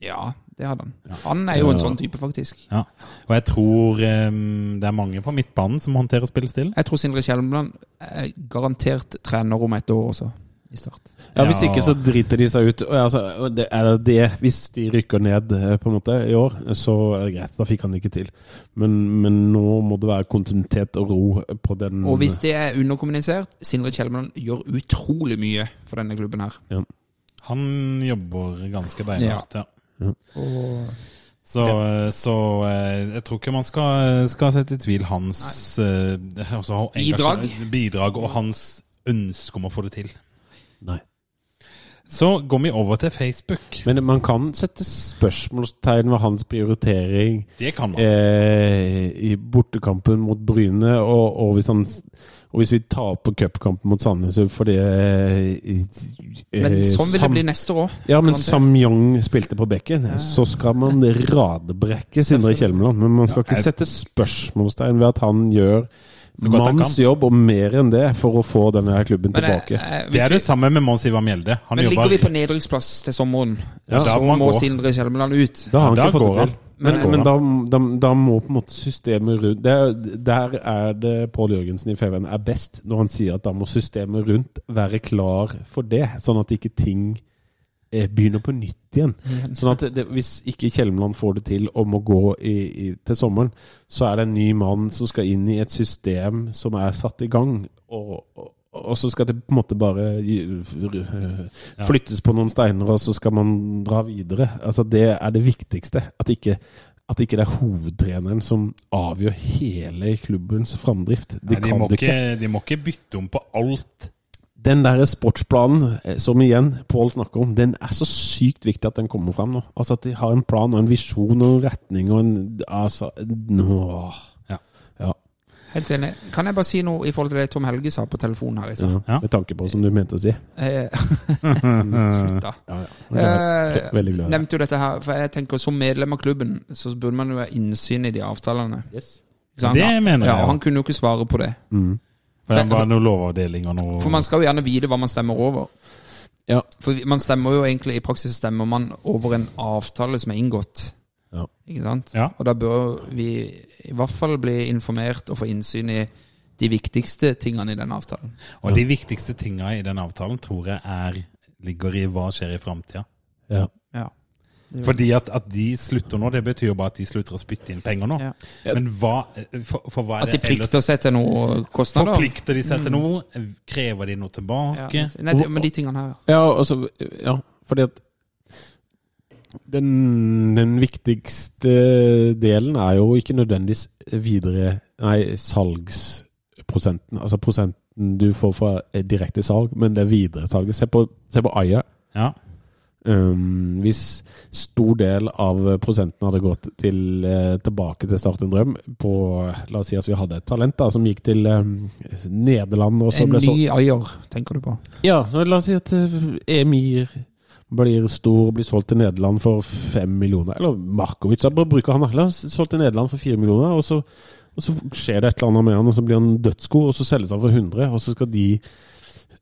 Ja, det hadde han. Han er jo en Ja. sånn type, faktisk. Ja, og jeg tror ehm, det er mange på midtbanen som håndterer spillestilen. Jeg tror Sindre Kjelmeland er garantert trener om et år også, i Start. ja, hvis ikke så driter de seg ut. Og altså, og det er det, hvis de rykker ned eh, på en måte i år, så er det greit. Da fikk han det ikke til. Men, men nå må det være kontinuitet og ro på den Og hvis det er underkommunisert, Sindre Kjelmeland gjør utrolig mye for denne klubben her. ja. Han jobber ganske beinhardt, ja. Og Så, eh, så eh, jeg tror ikke man skal, skal sette i tvil hans eh, altså, Bidrag. engasjement- bidrag og hans ønske om å få det til. Nei. Så går vi over til Facebook. Men man kan sette spørsmålstegn ved hans prioritering Det kan man. eh, i bortekampen mot Bryne, og, og, hvis, han, s- og hvis vi taper cupkampen mot Sandnes fordi eh, eh, Men sånn vil det Sam- bli neste år. Ja, men garantert. Samyang spilte på bekken. Så skal man radbrekke Sindre Kjelmeland. Men man skal Ja, ikke jeg- sette spørsmålstegn ved at han gjør godt han manns kan. jobb, og mer enn det, for å få denne her klubben Men, eh, tilbake. eh, hvis Det er vi- det samme med Mons Ivar Mjelde. Han men ligger jobber vi på nedrykksplass til sommeren, Ja, da så må man må gå. Sindre Kjelmeland ut. Da har han Ja, ikke da fått går det til. han. Men, Da går men da, da, da må på en måte systemet rundt det, er- Der er det Pål Jørgensen i Feven er best, når han sier at da må systemet rundt være klar for det, sånn at ikke ting eh, begynner på nytt igjen. Sånn at det, Hvis ikke Kjelmeland får det til om å gå i, i, til sommeren, så er det en ny mann som skal inn i et system som er satt i gang. og og- og så skal det på en måte bare gi- flyttes på noen steiner, og så skal man dra videre. Altså Det er det viktigste. At ikke, at ikke det er hovedtreneren som avgjør hele klubbens framdrift. Det Nei, de, kan må det ikke. ikke, de må ikke bytte om på alt. Den derre sportsplanen, eh, som igjen Pål snakker om, den er så sykt viktig at den kommer fram nå. Altså At de har en plan og en visjon og en retning og en Altså nå. Ja. Ja, Helt enig. Kan jeg bare si noe i forhold til det Tom Helge sa på telefonen her i stad? ja. Ja. Med tanke på, som du mente å si. Eh, Slutt, da. Ja, Eh, Veldig glad. nevnte jo dette her, for jeg tenker som medlem av klubben, så burde man jo ha innsyn i de avtalene. Ikke sant? Det mener ja, jeg, ja. og Han kunne jo ikke svare på det. For det var noe lovavdeling og noe For man skal jo gjerne vite hva man stemmer over. Ja. For vi- man stemmer jo egentlig, i praksis stemmer man over en avtale som er inngått. Ja. Ikke sant? Ja. Og da bør vi i hvert fall bli informert og få innsyn i de viktigste tingene i den avtalen. Og de viktigste tinga i den avtalen tror jeg er, ligger i hva skjer i framtida. Ja. Ja. Fordi at, at de slutter nå, det betyr jo bare at de slutter å spytte inn penger nå. Ja. Men hva for, for hva er At de det ellers? plikter seg til noe kostnader. Forplikter de seg til noe? Krever de noe Mm. Ja. tilbake? Nei, det- men de tingene her. Ja, altså, ja, fordi at den, den viktigste delen er jo ikke nødvendigvis videre Nei, salgsprosenten. Altså prosenten du får fra eh, direkte salg, men det er videresalget. Se på, se på Aya. Ja. Um, hvis stor del av prosenten hadde gått til, eh, tilbake til Start en drøm på La oss si at vi hadde et talent da, som gikk til eh, Nederland og så En ble solgt ny eier, tenker du på. ja, så la oss si at eh, Emir blir stor og blir solgt til Nederland for fem millioner. Eller Markovic, da bare bruker han da. La oss si, solgt til Nederland for fire millioner, og så, og så skjer det et eller annet med han, og så blir han dødsgod, og så selges han for 100, og så skal de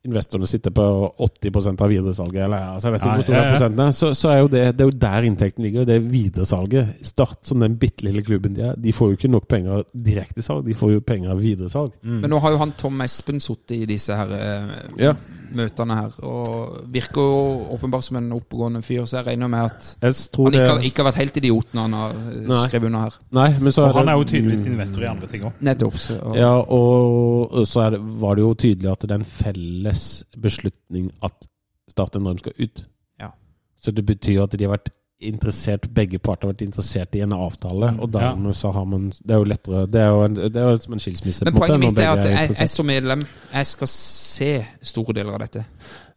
investorene sitter på 80 av videresalget, eller altså jeg vet ikke Ja, hvor stor ja, ja. prosenten er, så, så er jo det, det er jo der inntekten ligger. Det er videresalget. Start, som den bitte lille klubben de er, de får jo ikke nok penger direktesalg, de får jo penger av videresalg. Mm. Men nå har jo han Tom Espen sittet i disse her eh, Mm. Ja. møtene her, og virker jo åpenbart som en oppegående fyr, så jeg regner med at Jeg tror han det ikke har, ikke har vært helt idiot når han har eh, Nei. skrevet under her. Nei, men så Og han er jo det- tydeligvis investor i andre ting òg. Nettopp. Så, og, Ja, og så er det, var det jo tydelig at det er en felles beslutning at Start en Drøm skal ut. Ja. Så det betyr at de har vært interessert, begge parter har vært interessert i en avtale, og Ja. dermed så har man Det er jo lettere Det er jo, en, det er jo som en skilsmisse. Men på en måte, poenget når mitt er begge at jeg, jeg interessert. som medlem jeg skal se store deler av dette.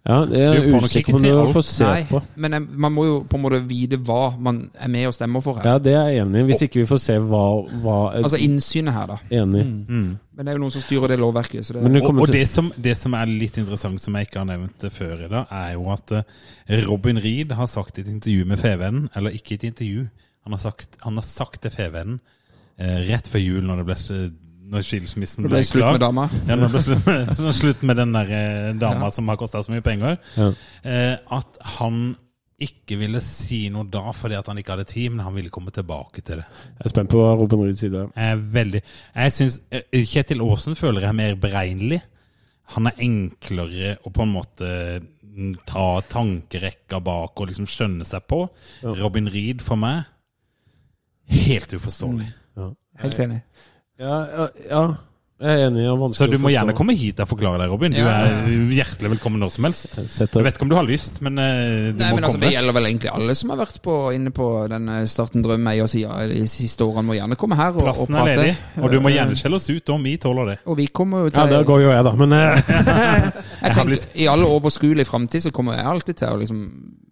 Ja, det er Du får nok ikke usikker på se om alt. du får se Nei, på. men jeg, man må jo på en måte vite hva man er med og stemmer for her. Ja, det er jeg enig i. Hvis ikke vi får se hva, hva Altså innsynet her, da. Enig i. Men det er jo noen som styrer det lovverket. Så det, Men du mm, Og, kommer og til det, som, det som er litt interessant, som jeg ikke har nevnt eh, før i dag, er jo at eh, Robin Reed har sagt i et intervju med FVN, eller ikke i et intervju, han har sagt, han har sagt til FVN eh, rett før jul, når, det ble, s- når skilsmissen det ble, ble slutt klar med dama. Ja, når det ble slutt med, så slutt med den der eh, dama som har kosta så mye penger, Ja. eh, at han ikke ville si noe da fordi at han ikke hadde tid, men han ville komme tilbake til det. Jeg er spent på hva Robin Ryds side er. Jeg er veldig Jeg synes eh, Kjetil Aasen føler jeg er mer beregnelig. Han er enklere å på en måte mm, ta tankerekka bak og liksom skjønne seg på. Robin Reed for meg Helt uforståelig. Helt enig. Ja, ja, ja, jeg er enig. i at vanskelig Så du å må forstå. gjerne komme hit og forklare deg, Robin. Du Ja, ja, er hjertelig velkommen når som helst. Setter- Jeg vet ikke om du har lyst, men eh, du Nei, må men altså, Det komme. gjelder vel egentlig alle som har vært på, inne på den eh, Starten drøm eiersida de siste årene. Må gjerne komme her og, og Plassen er prate. Eh, ledig, og du må gjerne skjelle oss ut om vi tåler det. Og vi kommer jo Ja, til der går jo jeg, da. Men eh, har Jeg tenker, I alle overskuelige framtid så kommer jeg alltid til å liksom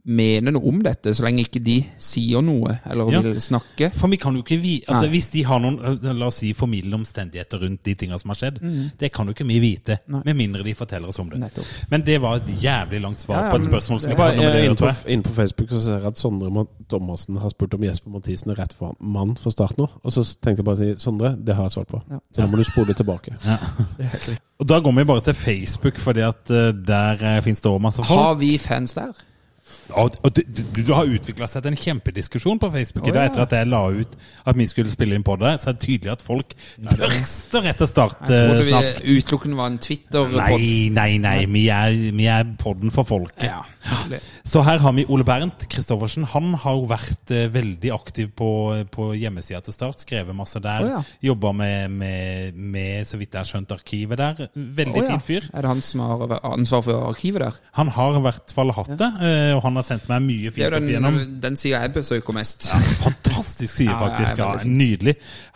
mene noe om dette, så lenge ikke de sier noe eller Ja. vil snakke. For vi kan jo ikke vi, altså Nei. Hvis de har noen eh, la oss si, formidlende omstendigheter rundt de tinga som har skjedd, det kan jo ikke vi vite. Med mindre de forteller oss om det. Mhm. Nettopp. Men det var et jævlig langt svar Ja, ja, på et men eh, spørsmål som Jeg ikke var hadde noe med det å inne gjøre. på, tror jeg. inn på Facebook så ser jeg at Sondre Ma- Thomassen har spurt om Jesper Mathisen er rett for mann for start nå. Og så tenkte jeg bare å si Sondre, det har jeg svart på. Ja. Så da må du spole tilbake. Og Da går vi bare til Facebook, fordi at eh, der uh, finnes det også masse folk. Har vi fans der? Og, og det, det- det har utvikla seg til en kjempediskusjon på Facebook. Å, i dag ja. Etter at jeg la ut at vi skulle spille inn på det, så er det tydelig at folk tørster etter start. Jeg eh, trodde snart. vi utelukkende var en Twitter-pod. Nei, nei, nei. Vi er, vi er podden for folket. Ja. Så her har vi Ole Bernt Kristoffersen. Han har jo vært eh, veldig aktiv på, eh, på hjemmesida til Start. Skrevet masse der. Å, ja. Jobba med, med, med, så vidt jeg har skjønt, arkivet der. Veldig Å, ja. fin fyr. Er det han som har ansvar for arkivet der? Han har i hvert fall hatt det, eh, og han har sendt meg mye Det fint er opp jo igjennom. den, den sida jeg besøker mest. Fantastisk side, Ja, ja, faktisk. ja, Ja, veldig fint. nydelig.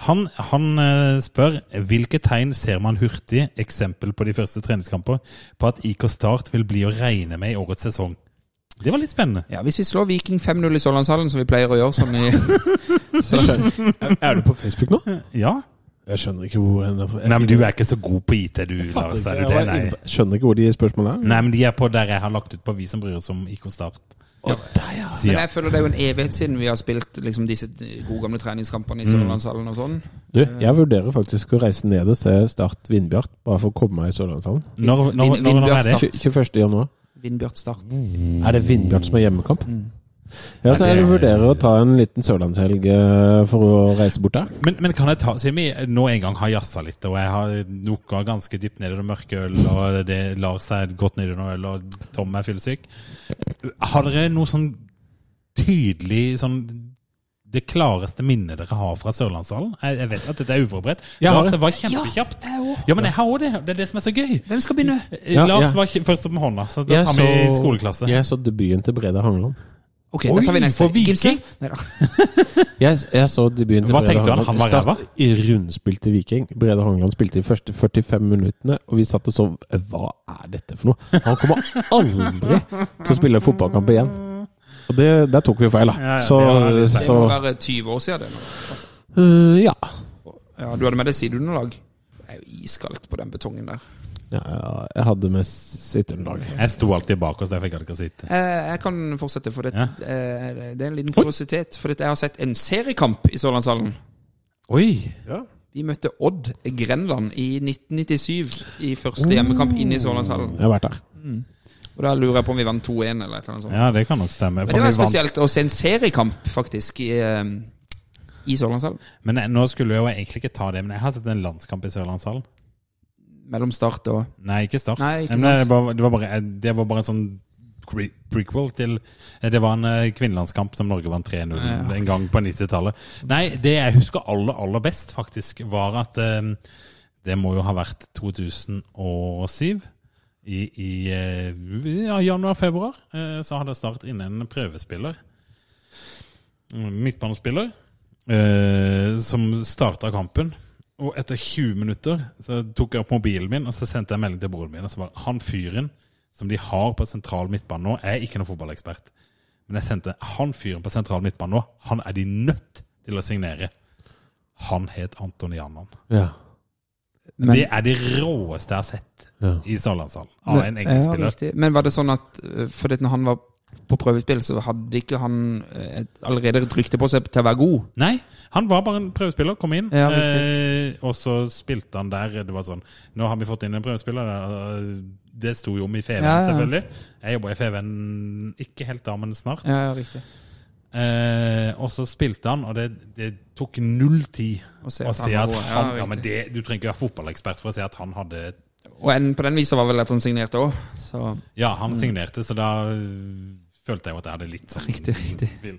Han, han eh, spør hvilke tegn ser man hurtig, eksempel på de første treningskamper, på at IK Start vil bli å regne med i årets sesong. Det var litt spennende. Ja, Hvis vi slår Viking 5-0 i Sørlandshallen, som vi pleier å gjøre sånn i Jeg skjønner. Er du på Facebook nå? Ja. Jeg skjønner ikke hvor henne jeg, Nei, men du er ikke så god på IT, du, fatter Lars. ikke. Er Jeg du det? var Nei. inne på- skjønner ikke hvor de spørsmålene er. Nei, men de er på der jeg har lagt ut på Vi som bryr oss om IK Start. Men Sier jeg føler det er jo en evighet siden vi har spilt liksom, disse gode gamle Mm. treningskampene i Sørlandshallen og sånn. Du, jeg vurderer faktisk å reise ned og se Start Vindbjart, bare for å komme meg i Sørlandshallen. Når, når, Vin- når, når Vindbjørn er det? Start. 21. januar. Vindbjart Start. Er det Vindbjart som er hjemmekamp? Ja, så Nei, jeg Mm. det- vurderer å ta en liten sørlandshelg eh, for å reise bort der. Men, men kan jeg ta Siden vi nå en gang har jazza litt, og jeg har noka ganske dypt ned i det mørke øl, og det Lars er godt nedi noe øl, og Tom er fyllesyk Har dere noe sånn tydelig sånn det klareste minnet dere har fra Sørlandshallen? Jeg, jeg vet at dette er uforberedt. Jeg har Lars, det. det var kjempekjapt. jeg også. Ja, men jeg har òg det. Det er det som er så gøy. Hvem skal begynne? Ja, Lars ja. var ikke først opp med hånda, så da tar vi skoleklasse. Jeg så debuten til Breda Hangeland. Ok, Oi, da tar vi neste. for Viking? Gibson? Neida. Jeg, jeg så debuten til Hva Brede tenkte du, han- Hangeland. han var Start I rundspill til Viking. Brede Hangeland spilte de første 45 minuttene, og vi satt og så Hva er dette for noe? Han kommer aldri til å spille fotballkamp igjen. Og det, der tok vi feil, da. Ja, ja, så det var litt feil. Det må så være 20 år siden det nå. øh, ja. Ja, du hadde med deg sideunderlag. Det er jo iskaldt på den betongen der. ja. Jeg hadde med sitteunderlag. Jeg sto alltid bak oss, jeg fikk aldri ikke sitte. Eh, jeg kan fortsette, for det, Ja. eh, det er en liten kuriositet. For at jeg har sett en seriekamp i Sørlandshallen. Oi! Vi møtte Odd Grenland i 1997 i første hjemmekamp inne i Sørlandshallen. Jeg har vært der. Og da lurer jeg på om vi vant 2-1 eller et eller annet sånt. Ja, det kan nok stemme. Men det vi var vant- spesielt å se en seriekamp, faktisk, i, eh, i Sørlandshallen. Men jeg, nå skulle jeg jo egentlig ikke ta det, men jeg har sett en landskamp i Sørlandshallen. Mellom start og Nei, ikke Start. Nei, ikke Men sant. det, var, det, var bare, det var bare en sånn pre- prequel til Det var en eh, kvinnelandskamp som Norge vant 3-0 Ja. en gang på 90-tallet. Nei, det jeg husker aller, aller best, faktisk, var at eh, Det må jo ha vært 2007. I, i eh, ja, januar-februar eh, så hadde Start inne en prøvespiller. Mm, Midtbanespiller. eh, som starta kampen. Og etter 20 minutter så tok jeg opp mobilen min og så sendte jeg en melding til broren min. Og så bare, Han fyren som de har på sentral midtbane nå, jeg er ikke noen fotballekspert. Men jeg sendte han fyren på sentral midtbane nå, han er de nødt til å signere. Han het Antoni Annan. Ja. Men- det er det råeste jeg har sett Ja. i Sørlandshallen av en Ja, enkeltspiller. riktig. Men var det sånn at eh, For det, når han var på prøvespill, så hadde ikke han eh, et, allerede et rykte på seg til å være god. Nei, han var bare en prøvespiller, kom inn, Ja, eh, og så spilte han der. Det var sånn Nå har vi fått inn en prøvespiller. eh, Det sto jo om i FVN, Ja, ja. selvfølgelig. Jeg jobba i FVN ikke helt da, men snart. Ja, riktig. Eh, og så spilte han, og det, det tok null tid Å å se se at han, ja, at han var god. Ja, riktig. men det, Du trenger ikke være fotballekspert for å se at han hadde Og en, på den viset var vel at han signerte òg, så Ja, han Mm. signerte, så da øh, følte jeg jo at jeg hadde litt sånn Riktig, riktig. vil.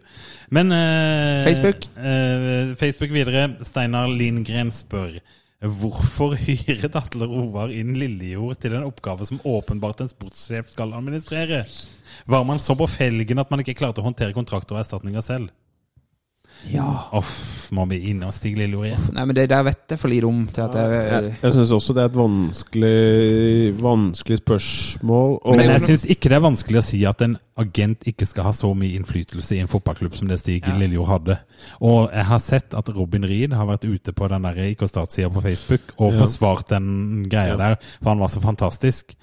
Men eh, Facebook? eh, Facebook videre. Steinar Lindgren spør Hvorfor hyret Atle Roar inn Lillejord til en oppgave som åpenbart en sportssjef skal administrere? Var man så på felgen at man ikke klarte å håndtere kontrakter og erstatninger selv? Ja. Uff, må vi innom Stig Lillejord igjen? Nei, men det der vet jeg for lite om til at jeg eh, Jeg, jeg syns også det er et vanskelig, vanskelig spørsmål. Og, Men jeg syns ikke det er vanskelig å si at en agent ikke skal ha så mye innflytelse i en fotballklubb som det Stig Lillejord hadde. Og jeg har sett at Robin Ried har vært ute på den der IK Stat-sida på Facebook og Ja. forsvart den greia der, for han var så fantastisk.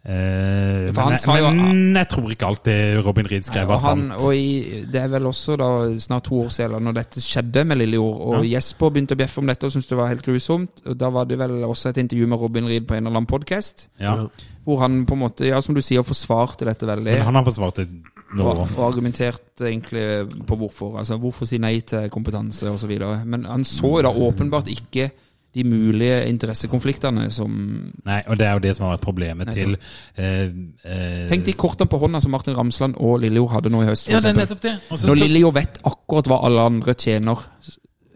Eh, For han men, sa jo- jeg, men jeg tror ikke alt det Robin Ried skrev, og var han, sant. og i, Det er vel også da snart to år siden når dette skjedde med Lillejord. Og Jesper begynte å bjeffe om dette og syntes det var helt grusomt. Og Da var det vel også et intervju med Robin Ried på en eller annen podkast. Ja. Hvor han på en måte, ja som du sier, forsvarte dette veldig. Men han har forsvart det nå. Og, og argumenterte egentlig på hvorfor. Altså hvorfor si nei til kompetanse osv. Men han så jo da åpenbart ikke de mulige interessekonfliktene som Nei, og det er jo det som har vært problemet til eh, eh, Tenk de kortene på hånda som Martin Ramsland og Lillejord hadde nå i høst. for Ja, det er eksempel. nettopp sånn- det. Og så- Når Lillejord vet akkurat hva alle andre tjener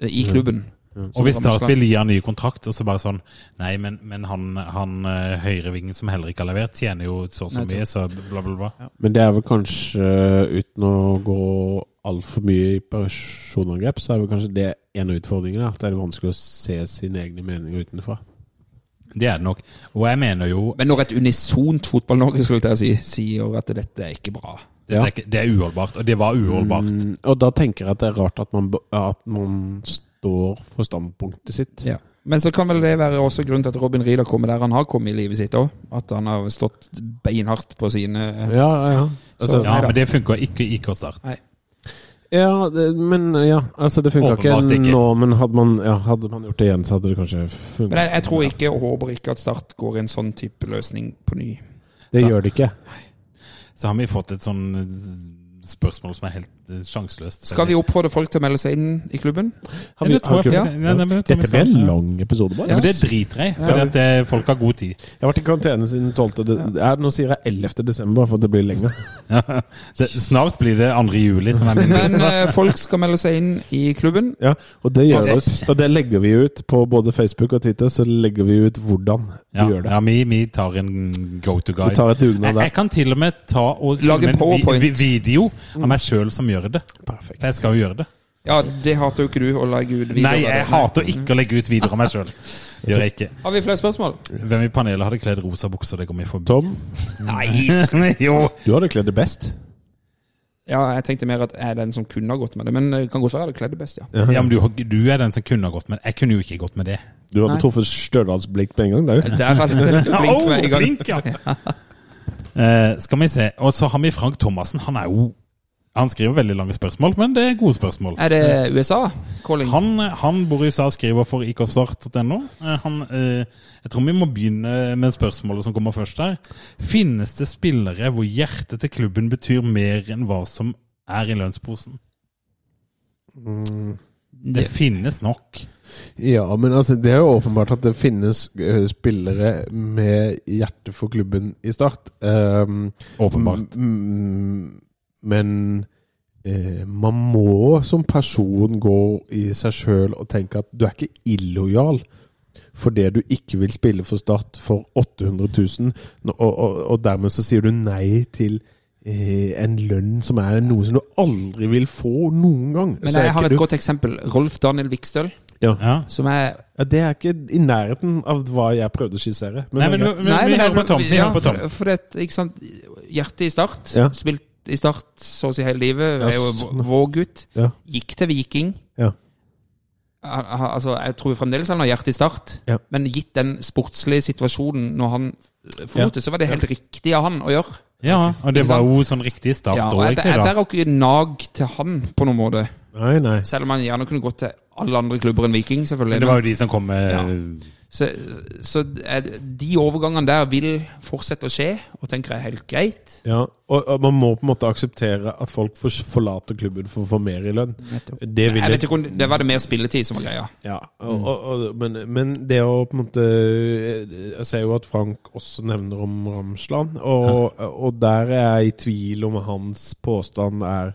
eh, i klubben. Og hvis Start Ramsland. vil gi han ny kontrakt, og så bare sånn Nei, men, men han, han eh, høyrevingen som heller ikke har levert, tjener jo så og så Nettopp. mye, så bla, bla, bla. men det er vel kanskje, eh, uten å gå altfor mye i personangrep, så er vel kanskje det en av utfordringene. At det er vanskelig å se sine egne meninger utenfra. Det er det nok. Og jeg mener jo Men når et unisont Fotball-Norge skulle jeg til å si, sier at dette er ikke bra Det er, ikke- det er uholdbart, og det var uholdbart. Mm, og da tenker jeg at det er rart at man, b- at man står for standpunktet sitt. Ja. Men så kan vel det være også grunnen til at Robin Ried har kommet der han har kommet i livet sitt òg. At han har stått beinhardt på sine Ja, ja. Altså, Ja, men det funker ikke i Start. Ja, det, men ja, altså det funka ikke, Åpenbart ikke. nå, men hadde man, ja, hadde man gjort det igjen, så hadde det kanskje funka. Men jeg, jeg tror ikke og håper ikke at Start går i en sånn type løsning på ny. Det Så- gjør det ikke. Så har vi fått et sånn eh, spørsmål som er helt eh, sjanseløst. Skal vi oppfordre folk til å melde seg inn i klubben? Har Ja, det tror jeg har vi- faktisk- ja, det tror jeg vi Dette ble skal. en lang episode, bare. Ja, men det driter jeg i, for at eh, folk har god tid. Jeg har vært i karantene siden 12. De ja, nå sier jeg 11. desember, for det blir lenge. Det, snart blir det 2. juli som er min Men eh, folk skal melde seg inn i klubben. Ja, og det, gjør Altså- oss, og det legger vi ut på både Facebook og Twitter. Så legger vi ut hvordan vi Ja, gjør det. ja vi, vi tar en go to guide. Vi tar et dugnad jeg, der. jeg kan til og med ta og Lage filme PowerPoint. vi, vi, video av meg sjøl som gjør det. Perfekt. For jeg skal jo gjøre det. Ja, det hater jo ikke du å legge ut videoer. Nei, av jeg det. hater ikke å legge ut videoer av meg sjøl. Gjør jeg ikke. Har vi flere spørsmål? Hvem i panelet hadde kledd rosa bukser? Det kom jeg forbi. Tom, Nei, jo. du hadde kledd det best. Ja, jeg tenkte mer at jeg er den som kunne ha gått med det. Men det kan godt være jeg hadde kledd det best, ja. Ja, men du, har- du er den som kunne ha gått med det. Jeg kunne jo ikke gått med det. Du hadde truffet Stjørdalsblink med en gang. Det er jo Der hadde det blinkt med en Au, gang. blink, ja. Eh, skal vi se. Og så har vi Frank Thomassen. Han er jo Han skriver veldig lange spørsmål, men det er gode spørsmål. Er det USA? Calling? Han, han bor i USA og skriver for ikstart.no. Eh, Han, eh, jeg tror vi må begynne med spørsmålet som kommer først her. Finnes det spillere hvor hjertet til klubben betyr mer enn hva som er i lønnsposen? Mm. Det finnes nok. Ja, men altså, det er jo åpenbart at det finnes eh, spillere med hjerte for klubben i Start. Um, Åpenbart. Mm, men eh, man må som person gå i seg sjøl og tenke at du er ikke illojal for det du ikke vil spille for Start for 800 000, nå- og, og, og dermed så sier du nei til eh, en lønn som er noe som du aldri vil få noen gang. Men Så er jeg har ikke et du- godt eksempel. Rolf Daniel Vikstøl, Mm, ja. Ja. som er Ja, det er ikke i nærheten av hva jeg prøvde å skissere. Men, Nei, men, men, vi det er- hører på Tom. Vi ja, hører på Tom. For, for det, er et, ikke sant? Hjertet i Start. Ja. Spilt i Start så å si hele livet. Ja, Er jo sånn. vår- vår gutt. Ja. Gikk til Viking. Ja. Han- han- Altså, jeg tror fremdeles han har hjertet i Start, Ja. men gitt den sportslige situasjonen når han forlot det, så var det helt riktig av han å gjøre. Ja, og det Ikke var sant? jo sånn riktig start Ja, òg, og jeg, jeg, egentlig. da. der har ikke nag til han på noen måte. Nei, nei. Selv om han gjerne kunne gått til alle andre klubber enn Viking, selvfølgelig. Men det var jo de som kom eh, med Så, så er- de overgangene der vil fortsette å skje, og tenker jeg er helt greit. Ja, og, og man må på en måte akseptere at folk fors- forlater klubben for å få mer i lønn. Det vil Jeg vet ikke om Det var det mer spilletid som var greia. Ja, og, og, og, men, men det å på en måte eh, Jeg ser jo at Frank også nevner om Ramsland, og, og der er jeg i tvil om hans påstand er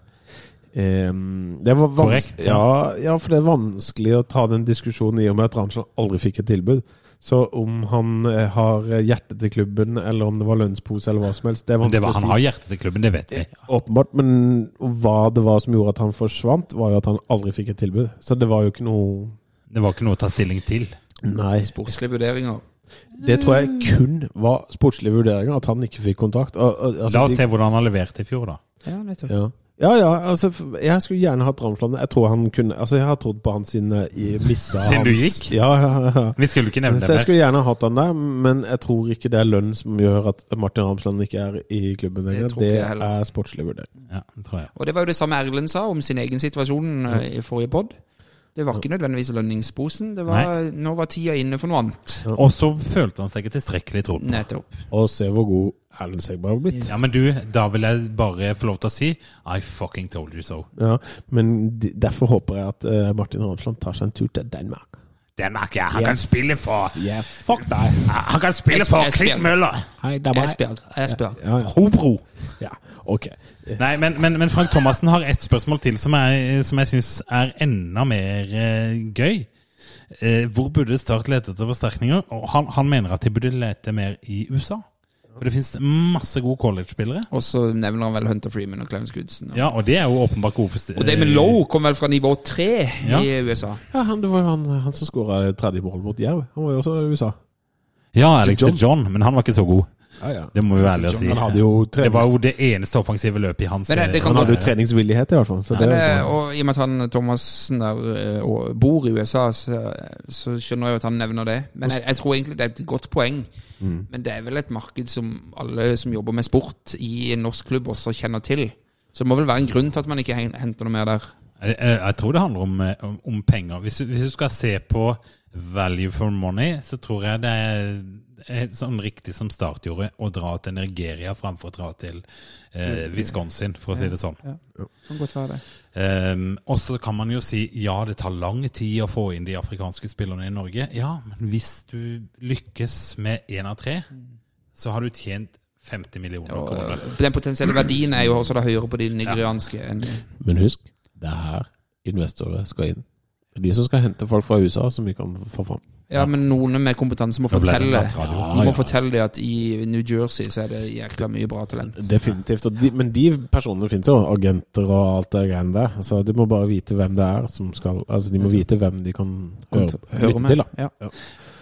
em, det var Korrekt. Korrekt, Ja. ja. ja, for det er vanskelig å ta den diskusjonen i og med at Ramsland aldri fikk et tilbud. Så om han eh, har hjertet til klubben, eller om det var lønnspose, eller hva som helst, det er Men det var, vanskelig Han å si. har hjertet til klubben, det vet vi. Åpenbart, men hva det var som gjorde at han forsvant, var jo at han aldri fikk et tilbud. Så det var jo ikke noe Det var ikke noe å ta stilling til. Nei. Sportslige vurderinger. Det tror jeg kun var sportslige vurderinger, at han ikke fikk kontakt. Og, og, altså, La oss de- se hvordan han leverte i fjor, da. Ja, nettopp. Ja. ja, ja, altså f- Jeg skulle gjerne hatt Ramsland. Jeg tror han kunne Altså, jeg har trodd på han siden jeg missa Siden du hans- gikk? Ja, ja, ja. Vi skulle ikke nevne Så jeg det mer. skulle gjerne hatt han der, men jeg tror ikke det er lønn som gjør at Martin Ramsland ikke er i klubben lenger. tror ikke Det, jeg heller. er sportslig vurdering. Ja, det tror jeg. Og det var jo det samme Erlend sa om sin egen situasjon eh, i forrige pod. Det var ikke nødvendigvis lønningsposen. Det var, nå var tida inne for noe annet. Og så følte han seg ikke tilstrekkelig trodd på. Nettopp. Og se hvor god Erlend Segberg har blitt. Ja, men du, da vil jeg bare få lov til å si I fucking told you so. Ja, men de- derfor håper jeg at eh, Martin Ramsland tar seg en tur til Danmark. Det merker jeg. Han kan spille for Yeah, fuck deg! Han kan spille for Klipp Møller! Hei, Danmark. Esbjerg. Esbjerg. Ja, ja. Hobro! ja, ok. Nei, men, men, men Frank Thomassen har ett spørsmål til som jeg, som jeg syns er enda mer eh, gøy. Eh, hvor burde Start lete etter forsterkninger? Og han, han mener at de burde lete mer i USA. For det finnes masse gode college-spillere. Og så nevner han vel Hunter Freeman og Clarence Goodson. Og, Ja, og det er jo åpenbart gode forst- og Damon Lowe kom vel fra nivå tre Ja. i USA. Ja, han, det var jo han, han som skåra tredje mål mot Jerv. Han var jo også i USA. Ja, Alex John. John. John, men han var ikke så god. Ja, ja. Det må vi være ærlige og si. Han hadde jo, Det var trenings, jo det eneste offensive løpet i hans eh, Men det- det kan han hadde jo godt- treningsvillighet, i hvert fall. Så det, Men, var eh, bra. og i og med at han Thomassen der eh, og bor i USA, så, så skjønner jeg jo at han nevner det. Men jeg, jeg tror egentlig det er et godt poeng. Men det er vel et marked som alle som jobber med sport i en norsk klubb, også kjenner til. Så det må vel være en grunn til at man ikke hen- henter noe mer der. Jeg, jeg jeg tror det handler om, eh, om, om penger. Hvis, du- hvis du skal se på value for money, så tror jeg det er er sånn riktig som Start gjorde, å dra til Nigeria framfor å dra til eh, Wisconsin, for å si det sånn. Kan godt være det. Ehm, og så kan man jo si ja, det tar lang tid å få inn de afrikanske spillerne i Norge. Ja, men hvis du lykkes med én av tre, så har du tjent 50 millioner Og, kroner. eh, den potensielle verdien er jo også da høyere på de nigerianske enn Men husk, det er her investorer skal inn. Det er de som skal hente folk fra USA som vi kan få fram. Ja, men noen med kompetanse må Nå ble det fortelle litt radio. De må fortelle det at i New Jersey så er det jækla mye bra talent. Definitivt. Og de, men de personene finnes jo, agenter og alt det greiene der. Så de må bare vite hvem det er som skal Altså, de må vite hvem de kan høre, Hører lytte til, da. Ja.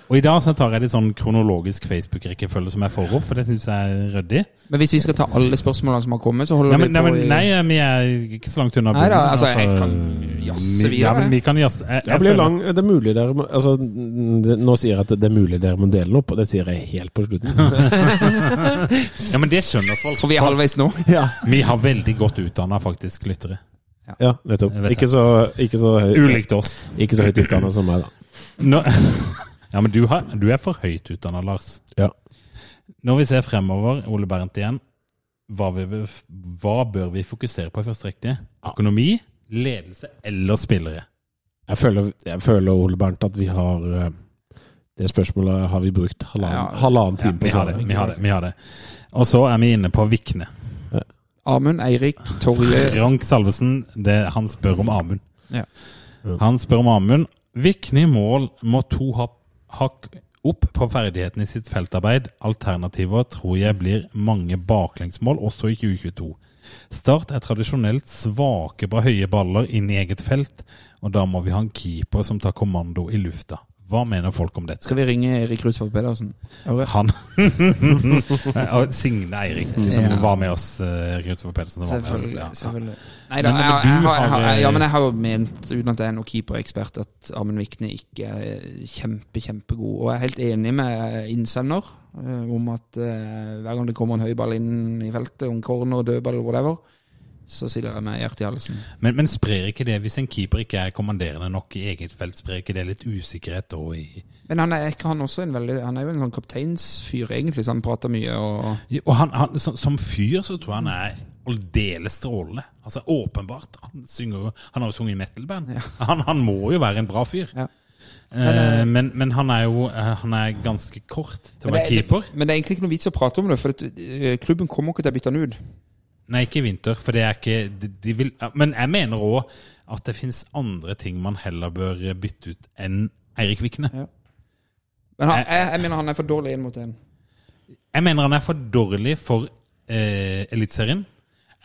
Og i dag så tar jeg litt sånn kronologisk Facebook-rekkefølge som jeg får opp, for det syns jeg er ryddig. Men hvis vi skal ta alle spørsmålene som har kommet, så holder Nei, men, nei, vi på men, i- nei, eh, vi er ikke så langt unna. Nei da, bunnen, altså, jeg kan jazze vi- Ja, videre. men vi kan jazze. Jeg, Det, jeg blir føler- lang, det er mulig dere må altså, det, Nå sier jeg at det er mulig dere må dele den opp, og det sier jeg helt på slutten. Ja, men det skjønner folk. For vi er halvveis nå. Vi har veldig godt utdanna faktisk lyttere. Ja, nettopp. Jeg vet det. Ikke så, ikke så, høy, Ulikt oss. ikke så høyt utdanna som meg, da. Nå, ja, men du, har, du er for høyt utdanna, Lars. Ja. Når vi ser fremover, Ole Bernt igjen, hva, vi, hva bør vi fokusere på i første rekke? Økonomi, ledelse eller spillere? Jeg føler, jeg føler Ole Bernt, at vi har eh, Det spørsmålet har vi brukt halvannen, Ja. halvannen Ja, time på. vi har det. vi har det, vi har det. Og så er vi inne på Vikne. Amund, Eirik, Ah, Torje Rank Salvesen, det, han spør om Amund. Ja. Han spør om Amund. Vikne i mål må to hak- hakk opp på ferdigheten i sitt feltarbeid. Alternativer tror jeg blir mange baklengsmål, også i 2022. Start er tradisjonelt svake på høye baller inn i eget felt, og da må vi ha en keeper som tar kommando i lufta. Hva mener folk om dette? Skal vi ringe Erik Rudsvold Pedersen? Han Og Signe Eirik, som Ja. var med oss. eh, Kristoffer Pedersen, som var med oss. Selvfølgelig. Ja. selvfølgelig. Nei da, Men- men jeg, du jeg, har- jeg, har- eh, har- ja, men jeg har jo ment, uten at jeg er noen keeperekspert, at Amund Vikne ikke er kjempe, kjempegod. Og jeg er helt enig med innsender eh, om at eh, hver gang det kommer en høyball inn i feltet, om corner, dødball, whatever, så sier jeg meg hjertet i halsen. Men, men sprer ikke det, hvis en keeper ikke er kommanderende nok i eget felt, sprer ikke det litt usikkerhet da i Men han er, ikke han, også en veldig, han er jo en sånn kapteinsfyr, egentlig, så han prater mye og Og han, han, som, som fyr så tror jeg han er aldeles strålende. Altså åpenbart. Han, synger, jo- han har jo sunget i metalband. Han, han må jo være en bra fyr. Ja. Eh, men, men han er jo eh, han er ganske kort til å være keeper. Men det er egentlig ikke noe vits å prate om det, for at, eh, klubben kommer ikke til å bytte han ut. Nei, ikke i vinter, for det er ikke de, de vil, ja, Men jeg mener òg at det fins andre ting man heller bør bytte ut enn Eirik Vikne. Men han, Jeg- jeg, jeg mener han er for dårlig inn mot en. Jeg mener han er for dårlig for eh, Eliteserien.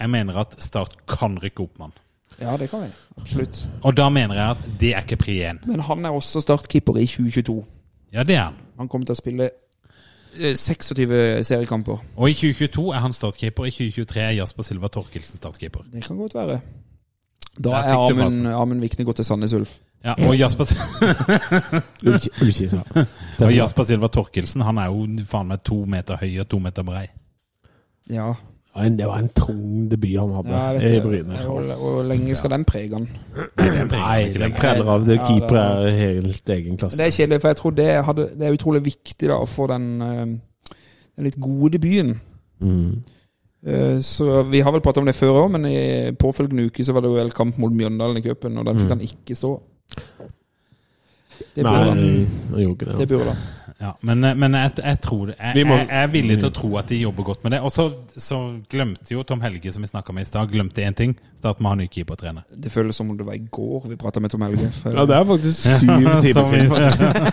Jeg mener at Start kan rykke opp med han. Ja, det kan vi. Absolutt. Og da mener jeg at det er ikke pri én. Men han er også startkeeper i 2022. Ja, det er han. Han kommer til å spille eh, 26 seriekamper. Og i 2022 er han startkeeper, i 2023 er Jasper Silva Torkelsen startkeeper. Det kan godt være. Da Der er fikk du Amund Amund Vikne gått til Sandnes Ulf. Ja, og Jasper, Ulki- Ullkisa. og Stefan, Jasper Silva Torkelsen han er jo faen meg to meter høy og to meter brei. Ja. det var en- Det var en tung debut han hadde ja i jeg vet det. Bryne. Hvor, hvor lenge skal den prege han? Nei, ikke den lenger. preller av. Det Ja, keeper det- er helt egen klasse. Det er kjedelig, for jeg tror det, hadde, det er utrolig viktig da, å få den, eh, den litt gode debuten. Mm. Eh, Så Vi har vel pratet om det før òg, men i påfølgende uke så var det jo vel kamp mot Mjøndalen i cupen, og den Mm. fikk han ikke stå. Det burde han. Nei, han gjorde ikke det. Det Altså. burde han. Ja, men, eh, men jeg, jeg tror det. Jeg, Vi må- Mm. jeg, jeg er villig til å tro at de jobber godt med det. Og så så glemte jo Tom Helge, som vi snakka med i stad, glemte én ting. Start må ha ny keepertrener. Det føles som om det var i går vi prata med Tom Helge. Ja, det er faktisk syv timer Som vi- siden.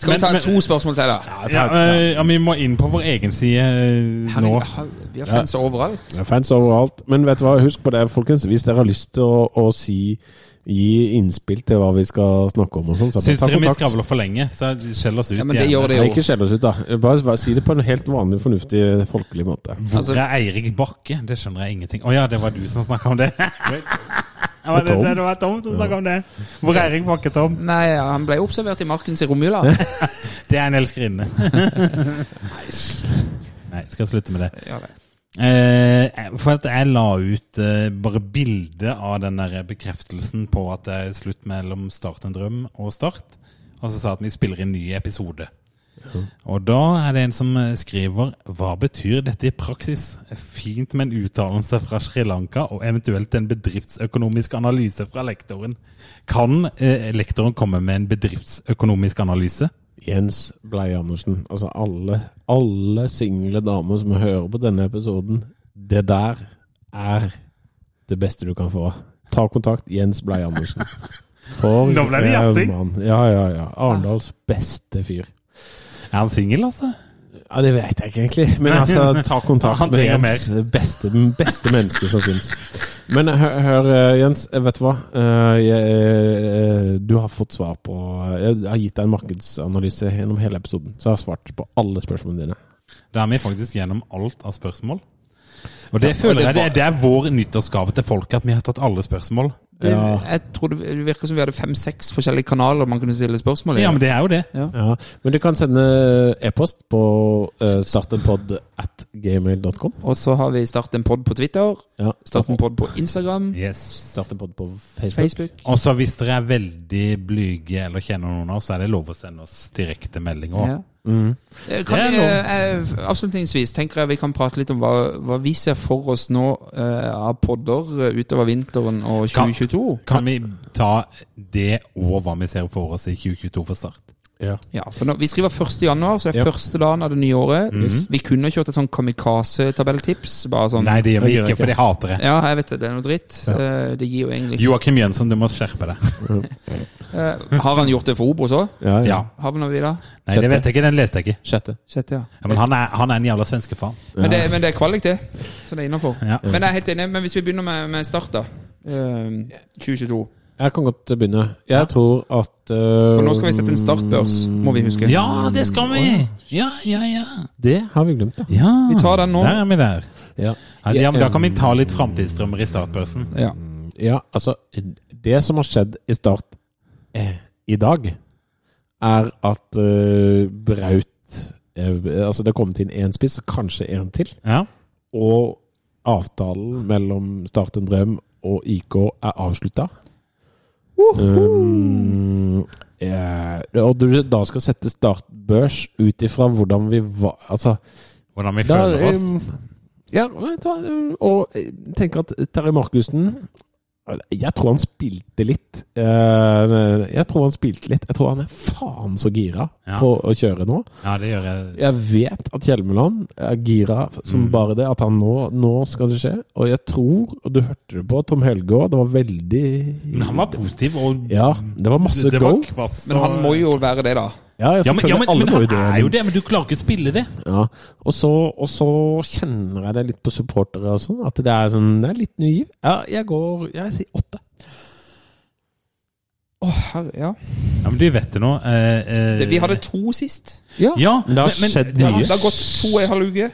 Skal vi Men- ta men- to spørsmål til, da? Ja, eh, ja, vi må inn på vår egen side eh, nå. Herregud, vi har fans overalt. Det er fans overalt. Men vet du hva, husk på det, folkens. Hvis dere har lyst til å, å si Gi innspill til hva vi skal snakke om og sånn, så bare Syns ta dere vi kontakt. skravler for lenge, så skjell oss ut Ja, men det igjen. gjør det Nei, jo. ikke skjell oss ut, da. Bare, bare si det på en helt vanlig, fornuftig, folkelig måte. Hvor Altså- er Eirik Bakke? Det skjønner jeg ingenting Å ja, det var du som snakka om det. Ja, men det, Tom. det var Tom som snakka om det. Hvor er Eirik Bakke, Tom? Nei, han ble observert i markens i romjula. Det er en elskerinne. Nei, skal jeg slutte med det. Ja, det. Eh, for at jeg la ut eh, bare bilde av den der bekreftelsen på at det er slutt mellom Start en drøm og Start, og så sa at vi spiller en ny episode. Og da er det en som eh, skriver Hva betyr dette i praksis? Fint med en uttalelse fra Sri Lanka og eventuelt en bedriftsøkonomisk analyse fra lektoren. Kan eh, lektoren komme med en bedriftsøkonomisk analyse? Jens Blei Andersen. Altså alle, alle single damer som hører på denne episoden, det der er det beste du kan få. Ta kontakt, Jens Blei Andersen. For Nå ble det en jazzing. mann. Ja, ja, ja. Arendals beste fyr. Er han singel, altså? Ja, Det vet jeg ikke egentlig, men altså, ta kontakt Han med trenger Jens. Beste, beste menneske som fins. Men hør, hør eh, Jens, eh, vet du hva? Eh, jeg, eh, du har fått svar på eh, Jeg har gitt deg en markedsanalyse gjennom hele episoden. Så jeg har svart på alle spørsmålene dine. Da er vi faktisk gjennom alt av spørsmål. Og det føler jeg det er, det er vår nyttårsgave til folk, at vi har tatt alle spørsmål. Det, jeg tror det virker som vi hadde fem-seks forskjellige kanaler man kunne stille spørsmål i. Ja, men det er jo det. Ja, men du kan sende eh, e-post på uh, startenpod at gmail.com. Og så har vi Start en pod på Twitter, Ja, Start en pod på Instagram, Yes. startenpod på Facebook. Facebook. Og så hvis dere er veldig blyge eller kjenner noen av oss, så er det lov å sende oss direkte melding òg. Ja. Eh, Kan Det er vi, lov. eh, avslutningsvis tenker jeg vi kan prate litt om hva, hva vi ser for oss nå eh, av podder eh, utover vinteren og Kan- 2022. Kan vi ta det og hva vi ser for oss i 2022 for start? Ja, for nå, Vi skriver 1. januar, så det er første dagen av det nye året. Vi kunne kjørt et sånn kamikaze-tabelltips. Bare sånn Nei, det gjør vi Det gjør jeg ikke, for de hater det. Ja, jeg vet det. Det er noe dritt. Eh, Det gir jo egentlig Joakim Jønsson, du må skjerpe deg. Eh, Har han gjort det for Obos òg? Ja, ja. Ja. Havner vi da? Nei, det vet jeg ikke. Den leste jeg ikke. Sjette. Sjette, ja. Ja, men han er, han er en jævla svenske faen. Men det, men det er kvalik, det. Så det er innafor. Ja. Men jeg er helt enig. Men hvis vi begynner med, med start, da. Eh, 2022. Jeg kan godt begynne. Jeg tror at mm, uh, For nå skal vi sette en startbørs, må vi huske. Ja, det skal vi! Ja, ja, ja. Det har vi glemt, ja. ja. Vi tar den nå. Der er vi der. Ja, Ja, ja, men da kan vi ta litt framtidsdrømmer i startbørsen. Ja. ja altså Det som har skjedd i Start eh, i dag, er at eh, Braut eh, Altså, det er kommet inn én spiss, kanskje én til. Ja. Og avtalen mellom Start en drøm og IK er avslutta. Um, eh, og du da skal sette startbørs ut ifra hvordan vi var Altså Hvordan vi da, føler oss. um, ja, vet du hva, um, og jeg tenker at Terje Markussen Jeg tror han spilte litt. Eh, Jeg tror han spilte litt. Jeg tror han er faen så gira Ja. på å kjøre nå. Ja, det gjør jeg. Jeg vet at Hjelmeland er gira som Mm. bare det, at han nå, nå skal det skje. Og jeg tror, og du hørte det på Tom Helge òg, det var veldig Men han var positiv, og Ja, det var masse det go. var kvass. Men han må jo være det, da. Ja, ja, ja, men, ja, selvfølgelig, men, alle men må han det, er jo det, men du klarer ikke å spille det. Ja. Og, så, og så kjenner jeg det litt på supportere og sånn, at det er, sånn, det er litt ny giv. Ja, jeg går Jeg sier åtte. Å, herre, ja. Ja, men du vet det nå. eh, eh, det, vi hadde to sist. Ja, men det har skjedd det mye. Det har gått to og en halv uke.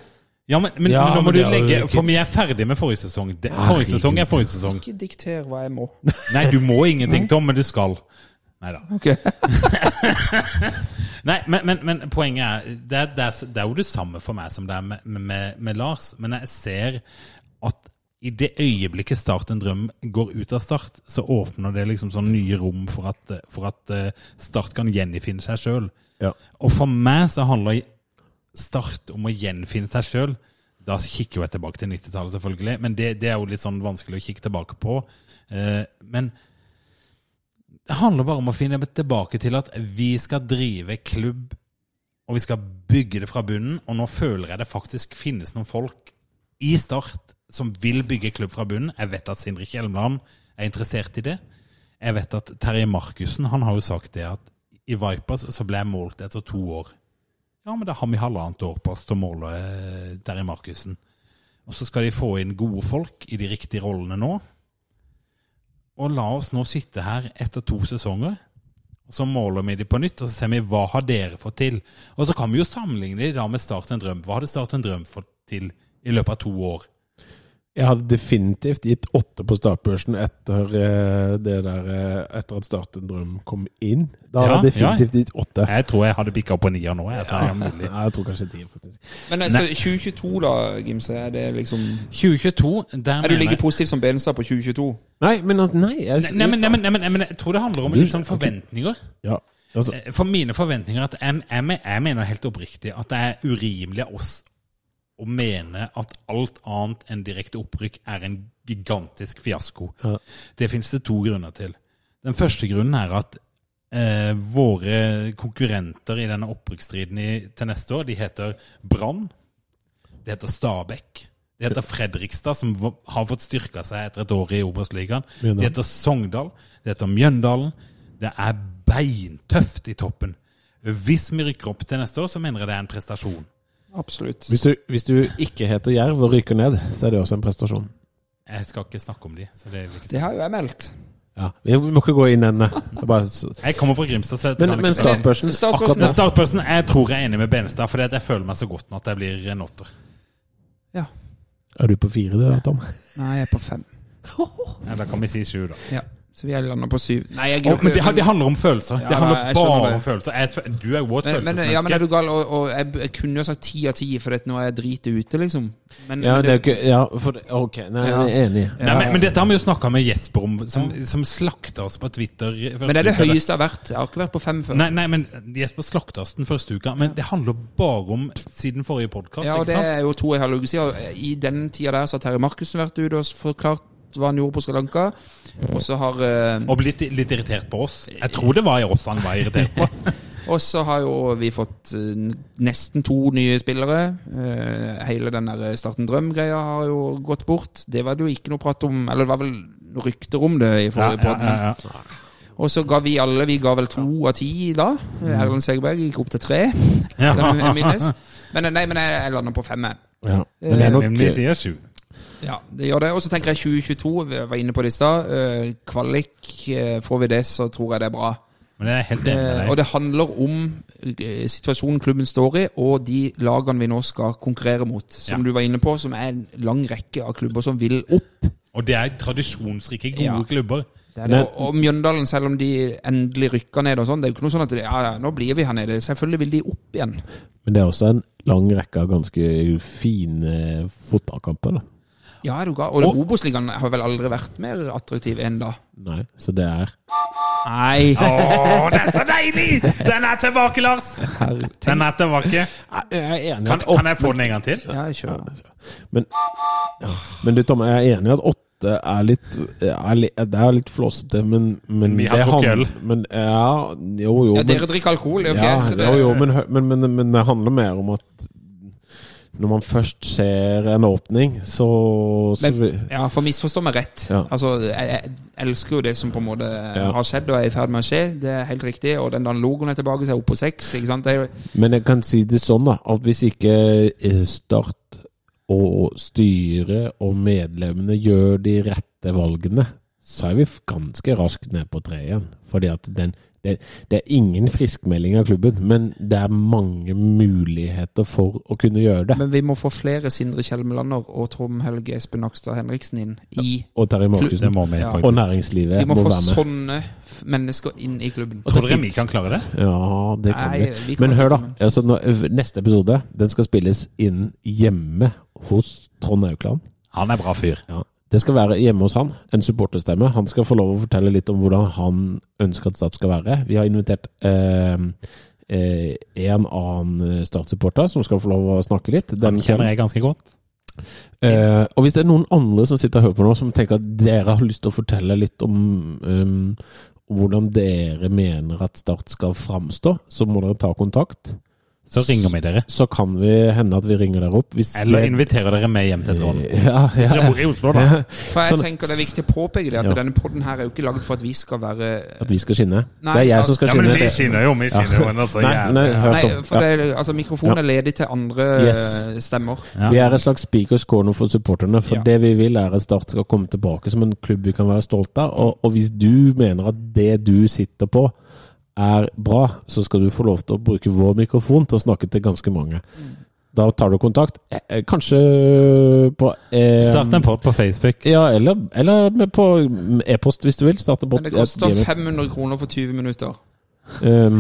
Ja, men, men, Ja, men nå må men du det er jo legge ikke- For vi er ferdig med forrige sesong. Det, forrige sesong er forrige sesong. Ikke dikter hva jeg må. Nei, du må ingenting, Tom, men du skal. Neida. Ok. Nei men, men, men poenget er det, er det er det er jo det samme for meg som det er med, med, med Lars. Men jeg ser at i det øyeblikket Start en drøm går ut av Start, så åpner det liksom sånn nye rom for at, for at eh, Start kan gjenfinne seg sjøl. Ja. Og for meg så handler Start om å gjenfinne seg sjøl. Da kikker jo jeg tilbake til 90-tallet, selvfølgelig, men det, det er jo litt sånn vanskelig å kikke tilbake på. Eh, men det handler bare om å finne tilbake til at vi skal drive klubb, og vi skal bygge det fra bunnen. Og nå føler jeg det faktisk finnes noen folk i Start som vil bygge klubb fra bunnen. Jeg vet at Sindrik Hjelmeland er interessert i det. Jeg vet at Terje Markussen han har jo sagt det at i Vipers så ble jeg målt etter to år. Ja, men da har vi halvannet år på oss til å måle eh, Terje Markussen. Og så skal de få inn gode folk i de riktige rollene nå. Og la oss nå sitte her etter to sesonger, og så måler vi de på nytt, og så ser vi hva har dere fått til. Og så kan vi jo sammenligne de da med Start en drøm. Hva hadde Start en drøm fått til i løpet av to år? Jeg hadde definitivt gitt åtte på startbørsen etter, eh, det der, eh, etter at Start en drøm kom inn. Da hadde Ja, jeg definitivt gitt åtte. Jeg tror jeg hadde bikka på nier nå. Jeg tror det er mulig. Nei, jeg tror kanskje ti, faktisk. Men altså, 2022, da, Gimse. Er det liksom 2022 der Er du mener like jeg- positiv som Benestad på 2022? Nei, men altså, nei, jeg, Nei, men, nei, men, nei, men, nei, men jeg tror det handler om litt sånn forventninger. Ja, altså, Eh, For mine forventninger er at jeg, jeg, men- jeg mener helt oppriktig at det er urimelig av oss å mene at alt annet enn direkte opprykk er en gigantisk fiasko. Ja. Det finnes det to grunner til. Den første grunnen er at eh, våre konkurrenter i denne opprykksstriden i, til neste år, de heter Brann, det heter Stabæk, det heter Fredrikstad, som v- har fått styrka seg etter et år i Obos-ligaen. Det Mjøndalen. heter Sogndal, det heter Mjøndalen. Det er beintøft i toppen. Hvis vi rykker opp til neste år, så mener jeg det er en prestasjon. Absolutt. hvis, du, hvis du ikke heter Jerv og ryker ned, så er det også en prestasjon. Jeg skal ikke snakke om de. Så det vil jeg ikke. Det har jo jeg meldt. Ja, vi må ikke gå inn ennå. Det er bare så- Jeg kommer fra Grimstad, så dette kan Men, jeg men ikke si. startbørsen akkurat Startbørsen, nå Men startperson, jeg tror jeg er enig med Benestad, fordi at jeg føler meg så godt nå at jeg blir en åtter. Ja. Er du på fire, du, Tom? Nei, jeg er på fem. Eller kan vi si sju, da. Ja. Så vi er landa på syv. Nei, jeg Og, men det, det handler om følelser. Ja, Det handler jeg skjønner bare det. om følelser. Jeg, er et fø- du er jo et men, men, ja, men følelsesmenneske. er du gal? Og, og jeg, jeg kunne jo sagt ti av ti, for at nå er jeg driter ute, liksom. Men, Ja, men det er jo ikke Ja, for det- OK. Nei, jeg er enig. Nei, men, men dette har vi jo snakka med Jesper om, som, som slakta oss på Twitter. første men det er det uka. høyeste jeg har vært. Jeg har ikke vært på fem før. Nei, nei, men Jesper slakta oss den første uka, men det handler bare om siden forrige podkast. ja, og det sant? er jo to og en halv uke siden. og eh, I den tida der så har Terje Markussen vært ute og forklart hva han gjorde på Sri Lanka. Mm. Og så har eh, Og blitt litt irritert på oss. Jeg tror det var i oss han var irritert på. Og så har jo vi fått eh, nesten to nye spillere. Eh, Hele den der Starten Drøm-greia har jo gått bort. Det var det jo ikke noe prat om, eller det var vel noen rykter om det i Ja, forrige ja, podd. ja, ja. Og så ga vi alle, vi ga vel to av ti da. Erlend Segerberg gikk opp til tre, Mm. Ja. kan jeg minnes. Men eh, nei, men jeg, jeg lander på fem, jeg. Ja. Men det er nok Men vi sier sju. Ja, det gjør det. Og så tenker jeg 2022, vi var inne på det i stad. Eh, Kvalik, eh, får vi det, så tror jeg det er bra. Men jeg er helt enig Eh, og med deg. det handler om eh, situasjonen klubben står i, og de lagene vi nå skal konkurrere mot. Som Ja. du var inne på, som er en lang rekke av klubber som vil opp. Og det er tradisjonsrike, gode Ja. klubber. og, og Mjøndalen, selv om de endelig rykker ned og sånn, det er jo ikke noe sånn at de, ja, ja, nå blir vi her nede. Selvfølgelig vil de opp igjen. Men det er også en lang rekke av ganske fine fotballkamper. da. Ja, er du gal? Og, og Obos-ligaen har vel aldri vært mer attraktiv enn da. Nei, så det er Nei. Å, det er så deilig! Den er tilbake, Lars! Den er tilbake. Jeg er enig i Kan, at kan jeg få den en gang til? Ja, kjør. Men, men du, Tom, jeg er enig i at åtte er litt, er li- Det er litt flåsete, men, men Vi har det drukket hand- Men, ja, jo, jo. Ja, dere men, drikker alkohol, det er ok. ja, så det- jo, jo, men, hø- men, men, men det handler mer om at når man først ser en åpning, så, så Men- vi- Ja, for misforstå meg rett. Ja. Altså, jeg, jeg elsker jo det som på en måte Ja. har skjedd og er i ferd med å skje. Det er helt riktig. Og den, den logoen er tilbake, så er jeg oppe på seks. Ikke sant? Det er jo, Men jeg kan si det sånn, da, at hvis ikke eh, Start og styret og medlemmene gjør de rette valgene, så er vi f- ganske raskt ned på tre igjen. Fordi at den, det, det er ingen friskmelding av klubben, men det er mange muligheter for å kunne gjøre det. men vi må få flere Sindre Kjelmelander og Tom Helge Espen Nakstad Henriksen inn i Og Terje Det Markussen må vi Ja. faktisk. og Vi næringslivet må få må være med. sånne f- mennesker inn i klubben. Tror dere vi kan klare det? Ja, det Nei, kan vi vi. kan Men ikke hør, da. komme. Altså, nå, neste episode den skal spilles inn hjemme hos Trond Aukland. Han er bra fyr. Ja. Det skal være hjemme hos han, en supporterstemme. Han skal få lov å fortelle litt om hvordan han ønsker at Start skal være. Vi har invitert eh, eh, en annen Start-supporter som skal få lov å snakke litt. Den Den kjenner jeg ganske godt. Eh, og hvis det er noen andre som sitter og hører på nå, som tenker at dere har lyst til å fortelle litt om ehm, hvordan dere mener at Start skal framstå, så må dere ta kontakt. Så ringer vi dere. Så kan vi hende at vi ringer dere opp. Hvis Eller det- inviterer dere med hjem til Trond. Ja, ja, Dere bor i Oslo, da. For jeg Sånn- tenker det er viktig å påpeke det, at Ja. denne podden her er jo ikke lagd for at vi skal være At vi skal skinne. Nei, det er ja. jeg som skal Ja, skinne. men vi skinner jo, vi skinner jo. Men altså, Nei, nei, jævlig. hør, Nei, Tom. for Ja. det, er- altså, mikrofonen Ja. er ledig til andre Yes. eh, stemmer. Ja. Vi er et slags speakers corner for supporterne. For Ja. det vi vil, er at Start skal komme tilbake som en klubb vi kan være stolt av. Og, og hvis du mener at det du sitter på, er bra, så skal du få lov til å bruke vår mikrofon til å snakke til ganske mange. Mm. Da tar du kontakt. Eh, eh, Kanskje på eh, Start en pod på Facebook. Ja, eller, eller med på e-post, hvis du vil. Start en pod- Men det koster eh, 500 kroner for 20 minutter. Um,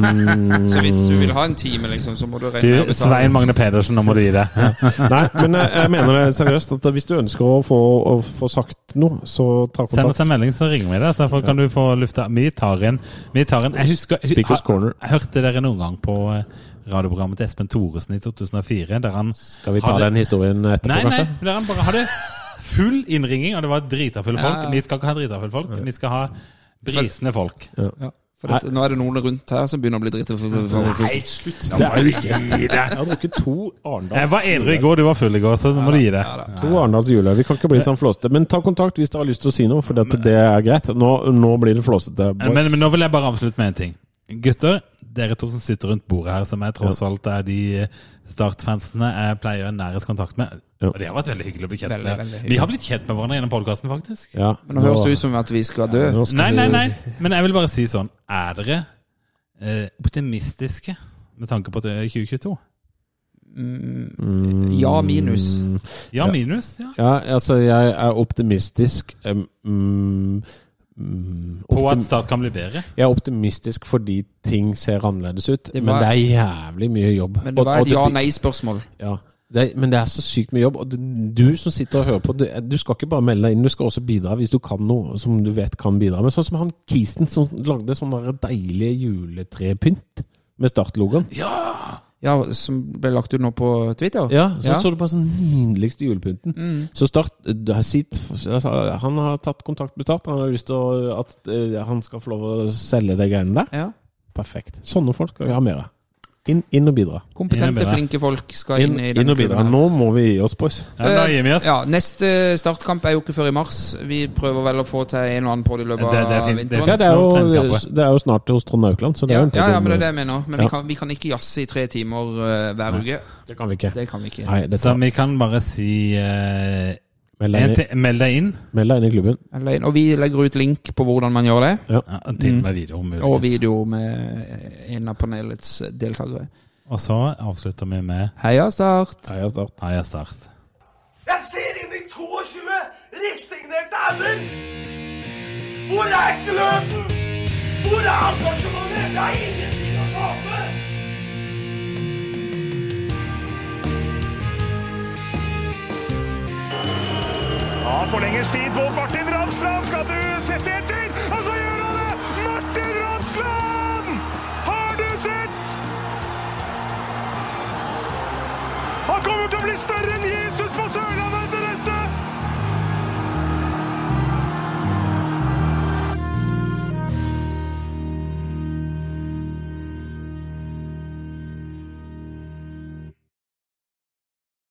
Så hvis du vil ha en time, liksom, så må du regne Du, med å betale. Svein Magne Pedersen, nå må du gi deg. Nei, men eh, jeg, jeg mener det seriøst. At hvis du ønsker å få, å få sagt noe, så ta Send oss kontakt. en melding, så ringer vi deg. Så derfor kan du få lufta. Vi tar en. Vi tar en. Jeg husker jeg, Speakers corner. jeg hørte dere noen gang på eh, radioprogrammet til Espen Thoresen i 2004, der han Skal vi ta den historien etterpå, Nei, nei, kanskje? der han bare hadde full innringing, og det var dritafulle folk. Ja, ja. Vi skal ikke ha dritafulle folk, vi skal ha brisende folk. Ja, for dette, nå er det noen rundt her som begynner å bli drita. slutt! Det er jo ikke Jeg har drukket to Arendals Jeg var edru i går, du var full i går, så nå må du gi deg. To Arendals juleøl. Vi kan ikke bli sånn flåsete. Men ta kontakt hvis dere har lyst til å si noe, for dette, det er greit. Nå, nå blir det flåsete. boys. Men, men nå vil jeg bare avslutte med en ting. Gutter, dere to som sitter rundt bordet her, som jeg tross alt er de eh, Start-fansene jeg pleier nærest kontakt med. Og det har vært veldig hyggelig å bli kjent Veldig, med. veldig hyggelig. Vi har blitt kjent med hverandre gjennom podkasten, faktisk. Ja, Men nå høres det ut som at vi skal dø. nå skal Nei, du- nei, nei. Men jeg vil bare si sånn Er dere eh, optimistiske med tanke på at eh, det er 2022? Mm. Ja minus. Ja, minus. ja. Ja, altså, jeg er optimistisk um, mm, mm, På optim- at Start kan bli bedre. Jeg er optimistisk fordi ting ser annerledes ut, Det men var- det er jævlig mye jobb. Men det Og- var og et det blir- ja-nei-spørsmål. Ja. Det er, men det er så sykt mye jobb. Og du- du som sitter og hører på, du, du skal ikke bare melde deg inn, du skal også bidra hvis du kan noe som du vet kan bidra med. Sånn som han Kisen som lagde sånn der deilig juletrepynt med startlogoen. Ja, som ble lagt ut nå på Twitter? Ja, så Ja. Mm. så du på sånn nydeligste julepynten. Så Start det er sitt, altså, Han har tatt kontakt med Start. Han har lyst til å, at eh, han skal få lov å selge de greiene der. Ja. Perfekt. Sånne folk skal vi ha mer av. Inn, inn og bidra. Inn og Kompetente, bidra. flinke folk skal Inn, inn i den inn og bidra. klubben her. Nå må vi gi oss, boys. Ja, da gir vi oss. Eh, Ja, neste startkamp er jo ikke før i mars. Vi prøver vel å få til en og annen på i løpet Det- det er av fint. Det er Ja, vinteren. det er, Snart treningskamp, jo, ja. det er jo snart hos Trond Aukland, så det Ja, er jo en ja, ja, men det er det det, jeg mener. Men vi, kan, vi kan ikke jazze i tre timer eh, hver uke. kan vi ikke. Det kan vi ikke. Nei, dette Så vi kan bare si eh, meld en deg inn- ting- Meld deg inn. meld deg inn i klubben. Eller- Og vi legger ut link på hvordan man gjør det. Ja, til og med video, om Og muligens. video med en av panelets deltakere. Og så avslutter vi med Heia Start! Heia Start. Heia Start. Jeg ser inn i 22 resignerte ender! Hvor er gløden? Hvor er engasjementet? Det er ingenting å tape! Ja, forlenges tid på Martin Ramsland. Skal du sette etter? Og så gjør han det! Martin Ramsland! Har du sett? Han kommer til å bli større enn Jesus!